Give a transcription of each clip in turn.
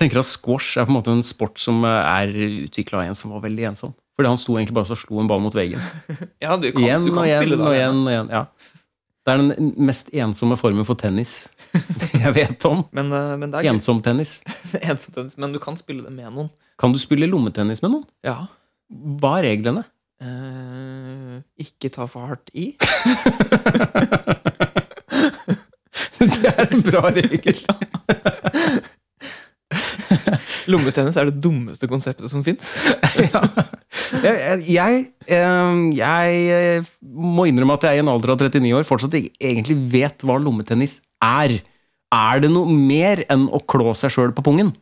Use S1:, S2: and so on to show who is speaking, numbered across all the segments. S1: tenker at squash er på en måte en sport som eh, er utvikla av en som var veldig ensom. Fordi han sto egentlig bare og slo en ball mot veggen.
S2: Ja, du kan,
S1: Igjen
S2: du kan
S1: og igjen
S2: spille
S1: og
S2: der.
S1: igjen. og igjen, ja. Det er den mest ensomme formen for tennis jeg vet om.
S2: Men, eh, men det er gøy.
S1: Ensomtennis.
S2: Ensom tennis, Men du kan spille det med noen.
S1: Kan du spille lommetennis med noen?
S2: Ja.
S1: Hva er reglene?
S2: Eh, ikke ta for hardt i.
S1: Det er en bra regel.
S2: Lommetennis er det dummeste konseptet som fins.
S1: Jeg, jeg, eh, jeg må innrømme at jeg i en alder av 39 år fortsatt ikke egentlig vet hva lommetennis er. Er det noe mer enn å klå seg sjøl på pungen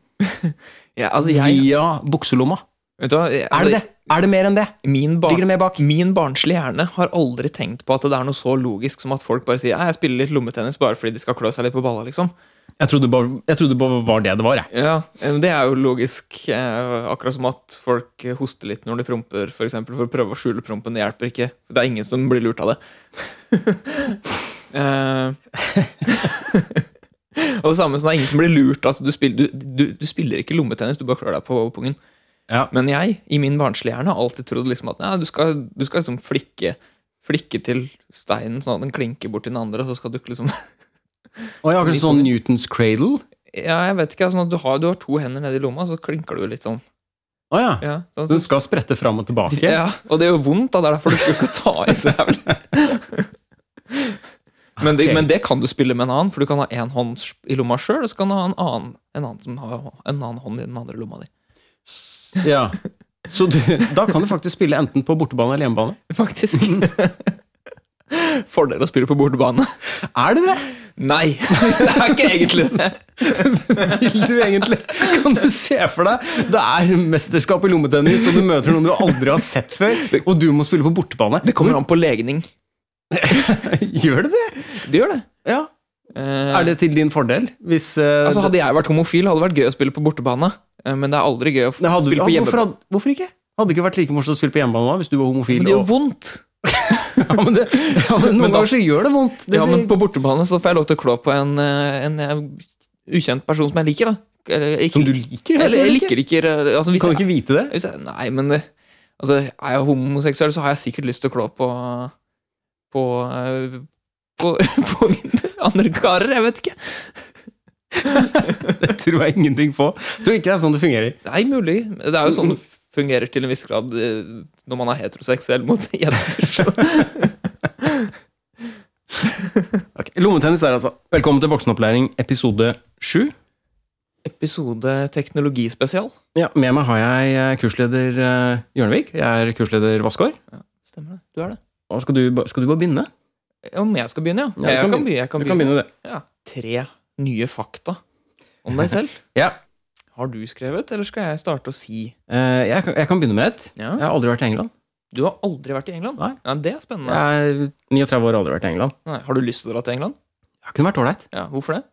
S2: Ja, altså, jeg,
S1: via bukselomma?
S2: vet du hva, jeg-
S1: Er det det? Er det mer enn det?
S2: Min, bar
S1: Ligger det mer bak?
S2: min barnslige hjerne har aldri tenkt på at det er noe så logisk som at folk bare sier «Nei, jeg spiller litt lommetennis bare fordi de skal klø seg litt på balla, liksom.
S1: Jeg trodde bare, jeg trodde bare var det det var, jeg.
S2: Ja, eh, Det er jo logisk. eh, Akkurat som at folk eh, hoster litt når de promper, for, eksempel, for å prøve å skjule prompen. Det hjelper ikke. Det er ingen som blir lurt av det. Eh, og det samme som det er ingen som blir lurt av at du spiller, du, du, du spiller ikke lommetennis, du bare klør deg på pungen.
S1: Ja.
S2: Men jeg, i min barnslige hjerne, har alltid trodd liksom at nei, du skal, du skal liksom flikke, flikke til steinen sånn at den klinker bort til den andre, og så skal du ikke liksom
S1: Og jeg har kanskje sånn Newtons cradle.
S2: Ja, jeg vet ikke, altså, du, har, du har to hender nedi lomma, så klinker du litt sånn.
S1: Å ja.
S2: Ja, sånn,
S1: Den skal sprette fram og tilbake.
S2: Ja, og det gjør vondt, da. Det er derfor du ikke skal ta i så jævlig. Men det,
S1: Ok.
S2: men det kan du spille med en annen, for du kan ha én hånd i lomma sjøl, og så kan du ha en annen, en annen som har en annen hånd i den andre lomma di.
S1: S- Ja. Så du, da kan du faktisk spille enten på bortebane eller hjemmebane.
S2: Faktisk. Fordel å spille på bortebane.
S1: Er det det?
S2: Nei, det er ikke egentlig det.
S1: Vil du egentlig? Kan du se for deg det er mesterskap i lommetennis, og du møter noen du aldri har sett før, og du må spille på bortebane?
S2: Det kommer an på legning.
S1: Gjør det det?
S2: Det gjør det.
S1: Ja.
S2: Eh,
S1: Er det til din fordel? Hvis eh,
S2: altså, hadde jeg vært homofil, hadde det vært gøy å spille på bortebane. eh, Men det er aldri gøy å
S1: det hadde,
S2: spille
S1: ja,
S2: på
S1: hvorfor,
S2: hjemmebane.
S1: hadde, hvorfor ikke? Hadde det ikke vært like morsomt å spille på hjemmebane da, hvis du var homofil?
S2: Men det gjør
S1: og,
S2: vondt.
S1: ja, men det, ja, men noen
S2: Men da-
S1: ganger så gjør det vondt. Det,
S2: ja,
S1: sier-
S2: men på bortebane så får jeg lov til å klå på en, eh, en eh, ukjent person som jeg liker, da. Eller, ikke,
S1: som du liker?
S2: eller,
S1: eller
S2: jeg
S1: ikke?
S2: liker ikke eh, altså, hvis,
S1: Kan du
S2: jeg,
S1: ikke vite det?
S2: hvis jeg, Nei, men eh, altså, er jeg homoseksuell, så har jeg sikkert lyst til å klå på På, eh, på, på mine andre karer. Jeg vet ikke.
S1: Det tror jeg ingenting på. Tror ikke det er sånn det fungerer.
S2: Nei, mulig. Det er jo sånn det fungerer til en viss grad eh, når man er heteroseksuell mot jenter. så-
S1: Ok, Lommetennis er altså Velkommen til voksenopplæring episode 7
S2: Episode teknologispesial.
S1: ja, Med meg har jeg eh, kursleder eh, Jørnevik Jeg er kursleder Vaskår
S2: Stemmer det. Du er det.
S1: Og skal, du ba- skal du bare begynne?
S2: Om jeg skal begynne, ja.
S1: Ja, du
S2: jeg,
S1: kan
S2: kan begynne. jeg kan
S1: Du
S2: begynne.
S1: kan begynne det
S2: Ja. Tre nye fakta om deg selv.
S1: ja.
S2: Har du skrevet, eller skal jeg starte å si?
S1: eh, jeg, kan, jeg kan begynne med et Jeg har aldri vært i England
S2: Du har aldri vært i England?
S1: Nei.
S2: Ja, det er spennende.
S1: Jeg er 39 år og aldri vært i England
S2: Nei. Har du lyst til å dra til England?
S1: Jeg kunne vært ålreit
S2: Ja, Hvorfor det?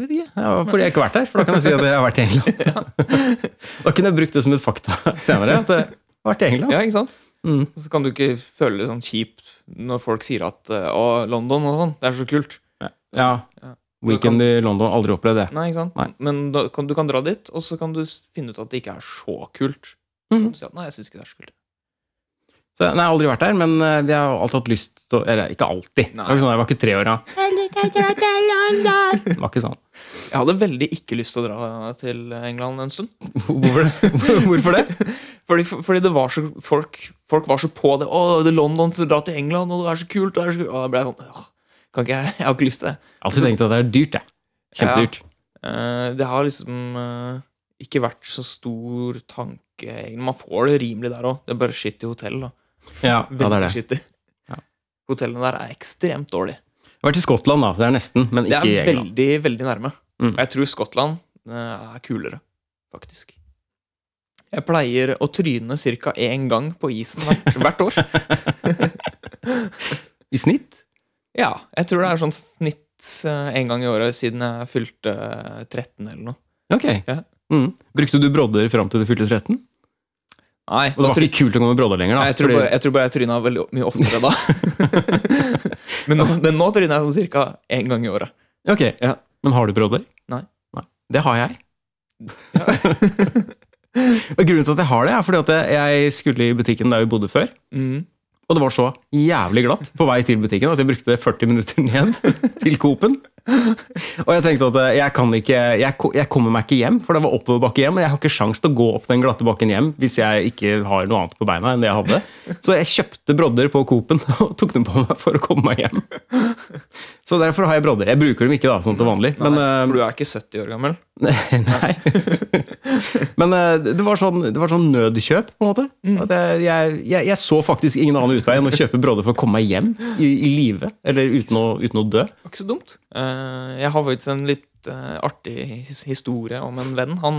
S1: Jeg vet ikke. Ja, fordi jeg ikke har vært der For da kan jeg si at jeg har vært i England Da kunne jeg brukt det som et fakta senere At jeg har vært i England
S2: Ja, ikke sant?
S1: Mm.
S2: Så kan du ikke føle det sånn kjipt når folk sier at eh, Å, London og sånn, det er så kult.
S1: Ja,
S2: Ja.
S1: weekend i London Aldri opplevd det
S2: Nei, ikke sant?
S1: Nei.
S2: Men da, kan, du kan dra dit, og så kan du s- finne ut at det ikke er så kult.
S1: Mhm.
S2: Du sier at, Nei, jeg synes ikke det er så kult.
S1: Så, nei, jeg har aldri vært der, men eh, jeg har alltid hatt lyst til å Eller ikke alltid. Det
S2: Nei.
S1: var ikke sånn, jeg var ikke tre år da.
S3: London.
S1: Det var ikke sånn.
S2: Jeg hadde veldig ikke lyst til å dra til England en stund.
S1: Hvorfor det? Hvorfor det?
S2: Fordi, fordi det var så, folk, folk var så på det. 'Å, det er London, så dra til England, og det er så kult.' Og, det er så kult. og da ble jeg sånn «Åh, kan ikke jeg, jeg har ikke lyst til det.
S1: Jeg har alltid tenkt at det er dyrt, jeg. Kjempedyrt.
S2: Eh, det har liksom eh, ikke vært så stor tanke. egentlig. Man får det rimelig der òg. Det er bare skitt i hotell. da.
S1: Ja, ja, det er det.
S2: Veldig skittig.
S1: Ja.
S2: Hotellene der er ekstremt dårlige.
S1: Jeg har vært i Skottland, da, så det er nesten, men
S2: Det
S1: ikke i
S2: er
S1: England.
S2: veldig, veldig nærme.
S1: Mm.
S2: Og jeg tror Skottland eh, er kulere, faktisk. Jeg pleier å tryne ca. én gang på isen hvert, hvert år.
S1: I snitt?
S2: Ja, jeg tror det er sånn snitt eh, en gang i året siden jeg fylte eh, 13 eller noe.
S1: Ok.
S2: Ja.
S1: Mm. Brukte du brodder fram til du fylte 13?
S2: Nei,
S1: Og det var ikke kult å gå med brodder lenger, da?
S2: Nei, jeg, tror
S1: fordi-
S2: bare, jeg tror bare jeg tryna veldig mye oftere da. men, nå, men nå tryner jeg sånn cirka én gang i året.
S1: Ok, Men har du brodder?
S2: Nei.
S1: Det har jeg. Og grunnen til at jeg har det, er fordi at jeg skulle i butikken der vi bodde før.
S2: Mm.
S1: Og det var så jævlig glatt på vei til butikken at jeg brukte 40 minutter ned til Coop-en. Og jeg tenkte at eh, jeg kan ikke jeg, ko- jeg kommer meg ikke hjem, for det var oppoverbakke hjem. Og jeg har ikke sjans til å gå opp den glatte bakken hjem hvis jeg ikke har noe annet på beina enn det jeg hadde. Så jeg kjøpte brodder på Coop-en og tok dem på meg for å komme meg hjem. Så derfor har jeg brodder. Jeg bruker dem ikke da, sånn til vanlig. Men, eh,
S2: For du er ikke 70 år gammel?
S1: Nei. Men eh, det var, sånn, det var sånn nødkjøp, på en måte. At jeg, jeg, jeg, jeg så faktisk ingen annen utvei enn å kjøpe brodder for å komme meg hjem i, i live. Eller uten å, uten å dø.
S2: Det var ikke så dumt. Eh, jeg har faktisk en litt eh, artig his- historie om en venn. Han,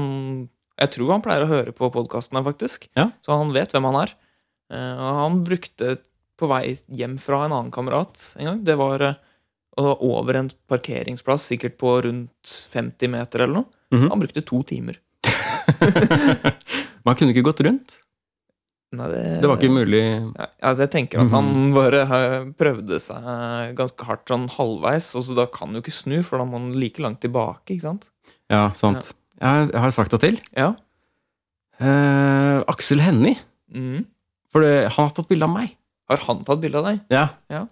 S2: jeg tror han pleier å høre på podkasten her, faktisk.
S1: Ja.
S2: Så han vet hvem han er. Eh, og han brukte på vei hjem fra en annen kamerat en gang. Det var eh, og det var over en parkeringsplass, sikkert på rundt 50 meter eller noe.
S1: Mhm.
S2: Han brukte to timer.
S1: Man kunne ikke gått rundt.
S2: Nei,
S1: Det var ikke Mhm. mulig.
S2: Nei, altså jeg tenker at han bare eh, prøvde seg ganske hardt sånn halvveis, og så da kan du ikke snu, for da må han like langt tilbake, ikke sant?
S1: Ja, sant. Jeg har fakta til.
S2: Ja.
S1: Eh, Aksel Hennie.
S2: Mhm.
S1: For det, han har tatt bilde av meg.
S2: Har han tatt bilde av deg?
S1: Ja.
S2: Ja.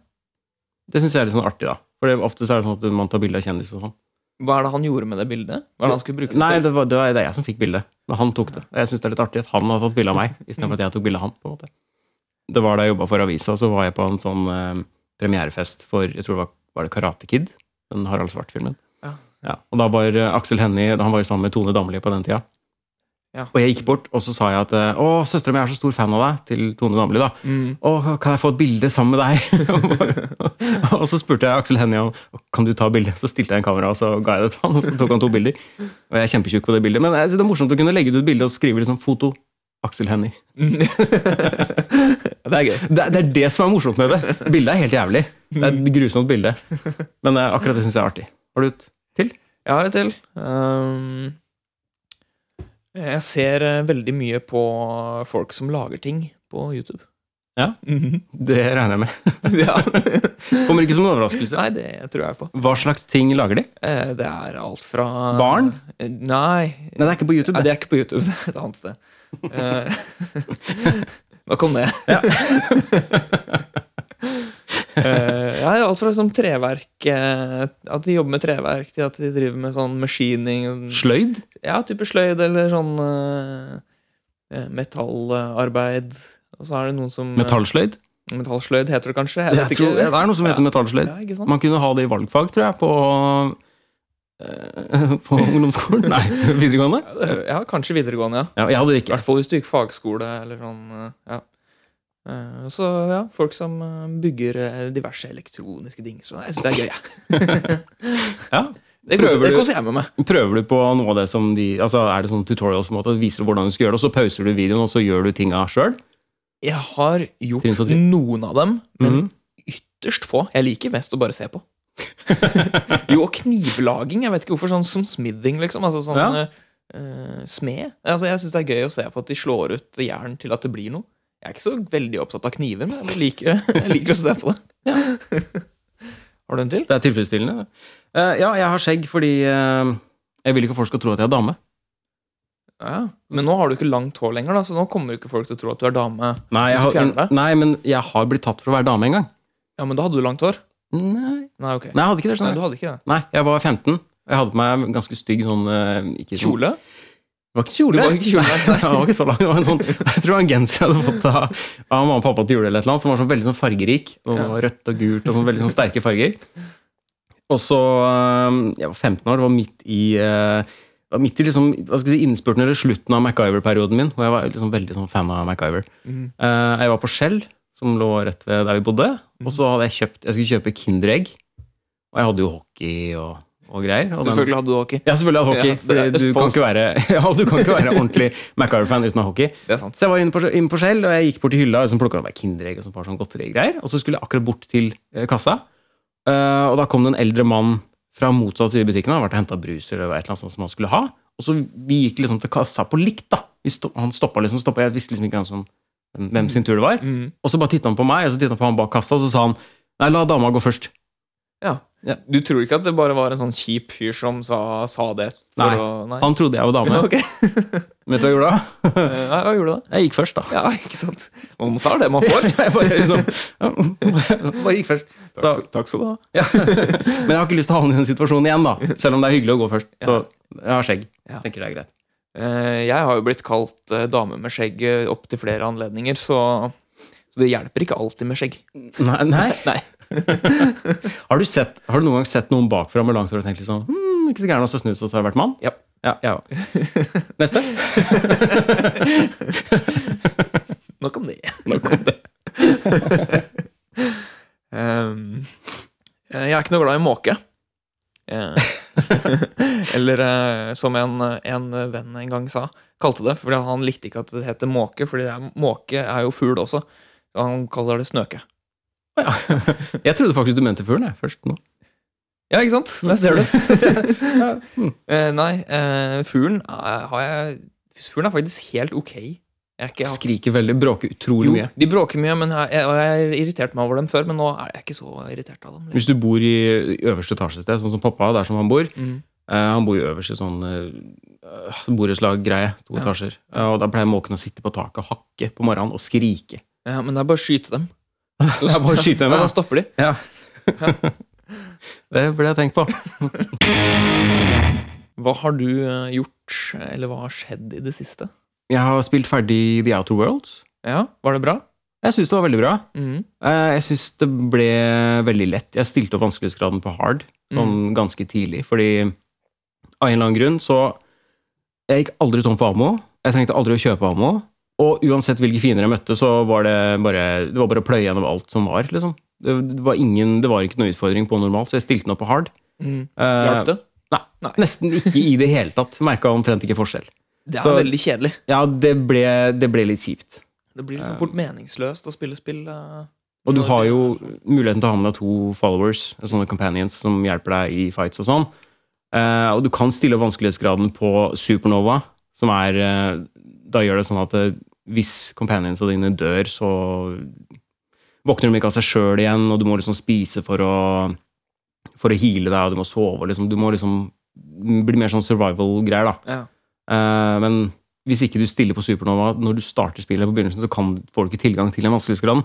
S1: Det syns jeg er litt sånn artig, da. For det, ofte så er det sånn at man tar bilde av kjendiser og sånn.
S2: Hva er det han gjorde med det bildet? Hva er det han skulle bruke det
S1: Nei,
S2: til?
S1: det var, det var det er jeg som fikk bildet. Men han tok det. Og jeg syns det er litt artig at han har tatt bilde av meg, istedenfor at jeg tok bilde av han. på en måte. Det var da jeg jobba for avisa, så var jeg på en sånn eh, premierefest for jeg tror det var, var det Karate Kid? Den Harald Svart-filmen.
S2: Ja.
S1: Og da var eh, Aksel Hennie Han var jo sammen med Tone Damli på den tida.
S2: Ja.
S1: Og jeg gikk bort, og så sa jeg at eh, Å, søstera mi er så stor fan av deg, til Tone Damli, da.
S2: Mhm.
S1: Å, kan jeg få et bilde sammen med deg? og så spurte jeg Aksel Hennie om kan du ta bilde. Så stilte jeg en kamera og så ga jeg det til han, og så tok han to bilder. Og jeg er kjempetjukk på det bildet. Men jeg synes det er morsomt å kunne legge ut et bilde og skrive liksom 'foto Aksel Hennie'.
S2: Mm. Ja, det er gøy.
S1: Det, er- det er det som er morsomt med det. Bildet er helt jævlig. Det er et grusomt bilde. Men eh, akkurat det syns jeg er artig. Har du et til?
S2: Jeg har et til. Ehm, jeg ser eh, veldig mye på folk som lager ting på YouTube.
S1: Ja.
S2: Mhm.
S1: Det regner jeg med.
S2: ja.
S1: Kommer ikke som en overraskelse.
S2: Nei, det tror jeg på.
S1: Hva slags ting lager de?
S2: Eh, det er alt fra
S1: Barn?
S2: Eh, Nei,
S1: Nei, det er ikke på YouTube.
S2: Nei,
S1: det.
S2: det er ikke på YouTube, det er et annet sted. Eh, Nå kom det. Eh, ja, det er alt fra sånn treverk eh, At de jobber med treverk, til at de driver med sånn maskining og-
S1: Sløyd?
S2: Ja, type sløyd eller sånn eh, eh, metallarbeid. Og så er det noen som eh,
S1: Metallsløyd?
S2: Metallsløyd heter det kanskje? Jeg vet
S1: Jeg tror, det
S2: ikke.
S1: er noe som heter metallsløyd.
S2: Ja, ikke sant?
S1: Man kunne ha det i valgfag, tror jeg, på eh, På ungdomsskolen? Nei, videregående.
S2: Ja, det- ja, kanskje videregående, ja.
S1: Ja, jeg hadde det
S2: I
S1: ikke.
S2: hvert fall hvis du gikk fagskole eller sånn. eh, Ja. Eh, Så ja, folk som eh, bygger eh, diverse elektroniske dingser. Nei, Jeg syns det er gøy, jeg.
S1: Ja.
S2: Det
S1: Prøver
S2: koser, det
S1: du-
S2: koser jeg meg med.
S1: Prøver du på noe av det som de altså Er det sånne tutorials på en måte, viser du hvordan du skal gjøre det, og så pauser du videoen, og så gjør du tinga sjøl?
S2: Jeg har
S1: Trinn for
S2: gjort
S1: trinn.
S2: noen av dem, men
S1: Mhm.
S2: ytterst få. Jeg liker mest å bare se på. jo, og knivlaging. Jeg vet ikke hvorfor. Sånn som smithing, liksom. Altså sånn
S1: Ja.
S2: eh, eh, smed. Altså, jeg syns det er gøy å se på at de slår ut jern til at det blir noe. Jeg er ikke så veldig opptatt av kniver, men jeg liker, jeg liker å se på det. Har du en til?
S1: Det er tilfredsstillende. det. Eh, ja, jeg har skjegg fordi eh, jeg vil ikke at folk skal tro at jeg er dame.
S2: Ja, Men nå har du ikke langt hår lenger, da, så nå kommer jo ikke folk til å tro at du er dame.
S1: Nei, jeg
S2: Hvis du
S1: har,
S2: fjerner det?
S1: nei, men jeg har blitt tatt for å være dame en gang.
S2: Ja, men da hadde du langt hår.
S1: Nei,
S2: Nei, ok.
S1: nei jeg hadde ikke det.
S2: Nei,
S1: skjønner
S2: du
S1: du.
S2: hadde ikke det.
S1: Nei, jeg var 15. Jeg hadde på meg en ganske stygg sånn eh, ikke sånn-
S2: Kjole?
S1: Det var ikke
S2: Du
S1: kjole.
S2: var ikke kjole,
S1: Nei, det var ikke så lang. Det var en sånn, jeg tror det var en genser jeg hadde fått av, av mamma og pappa til jul, eller et eller annet, som var sånn veldig sånn fargerik. Og det var Rødt og gult og sånn veldig sånn sterke farger. Og så øhm, Jeg var 15 år, det var midt i øh, det var midt i liksom, hva skal jeg si, innspurten eller slutten av MacGyver-perioden min. Og jeg var liksom veldig sånn fan av MacGyver.
S2: Mhm.
S1: Eh, jeg var på Shell, som lå rett ved der vi bodde. Og så hadde jeg kjøpt Jeg skulle kjøpe Kinderegg. Og jeg hadde jo hockey og, og greier. Og den-
S2: Selvfølgelig hadde du hockey.
S1: ja, selvfølgelig hadde hockey.
S2: Ja, det er
S1: fordi du,
S2: Østfold.
S1: kan ikke være, ja, du kan ikke være ordentlig MacGyver-fan uten å ha hockey.
S2: Det er sant.
S1: Så jeg var inne på, inne på Shell, og jeg gikk bort til hylla og liksom plukka meg Kinderegg og sånn par sånn godterigreier. Og så skulle jeg akkurat bort til eh, kassa, Eh, og da kom det en eldre mann fra motsatt side i butikken. Han hadde vært og henta brus eller et eller annet sånt som han skulle ha. Og så vi gikk liksom til kassa på likt, da. Vi sto, han stoppa liksom, stoppa, jeg visste liksom ikke hvem som- hvem sin tur det var.
S2: Mhm.
S1: Og så bare titta han på meg, og så titta han på han bak kassa, og så sa han Nei, la dama gå først.
S2: Ja.
S1: Ja.
S2: Du tror ikke at det bare var en sånn kjip fyr som sa, sa det For
S1: Nei.
S2: å- nei.
S1: Han trodde jeg var dame.
S2: Ok.
S1: Vet du hva jeg gjorde da?
S2: Eh, ja, hva gjorde du da?
S1: Jeg gikk først, da.
S2: Ja, ikke sant. Man tar det man får.
S1: Jeg bare, liksom, bare gikk først. Så,
S2: Takk, takk skal du ha.
S1: ja. Men jeg har ikke lyst til å havne i den situasjonen igjen, da. Selv om det er hyggelig å gå først. Så jeg har skjegg.
S2: Ja.
S1: Tenker det er greit.
S2: Eh, Jeg har jo blitt kalt eh, dame med skjegg eh, opp til flere anledninger, så, så det hjelper ikke alltid med skjegg.
S1: Nei, nei. Har, du sett, har du noen gang sett noen bakfra med langt hår og tenkt liksom hm, Ikke så gæren også snus, og så har jeg vært mann?
S2: Ja.
S1: Ja, jeg også. Neste.
S2: Nok om det.
S1: Nok om det.
S2: Ehm, eh, jeg er ikke noe glad i måke. Eh, Eller eh, som en, en venn en gang sa, kalte det. Fordi han likte ikke at det heter måke, fordi det er, måke er jo fugl også. Så han kaller det snøke.
S1: Jeg trodde faktisk du mente fuglen, jeg, først nå.
S2: Ja, ikke sant? Der ser du.
S1: Ja, mm.
S2: Eh, nei, eh, fuglen er- har jeg Fuglen er faktisk helt ok. Jeg er ikke, jeg har-
S1: Skriker veldig, bråker utrolig
S2: jo,
S1: mye.
S2: de bråker mye, men jeg, jeg, og jeg har irritert meg over dem før, men nå er jeg ikke så irritert av dem.
S1: Hvis du bor i i øverste etasje et sted, sånn som pappa, der som han bor
S2: Mm.
S1: eh, Han bor jo øverst i sånn uh, borettslag-greie, to
S2: Ja.
S1: etasjer. Eh, og da pleier måken å sitte på taket og hakke på morgenen og skrike.
S2: Ja, men det er bare å skyte dem.
S1: Det er bare å skyte dem,
S2: Ja,
S1: ja.
S2: da stopper de.
S1: Ja. det burde jeg tenkt på.
S2: Hva har du eh, gjort, eller hva har skjedd i det siste?
S1: Jeg har spilt ferdig The Outer Worlds.
S2: Ja, Var det bra?
S1: Jeg syns det var veldig bra.
S2: Mhm.
S1: Eh, Jeg syns det ble veldig lett. Jeg stilte opp vanskelighetsgraden på hard
S2: Mm.
S1: sånn ganske tidlig, fordi av en eller annen grunn så Jeg gikk aldri tom for ammo. Jeg trengte aldri å kjøpe ammo. Og uansett hvilke fiender jeg møtte, så var det bare Det var bare å pløye gjennom alt som var, liksom. Det det var, ingen, det var ikke noe utfordring på normal, så jeg stilte den opp på hard.
S2: Mm.
S1: Eh,
S2: Hjalp det?
S1: Nei,
S2: Nei.
S1: Nesten ikke i det hele tatt. Merka omtrent ikke forskjell.
S2: Det er
S1: så-
S2: veldig kjedelig.
S1: Ja, det ble, det ble litt kjipt.
S2: Det blir liksom fort meningsløst å spille spill. eh,
S1: Og du
S2: når-
S1: har jo muligheten til å ha med deg to followers, sånne companions som hjelper deg i fights og sånn. Eh, og du kan stille vanskelighetsgraden på supernova, som er eh, Da gjør det sånn at eh, hvis companionsa dine dør, så våkner de ikke av seg sjøl igjen, og du må liksom spise for å For å heale deg, og du må sove, og liksom. Du må liksom bli mer sånn survival-greier, da.
S2: Ja.
S1: Eh, men hvis ikke du stiller på supernova når du starter spillet på begynnelsen, så kan, får du ikke tilgang til den vanskelighetsgraden.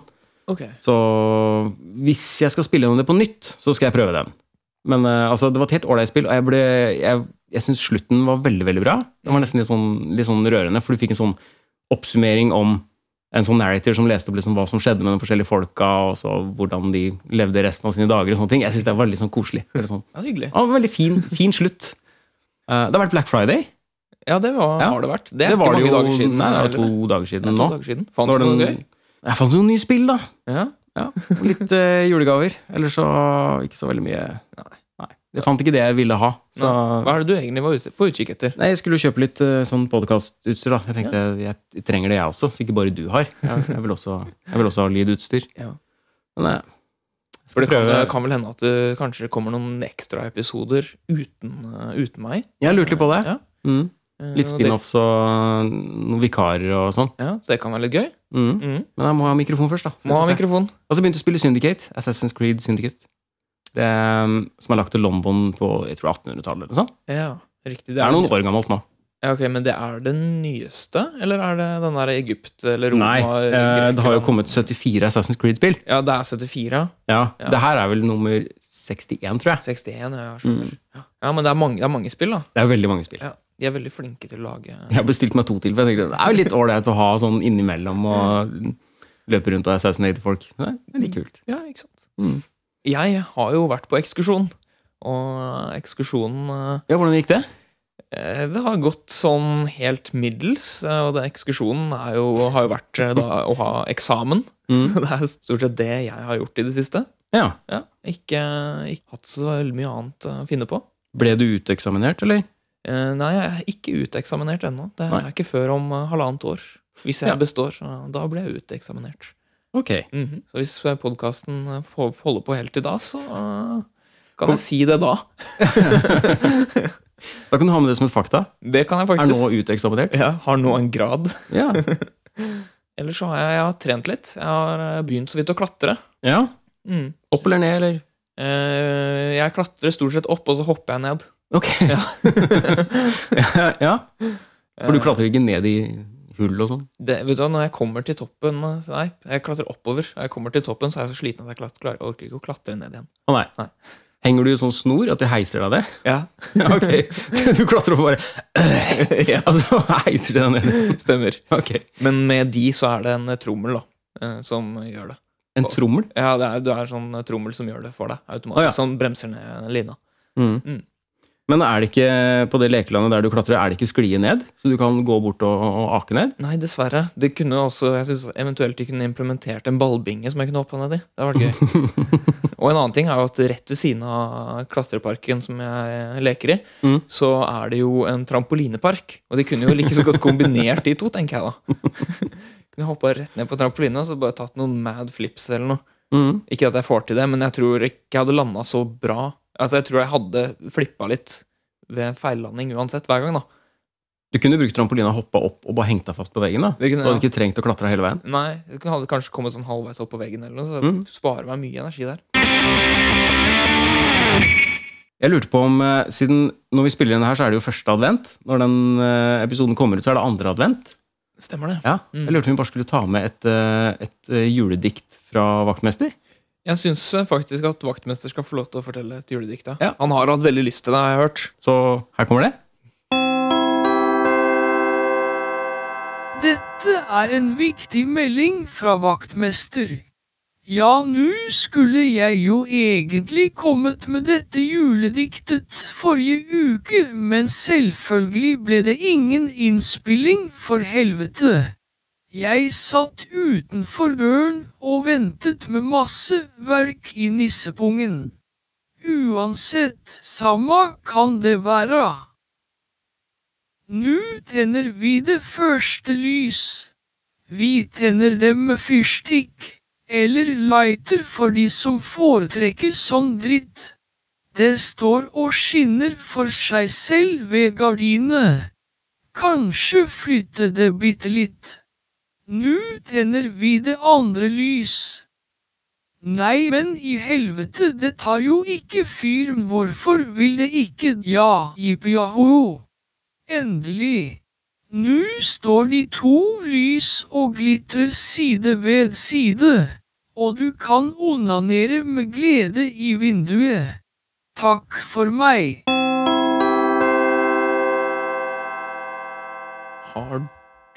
S2: Ok.
S1: Så hvis jeg skal spille gjennom det på nytt, så skal jeg prøve den. Men eh, altså, det var et helt ålreit spill, og jeg, ble- jeg, jeg syns slutten var veldig veldig bra. Den var nesten litt sånn, litt sånn rørende, for du fikk en sånn oppsummering om en sånn narrator som leste opp liksom hva som skjedde med de forskjellige folka, og så hvordan de levde resten av sine dager. og sånne ting. Jeg syns det var veldig sånn koselig. Veldig, sånn.
S2: Ja, hyggelig.
S1: Ja, veldig fin, fin slutt. Eh, det har vært Black Friday.
S2: Ja, det var,
S1: Ja.
S2: har det vært. Det er
S1: det
S2: ikke
S1: var det
S2: mange
S1: jo
S2: dager siden.
S1: Nei, det var
S2: eller?
S1: to dager
S2: Det er
S1: siden
S2: to
S1: nå.
S2: dager siden.
S1: Nå
S2: Fant
S1: var
S2: du noe
S1: den,
S2: gøy?
S1: jeg fant noen nye spill, da.
S2: Ja.
S1: Ja, og litt eh, julegaver. Ellers så ikke så veldig mye.
S2: Nei.
S1: Jeg fant ikke det jeg ville ha. Så
S2: Hva er det du egentlig var ute, på utkikk etter?
S1: Nei, jeg skulle jo kjøpe litt eh, sånn podkastutstyr, da. Jeg tenkte jeg trenger det, jeg også, så ikke bare du har. Jeg vil også, jeg vil også ha lydutstyr.
S2: Ja.
S1: Men eh, jeg skal
S2: For det kan,
S1: prøve.
S2: kan vel hende at det kanskje kommer noen ekstraepisoder uten, eh, uten meg.
S1: Jeg lurte litt på det.
S2: Ja.
S1: Mm.
S2: Eh,
S1: Litt
S2: og det-
S1: spin-offs og eh, noen vikarer og sånn.
S2: Ja, så det kan være litt gøy.
S1: Mm.
S2: Mhm.
S1: Men jeg må ha mikrofon først, da.
S2: Må ha mikrofon.
S1: Og så begynte jeg å spille Syndicate. Assassin's Creed Syndicate. Det, eh, som er lagt til London på jeg tror 1800-tallet eller noe sånt.
S2: Ja, riktig.
S1: Det er noen år gammelt nå.
S2: Ja, ok, Men det er det nyeste, eller er det den der Egypt eller Roma?
S1: Nei, eh, det har jo
S2: Grekland?
S1: kommet 74 Assassin's Creed-spill.
S2: Ja, det er 74, ja.
S1: Ja,
S2: Ja.
S1: Det her er vel nummer 61, tror jeg.
S2: 61, ja. jeg skjønner.
S1: Mm.
S2: Ja, men det er, mange, det er mange spill, da.
S1: Det er jo veldig mange spill.
S2: Ja, de er veldig flinke til å lage
S1: Jeg har bestilt meg to til, for jeg tenkte det er jo litt ålreit å ha sånn innimellom og løpe rundt og assassinate folk. Det er litt kult.
S2: Ja, ikke sant.
S1: Mm.
S2: Jeg har jo vært på ekskursjon, og ekskursjonen eh,
S1: Ja, Hvordan gikk det?
S2: Eh, Det har gått sånn helt middels, eh, og den ekskursjonen er jo, har jo vært eh, da, å ha eksamen.
S1: Mm.
S2: Det er stort sett det jeg har gjort i det siste.
S1: Ja,
S2: Ja, ikke, ikke hatt så veldig mye annet eh, å finne på.
S1: Ble du uteksaminert, eller?
S2: Eh, Nei, jeg er ikke uteksaminert ennå. Det er
S1: Nei.
S2: ikke før om eh, halvannet år. Hvis jeg
S1: Ja.
S2: består, eh, da blir jeg uteksaminert.
S1: Ok.
S2: Så hvis podkasten holder på helt til da, så eh, kan jeg si det da.
S1: Da kan du ha med det som et fakta.
S2: Det kan jeg
S1: Er nå
S2: faktisk.
S1: uteksaminert?
S2: Jeg har nå en grad.
S1: Ja.
S2: Ellers så har jeg, jeg har trent litt. Jeg har eh, begynt så vidt å klatre.
S1: ja.
S2: Mm.
S1: Opp eller ned, eller?
S2: Eh, jeg klatrer stort sett opp, og så hopper jeg ned.
S1: Ok. Ja. ja, For du klatrer ikke ned i hull og sånn?
S2: Det, vet du hva, Når jeg kommer til toppen eh, så- Nei, jeg klatrer oppover. Når jeg kommer til toppen, så er jeg så sliten at jeg klat- klarer, orker ikke å klatre ned igjen.
S1: Å nei.
S2: Nei.
S1: Henger du i sånn snor at de heiser deg det?
S2: Ja,
S1: Ja, ok. Du klatrer opp og bare Altså, heiser de deg ned?
S2: Stemmer.
S1: Ok.
S2: Men med de så er det en trommel da, eh, som gjør det.
S1: En trommel?
S2: Ja, det er, du er sånn trommel som gjør det for deg automatisk.
S1: Å, ja.
S2: Som bremser ned lina. Mm.
S1: Men er det ikke på det lekelandet der du klatrer, er det ikke sklie ned? Så du kan gå bort og, og ake ned?
S2: Nei, dessverre. Det kunne også, jeg synes Eventuelt de kunne implementert en ballbinge som jeg kunne hoppa ned i. Det hadde vært gøy. og en annen ting er jo at rett ved siden av klatreparken som jeg eh, leker i,
S1: Mm.
S2: så er det jo en trampolinepark. Og de kunne jo like så godt kombinert de to, tenker jeg da. kunne hoppa rett ned på trampolina og så bare tatt noen mad flips eller noe.
S1: Mm.
S2: Ikke at jeg får til det, men jeg tror ikke jeg hadde landa så bra. Altså, jeg tror jeg hadde flippa litt ved feillanding uansett hver gang, da.
S1: Du kunne brukt trampolina, hoppa opp og bare hengt deg fast på veggen. da.
S2: Det
S1: Du
S2: kunne jeg
S1: hadde ikke trengt å klatre hele veien.
S2: Nei, jeg kunne- hadde kanskje kommet sånn halvveis opp på veggen, eller noe, så
S1: Mm.
S2: sparer meg mye energi der.
S1: Jeg lurte på om, eh, siden Når vi spiller inn her, så er det jo første advent. Når den eh, episoden kommer ut, så er det andre advent.
S2: Stemmer det.
S1: Ja,
S2: Mm.
S1: Jeg lurte om vi bare skulle ta med et, eh, et eh, juledikt fra vaktmester.
S2: Jeg syns faktisk at vaktmester skal få lov til å fortelle et juledikt. da.
S1: Ja.
S2: Han har hatt veldig lyst til det, har jeg hørt.
S1: Så her kommer det.
S3: Dette er en viktig melding fra vaktmester. Ja, nå skulle jeg jo egentlig kommet med dette julediktet forrige uke, men selvfølgelig ble det ingen innspilling, for helvete. Jeg satt utenfor døren og ventet med masse verk i nissepungen. Uansett, samme kan det være. Nå tenner vi det første lys. Vi tenner dem med fyrstikk, eller lighter for de som foretrekker sånn dritt. Det står og skinner for seg selv ved gardinene. Kanskje flytte det bitte litt. Nå tenner vi det andre lys. Nei, men i helvete, det tar jo ikke fyr, hvorfor vil det ikke, ja, jippi jaho. Endelig. Nå står de to lys og glitrer side ved side, og du kan onanere med glede i vinduet. Takk for meg.
S2: Har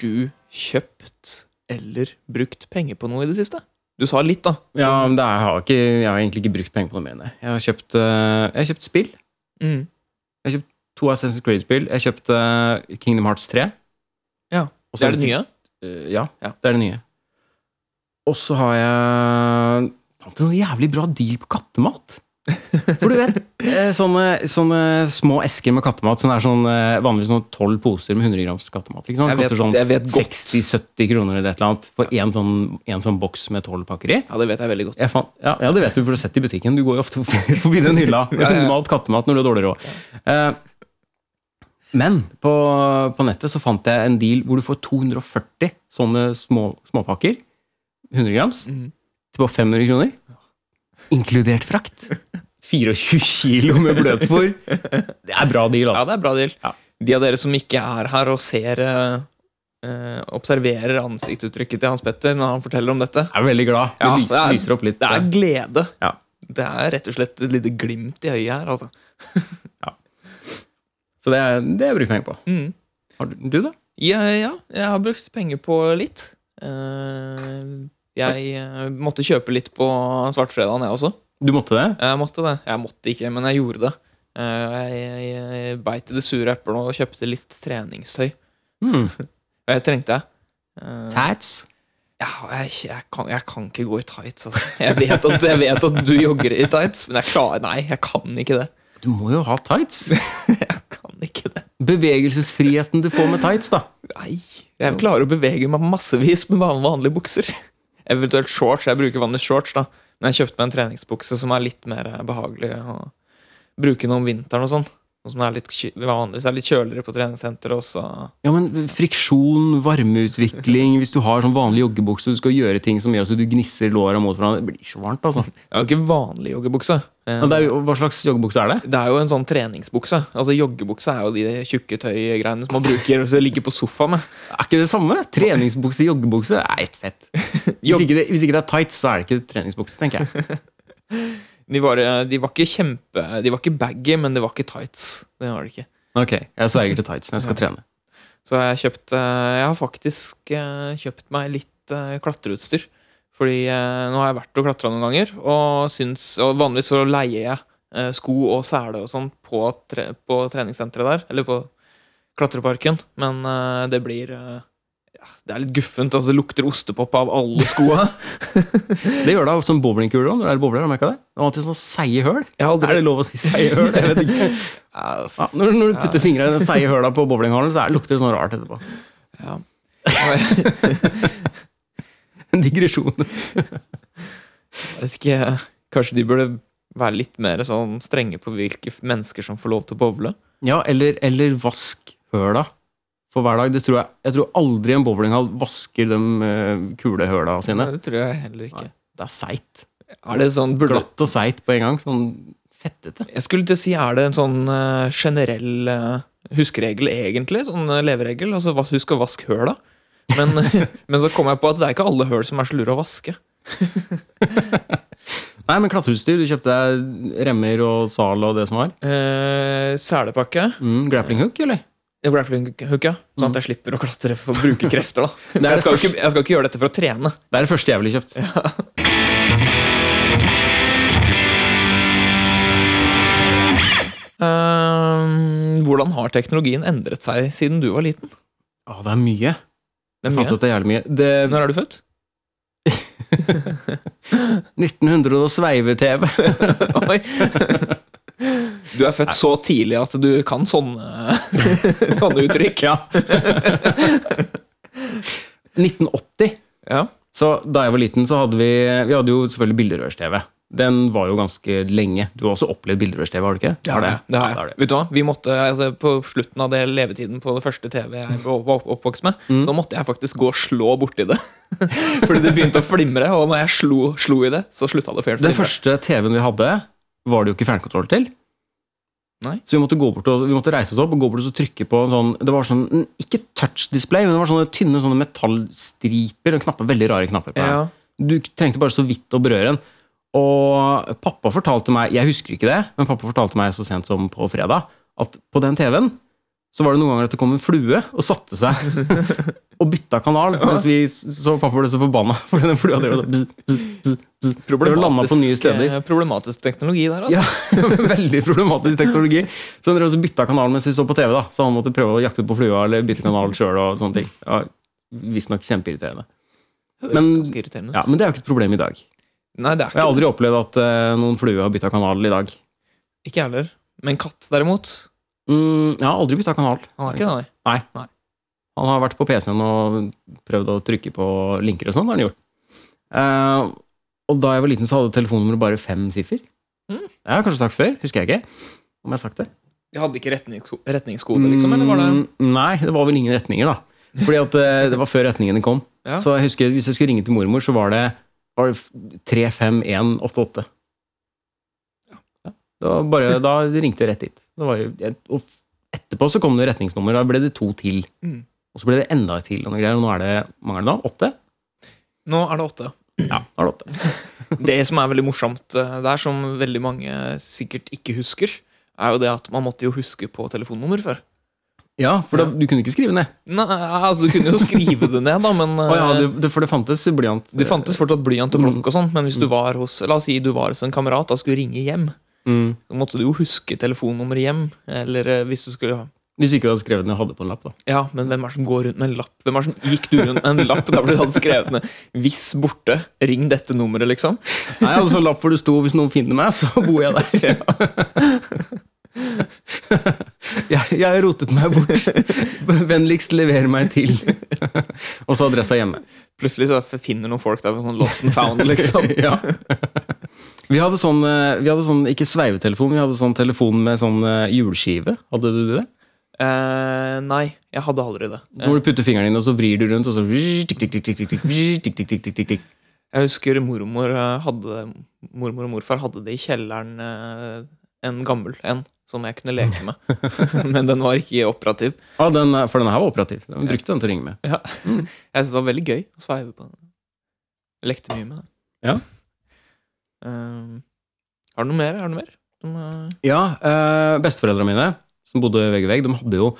S2: du kjøpt eller brukt penger på noe i det siste? Du sa litt, da.
S1: Ja, men det er, jeg, har ikke, jeg har egentlig ikke brukt penger på noe mer. Nei. Jeg har kjøpt, eh, jeg har kjøpt spill.
S2: Mm.
S1: To Assassin's Creed-spill. Jeg kjøpte eh, Kingdom Hearts 3.
S2: Ja,
S1: Og
S2: Det
S1: så
S2: er det nye?
S1: Eh, ja,
S2: Ja.
S1: det er det nye. Og så har jeg fant en sånn jævlig bra deal på kattemat. For du vet, eh, sånne, sånne små esker med kattemat som er sånn, eh, vanligvis sånn tolv poser med 100 grams kattemat. Ikke sant?
S2: Jeg vet,
S1: Koster sånn
S2: jeg vet godt.
S1: 60-70 kroner eller et eller annet for én sånn, en sånn boks med tolv pakker i.
S2: Ja, det vet jeg veldig godt.
S1: Jeg fant, ja, ja, det vet du, for du har sett det i butikken. Du går jo ofte forbi forbi den hylla med
S2: Ja, ja, ja.
S1: malt kattemat når du har dårlig råd. Eh, Men på, på nettet så fant jeg en deal hvor du får 240 sånne små, småpakker, 100 grams,
S2: Mhm.
S1: til bare 500 kroner. Inkludert frakt. 24 kilo med bløtfôr. Det er bra deal,
S2: Ja,
S1: altså.
S2: det er bra deal.
S1: Ja.
S2: De av dere som ikke er her og ser eh, eh, Observerer ansiktsuttrykket til Hans Petter når han forteller om dette.
S1: Jeg er veldig glad. Det,
S2: Ja,
S1: lyser,
S2: det er-
S1: lyser opp litt.
S2: Det er glede.
S1: Ja.
S2: Det er rett og slett et lite glimt i øyet her, altså.
S1: Så det er det har jeg bruker penger på.
S2: Mm.
S1: Har du, du da?
S2: Ja, ja, jeg har brukt penger på litt. Eh, jeg eh, måtte kjøpe litt på svartfredagen, jeg også.
S1: Du måtte det?
S2: Jeg måtte det. Jeg måtte ikke, men jeg gjorde det. Eh, jeg, jeg, jeg beit i det sure eplet og kjøpte litt treningstøy.
S1: Mm.
S2: Og jeg trengte det. Eh,
S1: Tats?
S2: ja, jeg, jeg, kan, jeg kan ikke gå i tights. Altså. Jeg, vet at, jeg vet at du jogger i tights, men jeg klarer Nei, jeg kan ikke det.
S1: Du må jo ha tights.
S2: Jeg kan ikke det.
S1: bevegelsesfriheten du får med tights, da.
S2: Nei. Jeg klarer å bevege meg massevis med van- vanlige bukser. Eventuelt shorts. Jeg bruker vanlige shorts, da. Men jeg kjøpte meg en treningsbukse som er litt mer eh, behagelig å bruke nå om vinteren og sånn. Sånn som det er litt ky- vanligvis er litt kjøligere på treningssenter også.
S1: Ja, men Friksjon, varmeutvikling Hvis du har sånn vanlig joggebukse og du skal gjøre ting som gjør at du gnisser låra mot hverandre Det blir så varmt, altså.
S2: Jeg har jo ikke vanlig joggebukse. Eh,
S1: Men det er jo, hva slags joggebukse er det?
S2: Det er jo en sånn treningsbukse. Altså Joggebukse er jo de tjukke tøygreiene som man bruker hvis du ligger på sofaen med.
S1: Er ikke det samme? Treningsbukse, joggebukse er ett fett. Hvis ikke, det, hvis ikke det er tights, så er det ikke treningsbukse, tenker jeg.
S2: De var, de var ikke kjempe De var ikke baggy, men de var ikke tights. Det var de ikke.
S1: Ok, jeg sverger til tights når jeg skal trene.
S2: Så jeg, kjøpt, eh, jeg har faktisk eh, kjøpt meg litt eh, klatreutstyr. Fordi eh, nå har jeg vært og klatra noen ganger, og, syns, og vanligvis så leier jeg eh, sko og sele og sånn på, tre, på treningssenteret der, eller på klatreparken, men eh, det blir eh, ja, Det er litt guffent. Altså, det lukter ostepop av alle skoa.
S1: Det gjør det av sånn bowlingkuler òg, når det er bowler. Har du merket det? Det er alltid sånn seige høl.
S2: Jeg har aldri
S1: Er det lov å si seige høl? Jeg vet ikke.
S2: Eh, f-
S1: Ja, når, når du putter fingra i den seige høla på bowlinghallen, så er, lukter det sånn rart etterpå.
S2: ja.
S1: En digresjon.
S2: Jeg vet ikke, kanskje de burde være litt mer sånn strenge på hvilke f- mennesker som får lov til å bowle?
S1: Ja, eller, eller vask høla for hver dag. Det tror jeg, jeg tror aldri en bowlinghall vasker de eh, kulehøla sine.
S2: Det tror jeg heller ikke.
S1: Det er seigt.
S2: Er det sånn, burde,
S1: Glatt og seigt på en gang. Sånn fettete.
S2: jeg skulle til å si, er det en sånn eh, generell eh, huskeregel egentlig? Sånn eh, leveregel? Altså, vas- husk å vaske høla. Men, men så kom jeg på at det er ikke alle høl som er så lure å vaske.
S1: Nei, men klatreutstyr. Du kjøpte deg remmer og sal og det som var.
S2: Eh, selepakke.
S1: Mm, grappling hook, eller?
S2: Grappling hook, ja. Sånn at jeg slipper å klatre for å bruke krefter, da.
S1: Det er
S2: Jeg skal,
S1: først-
S2: ikke, jeg skal ikke gjøre dette for å trene.
S1: Det er det første jeg ville kjøpt.
S2: Eh, hvordan har teknologien endret seg siden du var liten?
S1: Å, det er mye.
S2: Det er
S1: Jeg fant
S2: mye.
S1: ut det er jævlig mye. Det,
S2: Når er du født?
S1: 1900 og sveive-TV.
S2: Oi. Du er født så tidlig at du kan sånne, sånne uttrykk.
S1: Ja. 1980.
S2: Ja.
S1: Så da jeg var liten, så hadde vi Vi hadde jo selvfølgelig bilderørs-TV. Den var jo ganske lenge. Du har også opplevd bilderørs-TV, har du ikke? Har det?
S2: Det har
S1: Ja, det har
S2: jeg.
S1: du.
S2: Vet du hva? Vi måtte, altså, på slutten av det levetiden på det første TV jeg var opp- oppvokst med,
S1: Mm.
S2: så måtte jeg faktisk gå og slå borti det. Fordi det begynte å flimre, og når jeg slo, slo i det, så slutta det å flimre.
S1: Den første TV-en vi hadde, var det jo ikke fjernkontroll til.
S2: Nei.
S1: Så vi måtte, gå bort og, vi måtte reise oss opp og gå bort og så trykke på en sånn Det var sånn, Ikke touch-display, men det var sånne tynne sånne metallstriper og knapper. Veldig rare knapper. på den.
S2: Ja.
S1: Du trengte bare så vidt å berøre den. Og pappa fortalte meg Jeg husker ikke det, men pappa fortalte meg så sent som på fredag at på den TV-en så var det noen ganger at det kom en flue og satte seg og bytta kanal. Mens vi så pappa ble så forbanna fordi den flua drev og bzz, bzz, bzz, bzz. drev og landa på nye steder.
S2: eh, problematisk teknologi der, altså.
S1: Ja, Veldig problematisk teknologi. Så han drev også bytta kanal mens vi så på TV, da. så han måtte prøve å jakte på flua eller bytte kanal sjøl. Ja, Visstnok kjempeirriterende.
S2: Høres
S1: men-
S2: ganske irriterende ut.
S1: Ja, men det er jo ikke et problem i dag.
S2: Nei, det er
S1: Jeg har
S2: ikke
S1: aldri opplevd at eh, noen flue har bytta kanal i dag.
S2: Ikke jeg heller. Men katt, derimot
S1: Mm, jeg har aldri bytta kanal.
S2: Han har ikke det, nei.
S1: Han har vært på PC-en og prøvd å trykke på linker og sånn. har han gjort. Eh, og da jeg var liten, så hadde telefonnummeret bare fem siffer.
S2: Mm.
S1: Jeg har kanskje sagt før, husker jeg ikke. Om jeg har sagt det.
S2: De hadde ikke retningsko- retningskode, liksom? Eller var det
S1: Mm, Nei, det var vel ingen retninger, da. Fordi at eh, det var før retningene kom.
S2: Ja.
S1: Så jeg husker, hvis jeg skulle ringe til mormor, så var det, var det f- 35188. Det var bare, da ringte jeg rett dit. Det var, jo- jeg- og f- etterpå så kom det retningsnummer. Da ble det to til.
S2: Mm.
S1: Og så ble det enda et til. Og, noe greier, og nå er det mangler det da? Åtte?
S2: Nå er det åtte.
S1: Ja, nå er det åtte.
S2: Det som er veldig morsomt eh, der, som veldig mange sikkert ikke husker, er jo det at man måtte jo huske på telefonnummer før.
S1: Ja, for Da, du kunne ikke skrive ned.
S2: Nei, altså Du kunne jo skrive det ned, da, men eh,
S1: Å ja, det, det, for det fantes blyant.
S2: det fantes fortsatt blyant og blokk og sånn, men hvis du var hos La oss si du var hos en kamerat og skulle ringe hjem,
S1: Mm.
S2: så måtte du jo huske telefonnummeret hjem. Eller eh, hvis du skulle ha
S1: Hvis ikke du hadde skrevet det og hadde på en lapp, da.
S2: Ja, men hvem er det som går rundt med en lapp? Hvem er det som Gikk du rundt med en lapp der ble det hadde skrevet ned 'Hvis borte, ring dette nummeret', liksom?
S1: Nei, jeg hadde sånn lapp hvor det sto 'Hvis noen finner meg, så bor jeg der'. jeg, jeg rotet meg bort. Vennligst lever meg til. Og så adressa hjemme.
S2: Plutselig så finner noen folk der med sånn lost and found, liksom.
S1: Ja. Vi hadde sånn, eh, vi hadde sånn ikke sveivetelefon, vi hadde sånn telefon med sånn eh, hjulskive. Hadde du det?
S2: Eh, nei, jeg hadde aldri det. Eh,
S1: Hvor du putter fingeren inn, og så vrir du rundt, og så tikk, tikk, tikk, tikk, tikk, tikk, tikk, tikk, tikk, tikk, tikk, tikk.
S2: Jeg husker mormor eh, hadde Mormor og morfar hadde det i kjelleren eh, en gammel en som jeg kunne leke med. Men den var ikke operativ.
S1: Ja, den, er- For den her var operativ. Den brukte den til å ringe med.
S2: Ja. Jeg syntes det var veldig gøy å sveive på den. Jeg lekte mye med det.
S1: Ja.
S2: Eh, har du noe mer? Har du noe mer? Som, eh,
S1: Ja, eh, Besteforeldra mine, som bodde vegg i vegg, de hadde jo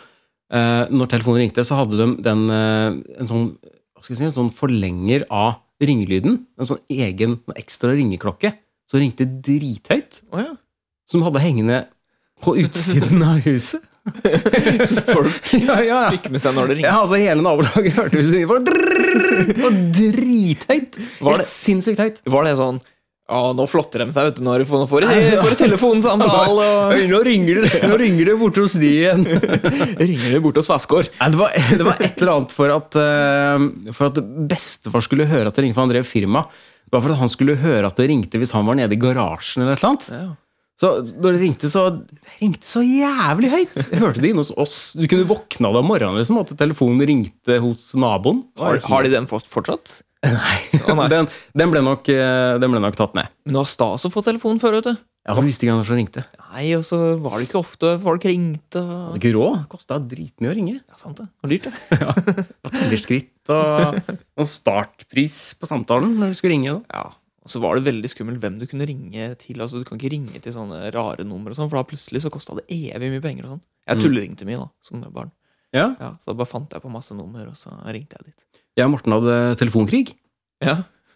S1: eh, Når telefonen ringte, så hadde de den, eh, en sånn hva skal jeg si, en sånn forlenger av ringelyden. En sånn egen ekstra ringeklokke som ringte drithøyt.
S2: Å ja.
S1: Som de hadde hengende på utsiden av huset.
S2: Så folk
S1: Ja, ja, ja.
S2: fikk med seg når det ringte.
S1: Ja, altså Hele nabolaget hørte hvis det ringte. for drrrr, Og drithøyt!
S2: Var
S1: Helt
S2: det-
S1: sinnssykt høyt.
S2: Var det sånn Ja, nå flotter de seg, vet du. Nå får nå får de får de telefonsamtale og
S1: nå ringer det, nå ringer det borte hos de igjen.
S2: Ringer de borte hos Vassgård.
S1: Nei, det, var, det var et eller annet for at, eh, for at bestefar skulle høre at det ringte, for han drev firma. Det var for at han skulle høre at det ringte hvis han var nede i garasjen. eller et eller annet.
S2: Ja.
S1: Så når det ringte, så det ringte så jævlig høyt! Jeg hørte det inne hos oss. Du kunne våkna deg om morgenen liksom, at telefonen ringte hos naboen.
S2: Har, har de den fått fortsatt? Å, nei.
S1: Den, den, ble nok, eh, den ble nok tatt ned.
S2: Men det var stas å få telefon før, vet du.
S1: Ja, for du visste ikke hvem som ringte.
S2: Nei, og så var det ikke ofte folk ringte.
S1: Hadde
S2: Og...
S1: ikke råd. Kosta dritmye å ringe.
S2: Ja, sant det. Det var dyrt, det.
S1: Det var tellerskritt og, og startpris på samtalen når du skulle ringe. da.
S2: Ja. Og så var det veldig skummelt hvem du kunne ringe til. Altså, du kan ikke ringe til sånne rare numre, og sånn, for da plutselig så kosta det evig mye penger. og sånn. Jeg tulleringte mye da, som barn.
S1: Ja.
S2: Ja, så da bare fant jeg på masse nummer, og så ringte jeg dit.
S1: Jeg og Morten hadde telefonkrig.
S2: Ja,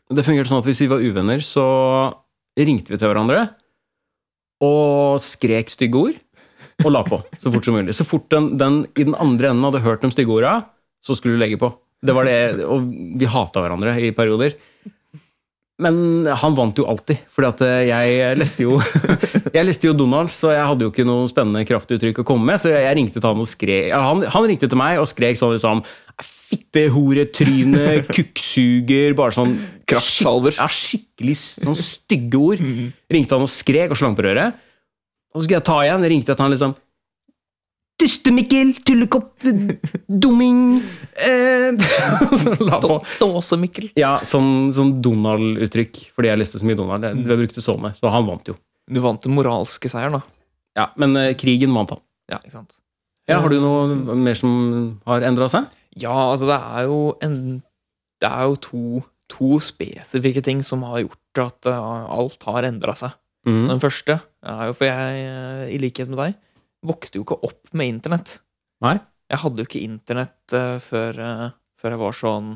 S1: Det fungerte sånn at hvis vi var uvenner, så ringte vi til hverandre og skrek stygge ord og la på så fort som mulig. Så fort den, den i den andre enden hadde hørt de stygge orda, så skulle du legge på. Det var det, Og vi hata hverandre i perioder. Men han vant jo alltid, fordi at eh, jeg leste jo Jeg leste jo Donald, så jeg hadde jo ikke noe spennende kraftuttrykk å komme med. Så jeg ringte til han og skrek ja, han, han ringte til meg og skrek sånn liksom Fitte, hore, tryne, kukksuger Bare sånn
S2: Kraftsalver.
S1: skik- Ja, skikkelig sånn stygge ord. Ringte han og skrek og slang på røret. Og så skulle jeg ta igjen. Ringte jeg til han liksom Duste-Mikkel, tullekopp, dumming eh, Og så la på.
S2: Dåse, Mikkel.
S1: Ja, sånn, sånn Donald-uttrykk. Fordi jeg leste så mye Donald. Jeg, jeg brukte sånne, så han vant jo.
S2: Du vant den moralske seieren, da.
S1: Ja, Men eh, krigen vant han.
S2: Ja, ikke sant?
S1: Ja, Har du noe mer som har endra seg?
S2: Ja, altså det er jo en Det er jo to, to spesifikke ting som har gjort at eh, alt har endra seg.
S1: Mhm.
S2: Den første er jo for jeg, eh, i likhet med deg, vokste jo ikke opp med internett.
S1: Nei.
S2: Jeg hadde jo ikke internett eh, før, eh, før jeg var sånn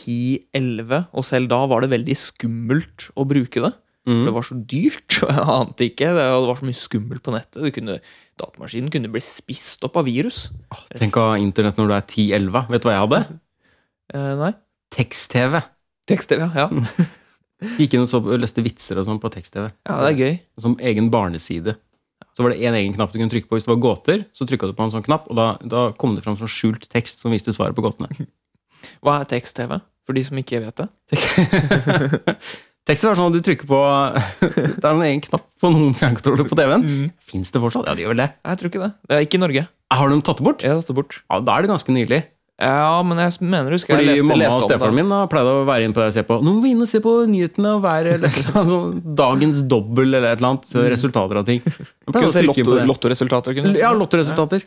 S2: 10-11, og selv da var det veldig skummelt å bruke det. Det
S1: Mhm.
S2: var så dyrt, og jeg ante ikke. Det og det var så mye skummelt på nettet. Du kunne, datamaskinen kunne bli spist opp av virus.
S1: Åh, Tenk å ha internett når du er 10-11. Vet du hva jeg hadde?
S2: Eh, nei.
S1: Tekst-TV.
S2: Tekst-TV, ja. ja.
S1: Gikk inn og så, leste vitser og sånn på tekst-TV.
S2: Ja, det er gøy.
S1: Som egen barneside. Så var det en egen knapp du kunne trykke på. Hvis det var gåter, så trykka du på en sånn knapp, og da, da kom det fram sånn skjult tekst som viste svaret på gåtene.
S2: Hva er tekst-TV? For de som ikke vet det.
S1: Tekst er sånn at du trykker på Det er en egen knapp på noen fjernkontroller på TV-en.
S2: Mm.
S1: Fins det fortsatt? Ja, det gjør vel det.
S2: Nei, Jeg tror ikke det. Det er ikke i Norge.
S1: Har de tatt det bort?
S2: Jeg har tatt det bort.
S1: Ja, Da er det ganske nylig.
S2: Ja, men jeg mener husker
S1: Fordi
S2: jeg leste,
S1: mamma
S2: leste
S1: og
S2: om det.
S1: stefaren min da pleide å være inne på det og se på Nå må vi inn og se på nyhetene og være eller et eller annet sånn Dagens dobbel eller et eller annet. så Resultater av ting. Jeg
S2: Mm. Kunne
S1: pleide å
S2: se
S1: trykke
S2: lotto,
S1: på det.
S2: lottoresultater. Kunne du se.
S1: Ja, lottoresultater.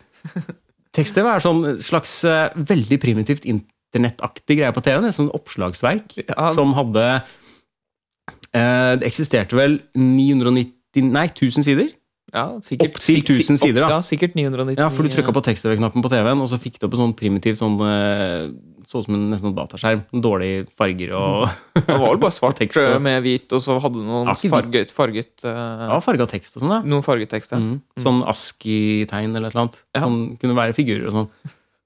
S1: Tekst-TV er sånn slags eh, veldig primitivt internettaktig greie på TV-en. Et sånt sånn oppslagsverk
S2: Ja.
S1: som hadde eh, Det eksisterte vel 990 Nei, 1000 sider.
S2: ja, sikkert,
S1: Opp til
S2: sik- sik-
S1: 1000 sider, da.
S2: Ja, sikkert 999.
S1: Ja, for du trykka på tekst-TV-knappen på TV-en, og så fikk du opp en sånn primitiv sånn eh, Så ut som en nesten en dataskjerm. Dårlige farger og
S2: Det var vel bare svart
S1: Tekst, ja.
S2: med hvit, og så hadde du noen
S1: Ja, ikke
S2: farget, farget eh,
S1: ja, farga tekst og sånn. Ja.
S2: Noen fargetekst, ja.
S1: Mm. Sånn ASCII-tegn eller et eller annet.
S2: Ja.
S1: Sånn kunne være figurer og sånn.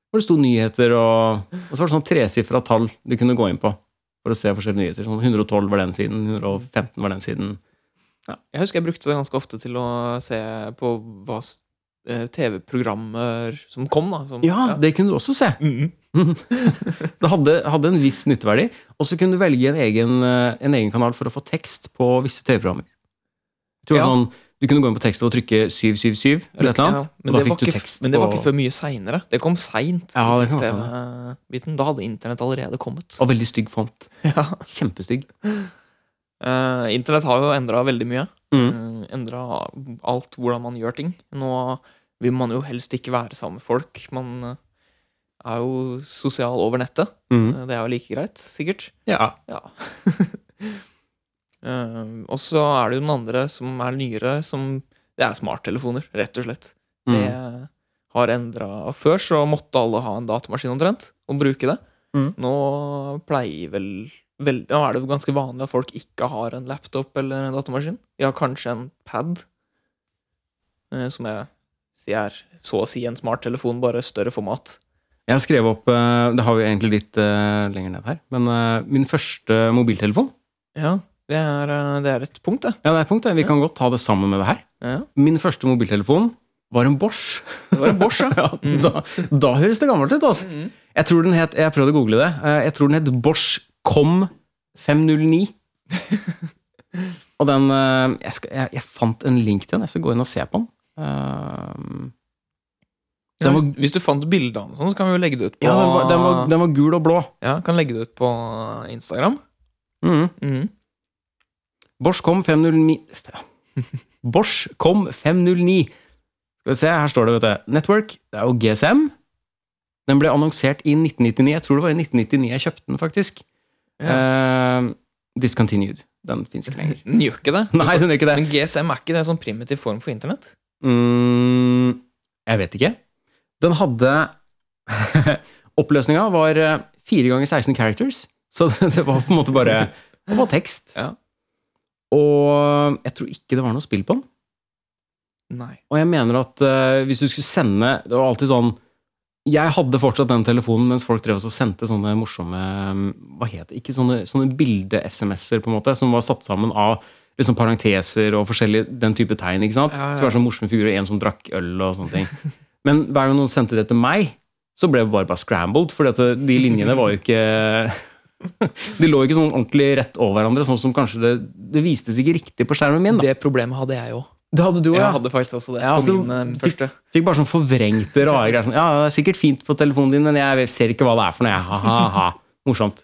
S1: Hvor det sto nyheter, og, og så var det sånn tresifra tall du kunne gå inn på for å se forskjellige nyheter. Sånn 112 var den siden, 115 var den siden.
S2: Jeg husker jeg brukte det ganske ofte til å se på hva s- eh, TV-programmer som kom, da. Som,
S1: Ja, det mm, kunne du også se.
S2: Mhm.
S1: Det hadde, hadde en viss nytteverdi. Og så kunne du velge en egen, eh, en egen kanal for å få tekst på visse TV-programmer. Jeg tror det var
S2: Ja.
S1: sånn, Du kunne gå inn på teksten og trykke 777 eller et eller annet.
S2: Ja, men,
S1: og da
S2: det var
S1: fikk du
S2: ikke,
S1: tekst
S2: men det var
S1: på-
S2: ikke før mye seinere. Det kom seint.
S1: Ja, det kan godt
S2: TV-biten. Da hadde internett allerede kommet.
S1: Og veldig stygg font.
S2: Ja.
S1: Kjempestygg.
S2: Eh, internett har jo endra veldig mye.
S1: Mm.
S2: Eh, Endra alt hvordan man gjør ting. Nå vil man jo helst ikke være sammen med folk. Man eh, er jo sosial over nettet.
S1: Mm.
S2: Eh, Det er jo like greit, sikkert.
S1: Ja.
S2: Ja. Eh, og så er det jo den andre som er nyere, som Det er smarttelefoner, rett og slett. Det
S1: Mm.
S2: har endra Før så måtte alle ha en datamaskin omtrent, og bruke det.
S1: Mm.
S2: Nå pleier vel, vel Nå er det jo ganske vanlig at folk ikke har en laptop eller en datamaskin. De har kanskje en pad, eh, som jeg sier er så å si en smarttelefon, bare større format.
S1: Jeg har skrevet opp eh, Det har vi egentlig litt eh, lenger ned her. Men eh, min første mobiltelefon
S2: Ja, det er, eh, det er et punkt, det.
S1: Ja, det er et punkt. eh, Vi kan godt ta det sammen med det her.
S2: Ja.
S1: Min første mobiltelefon var en Bosch.
S2: Det var en Bosch, ja.
S1: Ja,
S2: Mm.
S1: da, da høres det gammelt ut, altså.
S2: Mm.
S1: Jeg tror den het, jeg prøvde å google det, eh, jeg tror den het Bosch Com 509. og den eh, jeg, skal, jeg, jeg fant en link til den, jeg skal gå inn og se på den. Eh,
S2: Ja,
S1: Den var-
S2: hvis, hvis du fant bilde av den, sånn, så kan vi jo legge det ut på
S1: ja, den var, den, var, den var gul og blå.
S2: Ja, kan legge det ut på Instagram.
S1: Mhm.
S2: Mm.
S1: Bosch Com 509 Bosch Com 509. Skal vi se, her står det, vet du. Network. Det er jo GSM. Den ble annonsert i 1999. Jeg tror det var i 1999 jeg kjøpte den, faktisk.
S2: Ja.
S1: Eh, discontinued. Den fins ikke lenger.
S2: Den gjør ikke det.
S1: Nei, den gjør ikke det.
S2: Men GSM er ikke det en sånn primitiv form for internett?
S1: Mm, jeg vet ikke. Den hadde Oppløsninga var eh, 4 ganger 16 characters, så det, det var på en måte bare Det var tekst.
S2: Ja.
S1: Og jeg tror ikke det var noe spill på den.
S2: Nei.
S1: Og jeg mener at eh, hvis du skulle sende Det var alltid sånn Jeg hadde fortsatt den telefonen mens folk drev også og sendte sånne morsomme mm, Hva het det? Ikke sånne, sånne bilde-SMS-er, på en måte, som var satt sammen av liksom parenteser og forskjellige den type tegn. ikke sant?
S2: Ja, ja.
S1: Så det var sånne morsomme figurer, en som drakk øl og sånne ting. Men hver gang noen sendte det til meg, så ble det bare, bare scrambled, for de linjene var jo ikke De lå ikke sånn ordentlig rett over hverandre, sånn som kanskje det, det vistes ikke riktig på skjermen min. da.
S2: Det problemet hadde jeg òg.
S1: Det hadde du også,
S2: Jeg
S1: ja.
S2: hadde faktisk også det.
S1: Ja, altså,
S2: på min eh,
S1: de-
S2: første.
S1: Fikk bare sånn forvrengte, rare greier. Sånn, ja, det er sikkert fint på telefonen din, men jeg ser ikke hva det er for noe. jeg. Ha, ha, ha. Morsomt.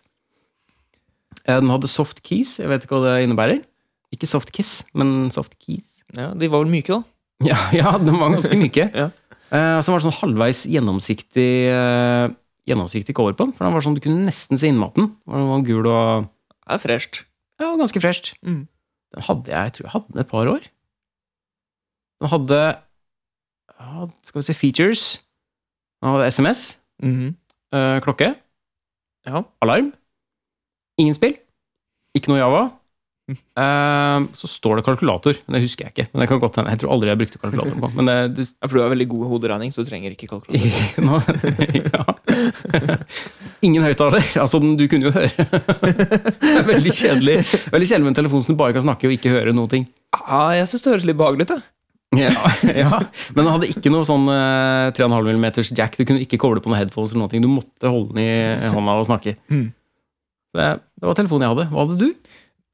S1: Eh, Den hadde soft keys. Jeg vet ikke hva det innebærer. Ikke soft kiss, men soft keys.
S2: Ja, de var vel myke, da.
S1: Ja, ja den var ganske myke.
S2: Ja.
S1: Eh, Så var det sånn halvveis gjennomsiktig eh, Gjennomsiktig cover på den. For den var sånn, Du kunne nesten se innmaten. Og Den var gul og
S2: Det er fresht.
S1: ja, og ganske fresht.
S2: Mm.
S1: Den hadde jeg, jeg tror jeg hadde den et par år. Den hadde ja, Skal vi se Features. Den hadde SMS,
S2: Mhm.
S1: eh, klokke,
S2: Ja.
S1: alarm. Ingen spill. Ikke noe Java.
S2: Mm.
S1: Eh, så står det kalkulator. men Det husker jeg ikke. Men det kan godt hende. Jeg tror aldri jeg brukte kalkulatoren på. Men det, det,
S2: ja, for du er veldig god i hoderegning, så du trenger ikke kalkulator.
S1: nå, ja. Ingen høyttaler. Altså, den- du kunne jo høre. Veldig kjedelig Veldig kjedelig med en telefon som du bare kan snakke og ikke høre noen ting.
S2: Ja, jeg syns det høres litt behagelig ut, jeg.
S1: Ja, ja. Men den hadde ikke noe sånn eh, 3,5 mm jack. Du kunne ikke koble på noen headphones. eller noe. Du måtte holde den i hånda og snakke.
S2: Mm.
S1: Det, det var telefonen jeg hadde. Hva hadde du?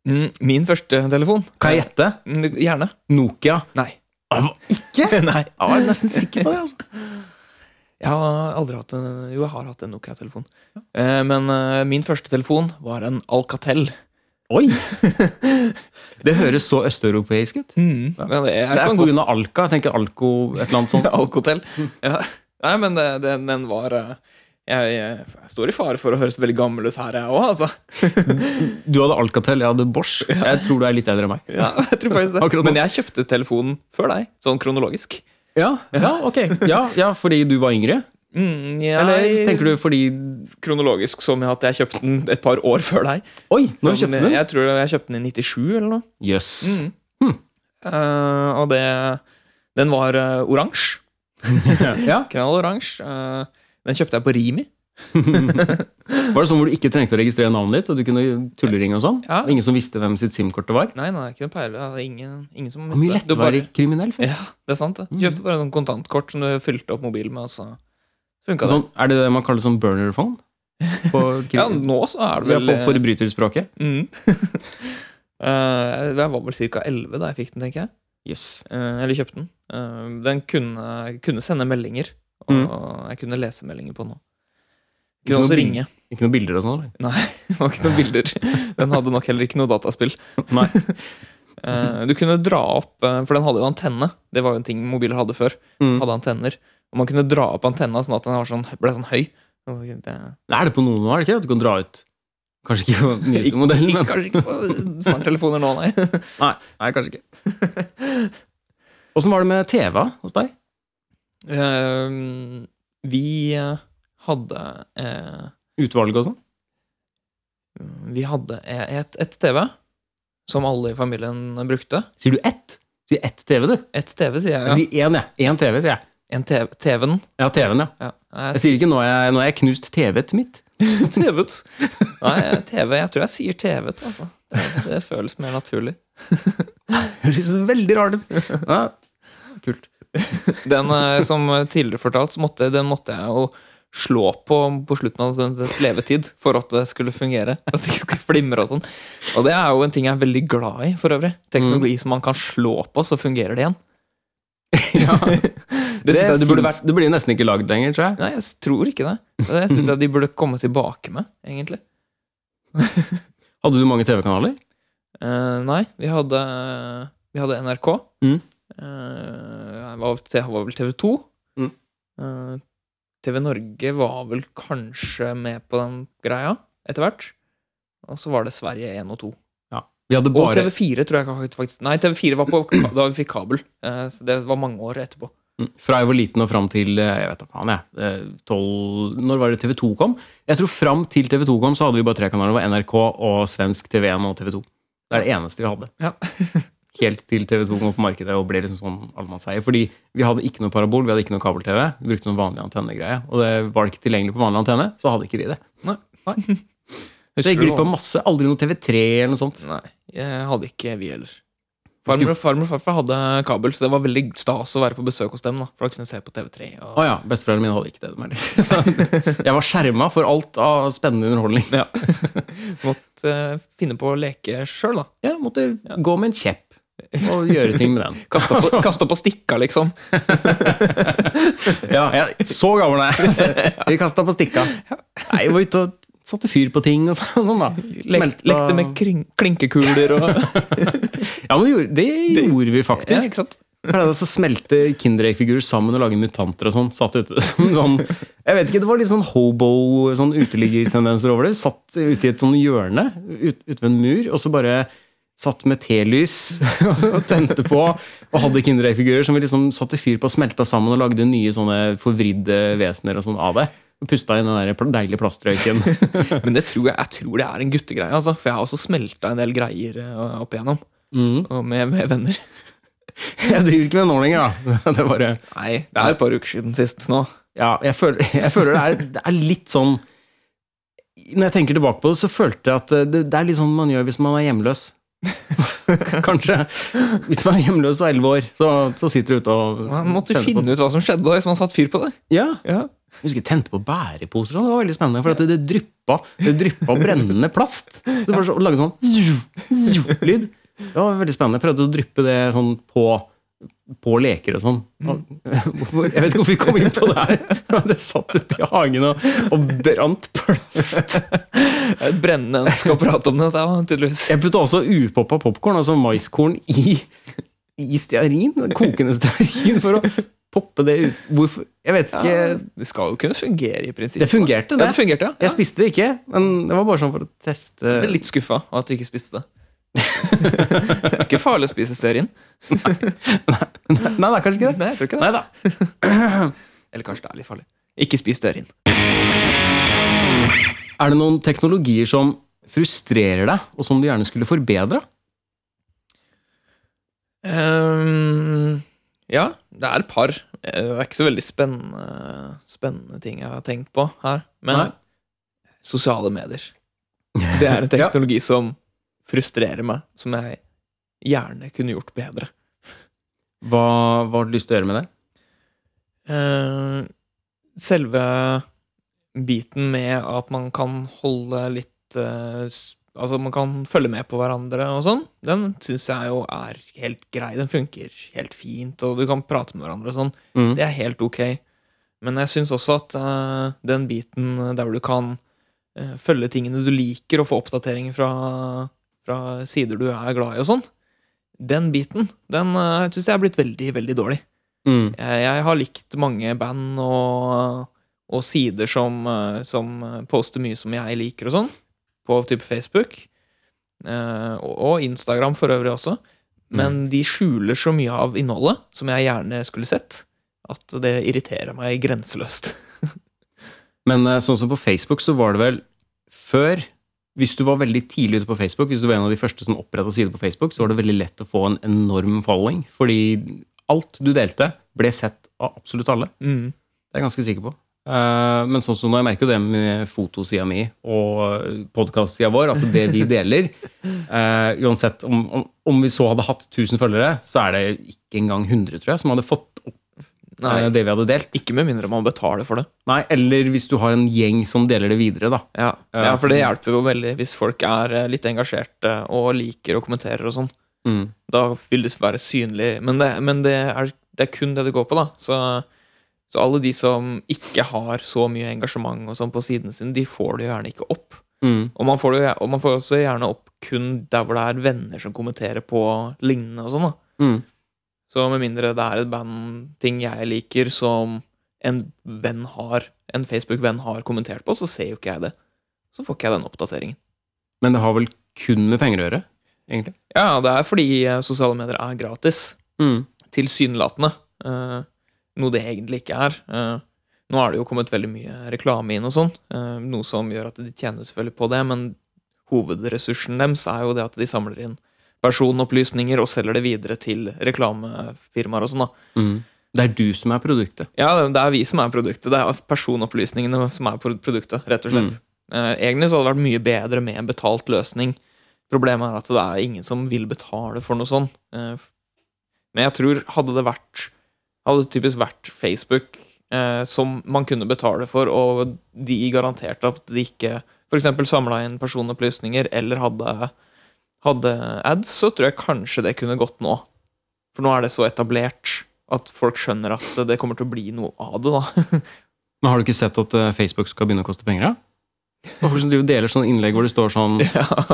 S2: Mm, min første telefon.
S1: Kan jeg gjette?
S2: Mm, Gjerne.
S1: Nokia.
S2: Nei.
S1: Jeg var ikke?
S2: Nei.
S1: Jeg var nesten sikker på det. altså.
S2: Jeg har aldri hatt en Jo, jeg har hatt en Nokia-telefon. Eh, Men eh, min første telefon var en Alcatel.
S1: Oi! Det høres så østeuropeisk
S2: Mm.
S1: ut.
S2: Men det, jeg
S1: Det er
S2: kan
S1: pga. Alka. Jeg tenker Alko et eller annet sånt.
S2: Alcotel. Ja. Nei, men det, den, den var eh, jeg, jeg, jeg står i fare for å høres veldig gammel ut her, jeg òg, altså.
S1: Du hadde Alcatel, jeg hadde Bosch. Jeg tror du er litt eldre enn meg.
S2: Ja, jeg tror faktisk det.
S1: Akkurat nå.
S2: Men jeg kjøpte telefonen før deg, sånn kronologisk.
S1: Ja, ja ok. Ja, ja, fordi du var yngre?
S2: Mm,
S1: Eller tenker du fordi
S2: kronologisk som at jeg kjøpte den et par år før deg?
S1: Oi, når
S2: Sånn,
S1: kjøpte du den?
S2: Jeg tror jeg kjøpte den i 97 eller noe.
S1: Jøss. Yes.
S2: Mm. Eh, og det Den var eh, oransje.
S1: ja.
S2: Knall oransje. Eh, den kjøpte jeg på Rimi.
S1: Var det sånn hvor du ikke trengte å registrere navnet ditt, og du kunne tulleringe og sånn?
S2: Ja.
S1: Og ingen som visste hvem sitt SIM-kort det var?
S2: Nei, nei, det er ikke noe peile. Altså, ingen, ingen som
S1: Det var mye
S2: visste det.
S1: lettere
S2: Du
S1: å være
S2: bare-
S1: kriminell. For.
S2: Ja, det er sant, det.
S1: Mm.
S2: Du kjøpte bare sånn kontantkort som du fylte opp mobilen med, og så funka det.
S1: Sånn, er det det man kaller sånn burner phone? På, krim...
S2: Ja, nå så er det
S1: ja,
S2: vel eh,
S1: på forbryterspråket?
S2: Mm. Eh, jeg var vel ca. 11 da jeg fikk den, tenker jeg.
S1: Yes.
S2: Eh, eller kjøpte den. Eh, den kunne, kunne sende meldinger, og jeg kunne lese meldinger på den òg. Kunne
S1: Ikke noe
S2: også
S1: Mm. bil-
S2: ringe.
S1: Ikke noen bilder og sånn? eller?
S2: Det var ikke noen bilder. Den hadde nok heller ikke noe dataspill.
S1: Nei.
S2: Eh, du kunne dra opp eh, For den hadde jo antenne. Det var jo en ting mobiler hadde før.
S1: Mm.
S2: Hadde antenner. Og man kunne dra opp antenna sånn at den var sånn, ble sånn høy. Og så- Det,
S1: Nei, Er det på noen nå, er det ikke? At du kan dra ut Kanskje ikke på den nyeste modellen, men
S2: kanskje ikke på smarttelefoner nå, nei.
S1: Nei, nei kanskje ikke. Åssen var det med TV hos deg?
S2: Eh, vi eh, hadde eh,
S1: Utvalg og sånn?
S2: Vi hadde e- et, et TV som alle i familien brukte.
S1: Sier du ett? Sier ett TV, du?
S2: Et TV, sier
S1: Jeg
S2: jeg.
S1: sier én, jeg. Én TV, sier jeg.
S2: Ja. En TV, TV-en.
S1: Ja, TV-en, ja.
S2: Ja. Nei,
S1: Jeg sier ikke nå er jeg, nå er jeg knust TV-et mitt.
S2: jeg sier TV-et. Nei, TV. Jeg tror jeg sier TV-et, altså. Det, det føles mer naturlig.
S1: Høres veldig rart ut. Ja, kult.
S2: Den eh, som tidligere fortalt, så måtte, den måtte jeg jo slå på på slutten av dens, dens levetid for at det skulle fungere. For at det ikke skulle flimre og sånn. Og det er jo en ting jeg er veldig glad i, for øvrig. Teknologi som man kan slå på, så fungerer det igjen.
S1: Ja,
S2: Det,
S1: det,
S2: synes jeg det burde vært
S1: finnes- det blir nesten ikke lagd lenger, tror jeg.
S2: Nei, jeg tror ikke det. Det syns jeg de burde komme tilbake med, egentlig.
S1: Hadde du mange TV-kanaler?
S2: Eh, nei, vi hadde, vi hadde NRK.
S1: Mm.
S2: Eh, jeg var, det var vel TV 2.
S1: Mm.
S2: Eh, TV Norge var vel kanskje med på den greia etter hvert. Og så var det Sverige 1 og 2.
S1: Vi hadde
S2: Og
S1: bare
S2: TV4 tror jeg faktisk- faktisk Nei, TV4 var på da vi fikk kabel. Eh, så det var mange år etterpå.
S1: Mm. Fra jeg var liten og fram til eh, jeg vet da faen jeg, eh, 12, Når var det TV2 kom? Jeg tror Fram til TV2 kom, så hadde vi bare tre kanaler. Det var NRK og svensk TV1 og TV2. Det er det eneste vi hadde.
S2: Ja.
S1: Helt til TV2 kom på markedet og ble liksom sånn allemannseie. Fordi vi hadde ikke noe parabol, vi hadde ikke noe kabel-TV. Vi brukte sånn vanlig antennegreie. Og det var det ikke tilgjengelig på vanlig antenne, så hadde ikke vi det.
S2: Nei.
S1: Så jeg
S2: Husker du
S1: gikk glipp
S2: hva-
S1: av masse. Aldri noe TV3 eller noe sånt.
S2: Nei, jeg hadde ikke vi heller. Farmor og farmor og farfar hadde kabel, så det var veldig stas å være på besøk hos dem. da For da kunne jeg se på TV3 og
S1: Å ja, besteforeldrene mine hadde ikke det. de heller. Så Jeg var skjerma for alt av spennende underholdning.
S2: måtte eh, finne på å leke sjøl, da.
S1: Ja, måtte gå med en kjepp og gjøre ting med den.
S2: Kaste opp, kaste opp og stikka, liksom.
S1: Ja, jeg, Så gammel er jeg! Vi kasta på stikka. Nei, jeg var ute og satte fyr på ting og sånn. sånn da.
S2: Lek, lekte med kring, klinkekuler og
S1: Ja, men det gjorde, det gjorde vi
S2: ja,
S1: faktisk.
S2: ikke sant?
S1: Pleide også å smelte Kinderegg-figurer sammen og lage mutanter og sånn. Satt ute som sånn Jeg vet ikke, det var litt sånn hobo, sånn uteliggertendenser over det. Satt ute i et sånn hjørne ut, ute ved en mur, og så bare satt med telys og tente på. Og hadde Kinderegg-figurer som vi liksom satte fyr på og smelta sammen og lagde nye sånne forvridde vesener og sånn av det. Og pusta inn den der pl- deilige plastrøyken.
S2: Men det tror jeg, jeg tror det er en guttegreie, altså. For jeg har også smelta en del greier eh, opp igjennom. Og med, med venner.
S1: Jeg driver ikke med det nå lenger, da. Det er bare
S2: Nei, det er et par uker siden sist nå.
S1: Ja, jeg føler, jeg føler det, er, det er litt sånn Når jeg tenker tilbake på det, så følte jeg at det, det er litt sånn man gjør hvis man er hjemløs. Kanskje. Hvis man er hjemløs og elleve år, så, så sitter du ute og
S2: Man måtte
S1: tenner på-
S2: finne ut hva som skjedde da, hvis man satte fyr på det.
S1: Ja,
S2: Ja.
S1: jeg husker jeg tente på bæreposer og sånn. Det var veldig spennende, for at det, det dryppa det dryppa brennende plast. Så det bare så, og lagde sånn zzzz, zzzz lyd. Det var veldig spennende. Jeg prøvde å dryppe det sånn på, på leker og sånn. Og, hvorfor- Jeg vet ikke hvorfor vi kom inn på det her. men Det satt ute i hagen og, og brant plast.
S2: Et brennende ønske å prate om det, det var tydeligvis.
S1: Jeg putta også upoppa popkorn, altså maiskorn, i, i stearin. Kokende stearin, for å poppe det ut. Hvorfor? Jeg vet ikke.
S2: Ja, det skal jo kunne fungere i prinsippet.
S1: Det fungerte,
S2: Ja,
S1: det.
S2: det fungerte, ja.
S1: Jeg spiste det ikke, men det var bare sånn for å teste.
S2: Jeg ble litt skuffa av at du ikke spiste det. det er ikke farlig å spise stearin.
S1: Nei, det er kanskje ikke det.
S2: Nei, jeg tror ikke det.
S1: Neida.
S2: Eller kanskje det er litt farlig. Ikke spis stearin.
S1: Er det noen teknologier som frustrerer deg, og som du gjerne skulle forbedra?
S2: Ehm, ja, det er et par. eh, Det er ikke så veldig spennende, spennende ting jeg har tenkt på her. Men
S1: Nei.
S2: sosiale medier. Det er en
S1: Ja.
S2: teknologi som frustrerer meg, som jeg gjerne kunne gjort bedre.
S1: Hva, hva har du lyst til å gjøre med det?
S2: Eh, Selve biten med at man kan holde litt eh, s- Altså, man kan følge med på hverandre og sånn, den syns jeg jo er helt grei. Den funker helt fint, og du kan prate med hverandre og sånn.
S1: Mm.
S2: Det er helt ok. Men jeg syns også at eh, den biten der hvor du kan eh, følge tingene du liker, og få oppdateringer fra, fra sider du er glad i og sånn, den biten den uh, syns jeg er blitt veldig, veldig dårlig.
S1: Mm.
S2: Jeg, jeg har likt mange band og, og sider som, eh, som poster mye som jeg liker og sånn, på type Facebook. eh, og, og Instagram for øvrig også. Men de skjuler så mye av innholdet som jeg gjerne skulle sett, at det irriterer meg grenseløst.
S1: Men eh, sånn som på Facebook, så var det vel før Hvis du var veldig tidlig ute på Facebook, hvis du var en av de første som oppretta side på Facebook, så var det veldig lett å få en enorm following. Fordi alt du delte, ble sett av absolutt alle.
S2: Mm.
S1: Det er jeg ganske sikker på. Eh, Men sånn som nå, jeg merker jo det med fotosida mi og podkastsida vår, at det vi deler eh, Uansett om, om, om vi så hadde hatt 1000 følgere, så er det ikke engang 100, tror jeg, som hadde fått opp
S2: Nei,
S1: eh, det vi hadde delt.
S2: ikke med mindre man betaler for det.
S1: Nei, Eller hvis du har en gjeng som deler det videre, da.
S2: Ja.
S1: Ja.
S2: ja, for det hjelper jo veldig hvis folk er eh, litt engasjerte og liker og kommenterer og sånn.
S1: Mm.
S2: Da vil det være synlig. Men det, men det, er, det er kun det det går på, da. Så, så alle de som ikke har så mye engasjement og sånn på sidene sine, de får det jo gjerne ikke opp.
S1: Mm.
S2: Og man får, det jo, og man får også gjerne opp kun der hvor det er venner som kommenterer på lignende og sånn, da.
S1: Mm.
S2: Så med mindre det er et bandting jeg liker som en venn har, en Facebook-venn har kommentert på, så ser jo ikke jeg det. Så får ikke jeg den oppdateringen.
S1: Men det har vel kun med penger å gjøre, egentlig?
S2: Ja, det er fordi eh, sosiale medier er gratis.
S1: Mm.
S2: tilsynelatende. eh, noe det egentlig ikke er. Eh, nå er det jo kommet veldig mye reklame inn og sånn, eh, noe som gjør at de tjener selvfølgelig på det, men hovedressursen deres er jo det at de samler inn personopplysninger og selger det videre til reklamefirmaer og sånn, da.
S1: Mm. Det er du som er produktet.
S2: Ja, det- det er vi som er produktet. Det er personopplysningene som er pro- produktet, rett og slett. Eh, egentlig så hadde det vært mye bedre med en betalt løsning. Problemet er at det er ingen som vil betale for noe sånt. Eh, men jeg tror hadde det vært Hadde det typisk vært Facebook eh, som man kunne betale for, og de garanterte at de ikke f.eks. samla inn personopplysninger eller hadde, hadde ads, så tror jeg kanskje det kunne gått nå. For nå er det så etablert at folk skjønner at det kommer til å bli noe av det, da.
S1: Men har du ikke sett at eh, Facebook skal begynne å koste penger, da? Og folk som driver og deler sånne innlegg hvor det står sånn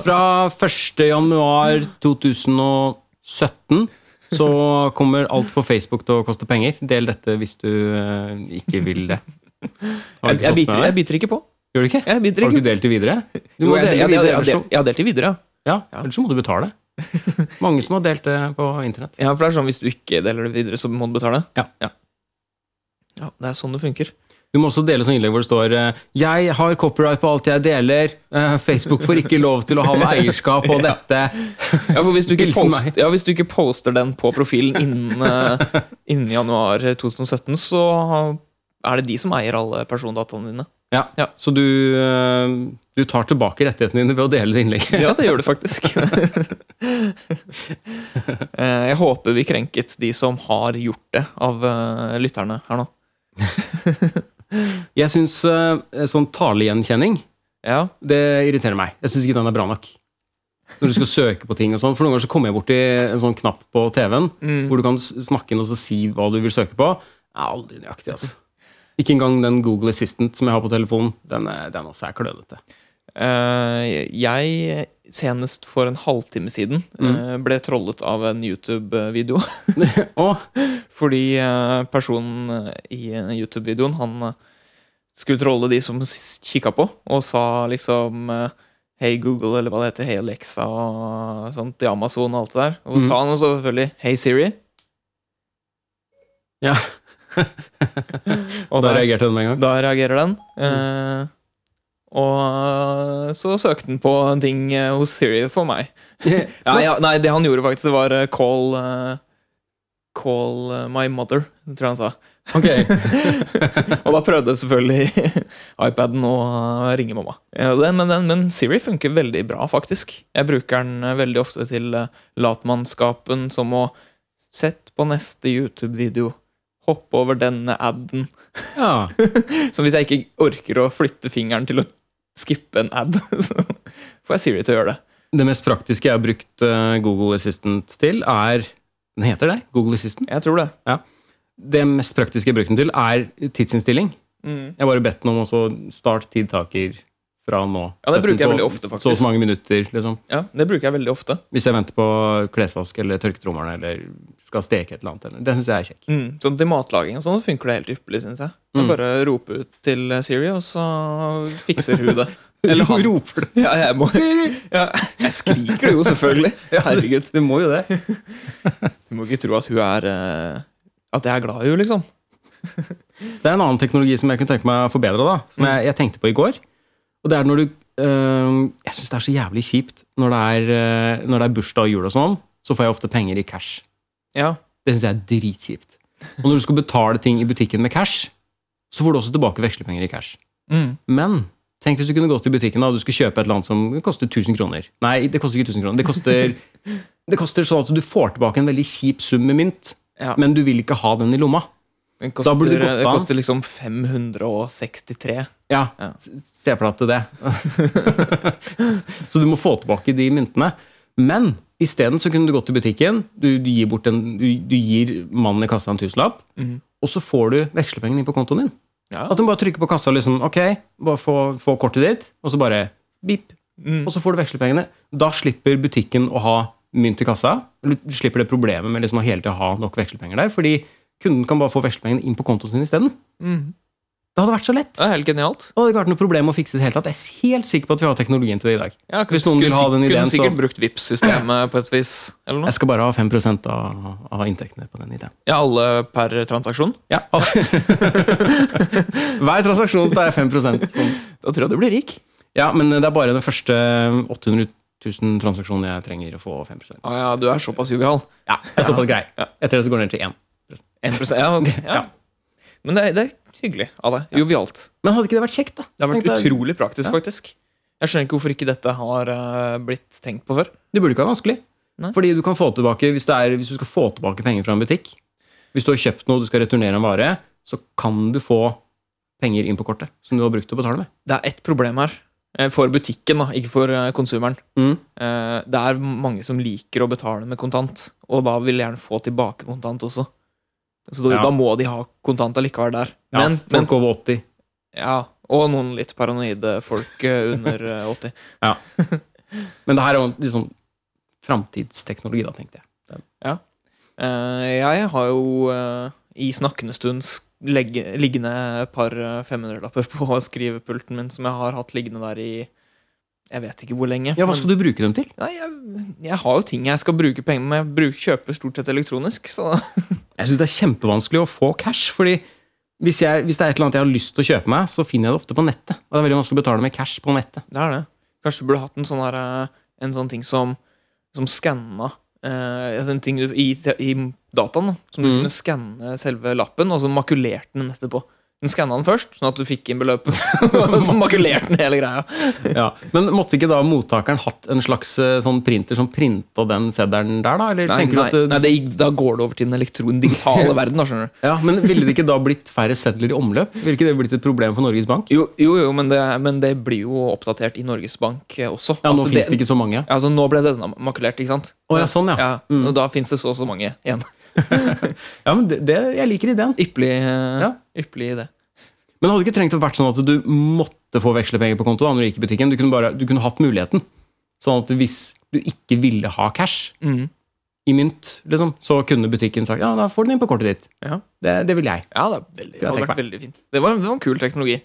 S1: Fra 1. januar 2017 så kommer alt på Facebook til å koste penger. Del dette hvis du eh, ikke vil det. Har
S2: Jeg,
S1: du
S2: jeg,
S1: ikke fått
S2: biter,
S1: med
S2: jeg
S1: deg?
S2: biter ikke på.
S1: Gjør du ikke?
S2: Jeg biter
S1: Har du
S2: ikke
S1: ikke delt det videre? Du
S2: Jo,
S1: må
S2: jeg-
S1: dele
S2: jeg- jeg-
S1: videre,
S2: jeg-
S1: ellers så,
S2: Jeg har delt det videre, ja.
S1: ja, ellers så må du betale. Mange som har delt det på internett.
S2: ja. For det er sånn hvis du ikke deler det videre, så må du betale?
S1: Ja.
S2: ja. Ja, Det er sånn det funker.
S1: Du må også dele sånn innlegg hvor det står eh, 'Jeg har copyright på alt jeg deler'. eh, 'Facebook får ikke lov til å ha noe eierskap på dette'.
S2: Ja, for hvis du ikke,
S1: Hilsen
S2: post,
S1: meg.
S2: ja, hvis du ikke poster den på profilen innen, eh, innen januar 2017, så er det de som eier alle persondataene dine.
S1: Ja.
S2: Ja.
S1: Så du, eh, du tar tilbake rettighetene dine ved å dele det innlegget.
S2: Ja, det gjør det faktisk. Eh, Jeg håper vi krenket de som har gjort det, av eh, lytterne her nå.
S1: Jeg syns sånn talegjenkjenning
S2: Ja,
S1: det irriterer meg. Jeg syns ikke den er bra nok. Når du skal søke på ting og sånn. For noen ganger så kommer jeg borti en sånn knapp på TV-en
S2: Mm.
S1: hvor du kan s- snakke inn og så si hva du vil søke på. Det er aldri nøyaktig, altså. Ikke engang den Google Assistant som jeg har på telefonen. Den, er- den også er klønete.
S2: Eh, Jeg, senest for en halvtime siden, eh, ble trollet av en YouTube-video.
S1: Å,
S2: Fordi eh, personen i YouTube-videoen, han eh, skulle trolle de som s- kikka på, og sa liksom eh, Hei Google, eller hva det heter, Hei Alexa og sånt, i Amazon og alt det der. Og så
S1: Mhm.
S2: sa han også selvfølgelig Hei Siri.
S1: Ja.
S2: og
S1: da
S2: da,
S1: reagerte den med en gang.
S2: da reagerer den. Eh, og så søkte han på en ting eh, hos Siri for meg. Ja, ja, nei, det han gjorde faktisk, det var eh, call eh, Call eh, my mother, tror jeg han sa.
S1: Ok.
S2: Og da prøvde selvfølgelig iPaden å eh, ringe mamma. Ja, den- Men, den, men Siri funker veldig bra, faktisk. Jeg bruker den eh, veldig ofte til eh, latmannskapen, som å Sett på neste YouTube-video. Hopp over denne aden.
S1: Ja.
S2: Så hvis jeg ikke orker å flytte fingeren til å skippe en ad, så får jeg Siri til å gjøre det.
S1: Det mest praktiske jeg har brukt eh, Google Assistant til, er Den heter det? Google Assistant?
S2: Jeg tror det.
S1: Det mest praktiske jeg har brukt den til, er tidsinnstilling.
S2: Mm.
S1: Jeg har bare bedt den om å så start tidtaker fra nå.
S2: Ja, det
S1: Sett den
S2: bruker jeg
S1: på
S2: veldig ofte, faktisk.
S1: Så og så mange minutter, liksom.
S2: Ja, Det bruker jeg veldig ofte.
S1: Hvis jeg venter på klesvask eller tørketrommelen eller skal steke et eller annet. Eller. Den syns jeg er kjekk.
S2: Mm. Sånn til matlaging og sånn så funker det helt ypperlig, syns jeg. Jeg
S1: Mm.
S2: bare roper ut til eh, Siri, og så fikser hun det. Eller han.
S1: roper du.
S2: Ja, jeg må ja, Jeg skriker det jo, selvfølgelig. Herregud.
S1: Du må jo det.
S2: Du må ikke tro at hun er eh, At jeg er glad i henne, liksom.
S1: Det er en annen teknologi som jeg kunne tenke meg å forbedre, da. Som jeg, jeg tenkte på i går. Og det er når du øhm, Jeg syns det er så jævlig kjipt når det er, øh, når det er bursdag og jul og sånn, så får jeg ofte penger i cash.
S2: Ja.
S1: Det syns jeg er dritkjipt. Og når du skal betale ting i butikken med cash, så får du også tilbake vekslepenger i cash.
S2: Mm.
S1: Men tenk hvis du kunne gått til butikken da, og du skulle kjøpe et eller annet som koster 1000 kroner. Nei, det koster ikke 1000 kroner. Det koster, det koster sånn at du får tilbake en veldig kjip sum med mynt,
S2: Ja.
S1: men du vil ikke ha den i lomma.
S2: Den koster,
S1: burde det gått
S2: Det
S1: an.
S2: koster liksom 563.
S1: Ja,
S2: Ja.
S1: s- se for deg til det. så du må få tilbake de myntene. Men isteden så kunne du gått til butikken, du, du, gir, bort en, du, du gir mannen i kassa en tusenlapp,
S2: Mhm.
S1: og så får du vekslepengene inn på kontoen din.
S2: Ja.
S1: At du bare trykker på kassa liksom, ok, bare få, få kortet ditt, og så bare bip,
S2: Mm.
S1: og så får du vekslepengene. Da slipper butikken å ha mynt i kassa. Eller du slipper det problemet med liksom å hele tiden ha nok vekslepenger der, fordi kunden kan bare få vekslepengene inn på kontoen sin isteden.
S2: Mm.
S1: Det hadde vært så lett.
S2: Det er helt genialt.
S1: Og det hadde ikke vært noe problem å fikse det hele tatt. Jeg er helt sikker på at vi har teknologien til det i dag.
S2: Ja,
S1: Hvis noen vil ha den ideen,
S2: Kunne
S1: så-
S2: sikkert brukt Vipps-systemet på et vis. Eller noe.
S1: Jeg skal bare ha 5 av, av inntektene på den ideen.
S2: Ja, alle per transaksjon.
S1: Ja. Hver transaksjon så er jeg 5 sånn.
S2: Da tror jeg du blir rik.
S1: Ja, men det er bare den første 800 000 transaksjonen jeg trenger å få 5
S2: Å ja, du er såpass jovial.
S1: Ja, jeg er såpass grei. Etter det så går det ned til 1
S2: 1%, ja, ok, ja. Men det, er- det er hyggelig av deg. Jovialt.
S1: Men hadde ikke det vært kjekt, da?
S2: Det har vært
S1: Tenkte jeg,
S2: utrolig praktisk, faktisk. Jeg skjønner ikke hvorfor ikke dette har eh, blitt tenkt på før.
S1: Det burde ikke være vanskelig.
S2: Nei.
S1: Fordi du kan få tilbake, hvis, det er, hvis du skal få tilbake penger fra en butikk Hvis du har kjøpt noe og du skal returnere en vare, så kan du få penger inn på kortet som du har brukt til å betale med.
S2: Det er ett problem her. eh, For butikken, da, ikke for eh, konsumeren.
S1: Mm.
S2: Eh, Det er mange som liker å betale med kontant, og da vil de gjerne få tilbake kontant også. Så da,
S1: Ja.
S2: da må de ha kontant allikevel der.
S1: Ja,
S2: Men,
S1: folk
S2: men
S1: over 80.
S2: ja, og noen litt paranoide folk eh, under eh, 80.
S1: Men det her er jo liksom framtidsteknologi, da, tenkte jeg.
S2: Eh, Jeg har jo eh, i snakkende stund sk- legge, liggende et par eh, 500-lapper på skrivepulten min, som jeg har hatt liggende der i jeg vet ikke hvor lenge.
S1: Ja, Hva
S2: men-
S1: skal du bruke dem til?
S2: Nei, jeg, jeg har jo ting jeg skal bruke penger med. Jeg bruk, kjøper stort sett elektronisk, så
S1: Jeg syns det er kjempevanskelig å få cash. fordi hvis, jeg, hvis det er et eller annet jeg har lyst til å kjøpe meg, så finner jeg det ofte på nettet. Og det er veldig vanskelig å betale med cash på nettet.
S2: det er det. Kanskje du burde hatt en sånn, her, eh, en sånn ting som, som skanna eh, altså en ting du- i, te- i dataen, da, som du
S1: Mm.
S2: kunne skanne selve lappen, og så makulerte den etterpå. Den skanna den først, sånn at du fikk inn beløpet. og så makulerte den hele greia.
S1: Ja, Men måtte ikke da mottakeren hatt en slags eh, sånn printer som printa den seddelen der, da? Eller
S2: Nei,
S1: tenker
S2: nei,
S1: du at eh, det,
S2: nei det, gikk- da går det over til den elektron digitale verden, da, skjønner du.
S1: Ja, Men ville det ikke da blitt færre sedler i omløp? Ville ikke det blitt et problem for Norges Bank?
S2: Jo, jo, jo men, det, men det blir jo oppdatert i Norges Bank eh, også.
S1: Ja, Nå
S2: At
S1: fins det ikke så mange.
S2: Altså, nå ble denne makulert, ikke sant?
S1: Å, ja, sånn, ja. Mm.
S2: Og da fins det så og så mange igjen.
S1: Ja, men det, det, Jeg liker ideen.
S2: Ypperlig, eh,
S1: Ja.
S2: ypperlig idé.
S1: Men det hadde ikke trengt å vært sånn at du måtte få vekslepenger på konto da, når du gikk i butikken. Du kunne, bare, du kunne hatt muligheten. Sånn at hvis du ikke ville ha cash
S2: Mm.
S1: i mynt, liksom, så kunne butikken sagt ja, da får du den inn på kortet ditt.
S2: Ja.
S1: Det, det vil jeg.
S2: Ja, det, er veldig, det
S1: Ja,
S2: hadde
S1: tenk
S2: vært veldig fint. Det var, det var en kul teknologi.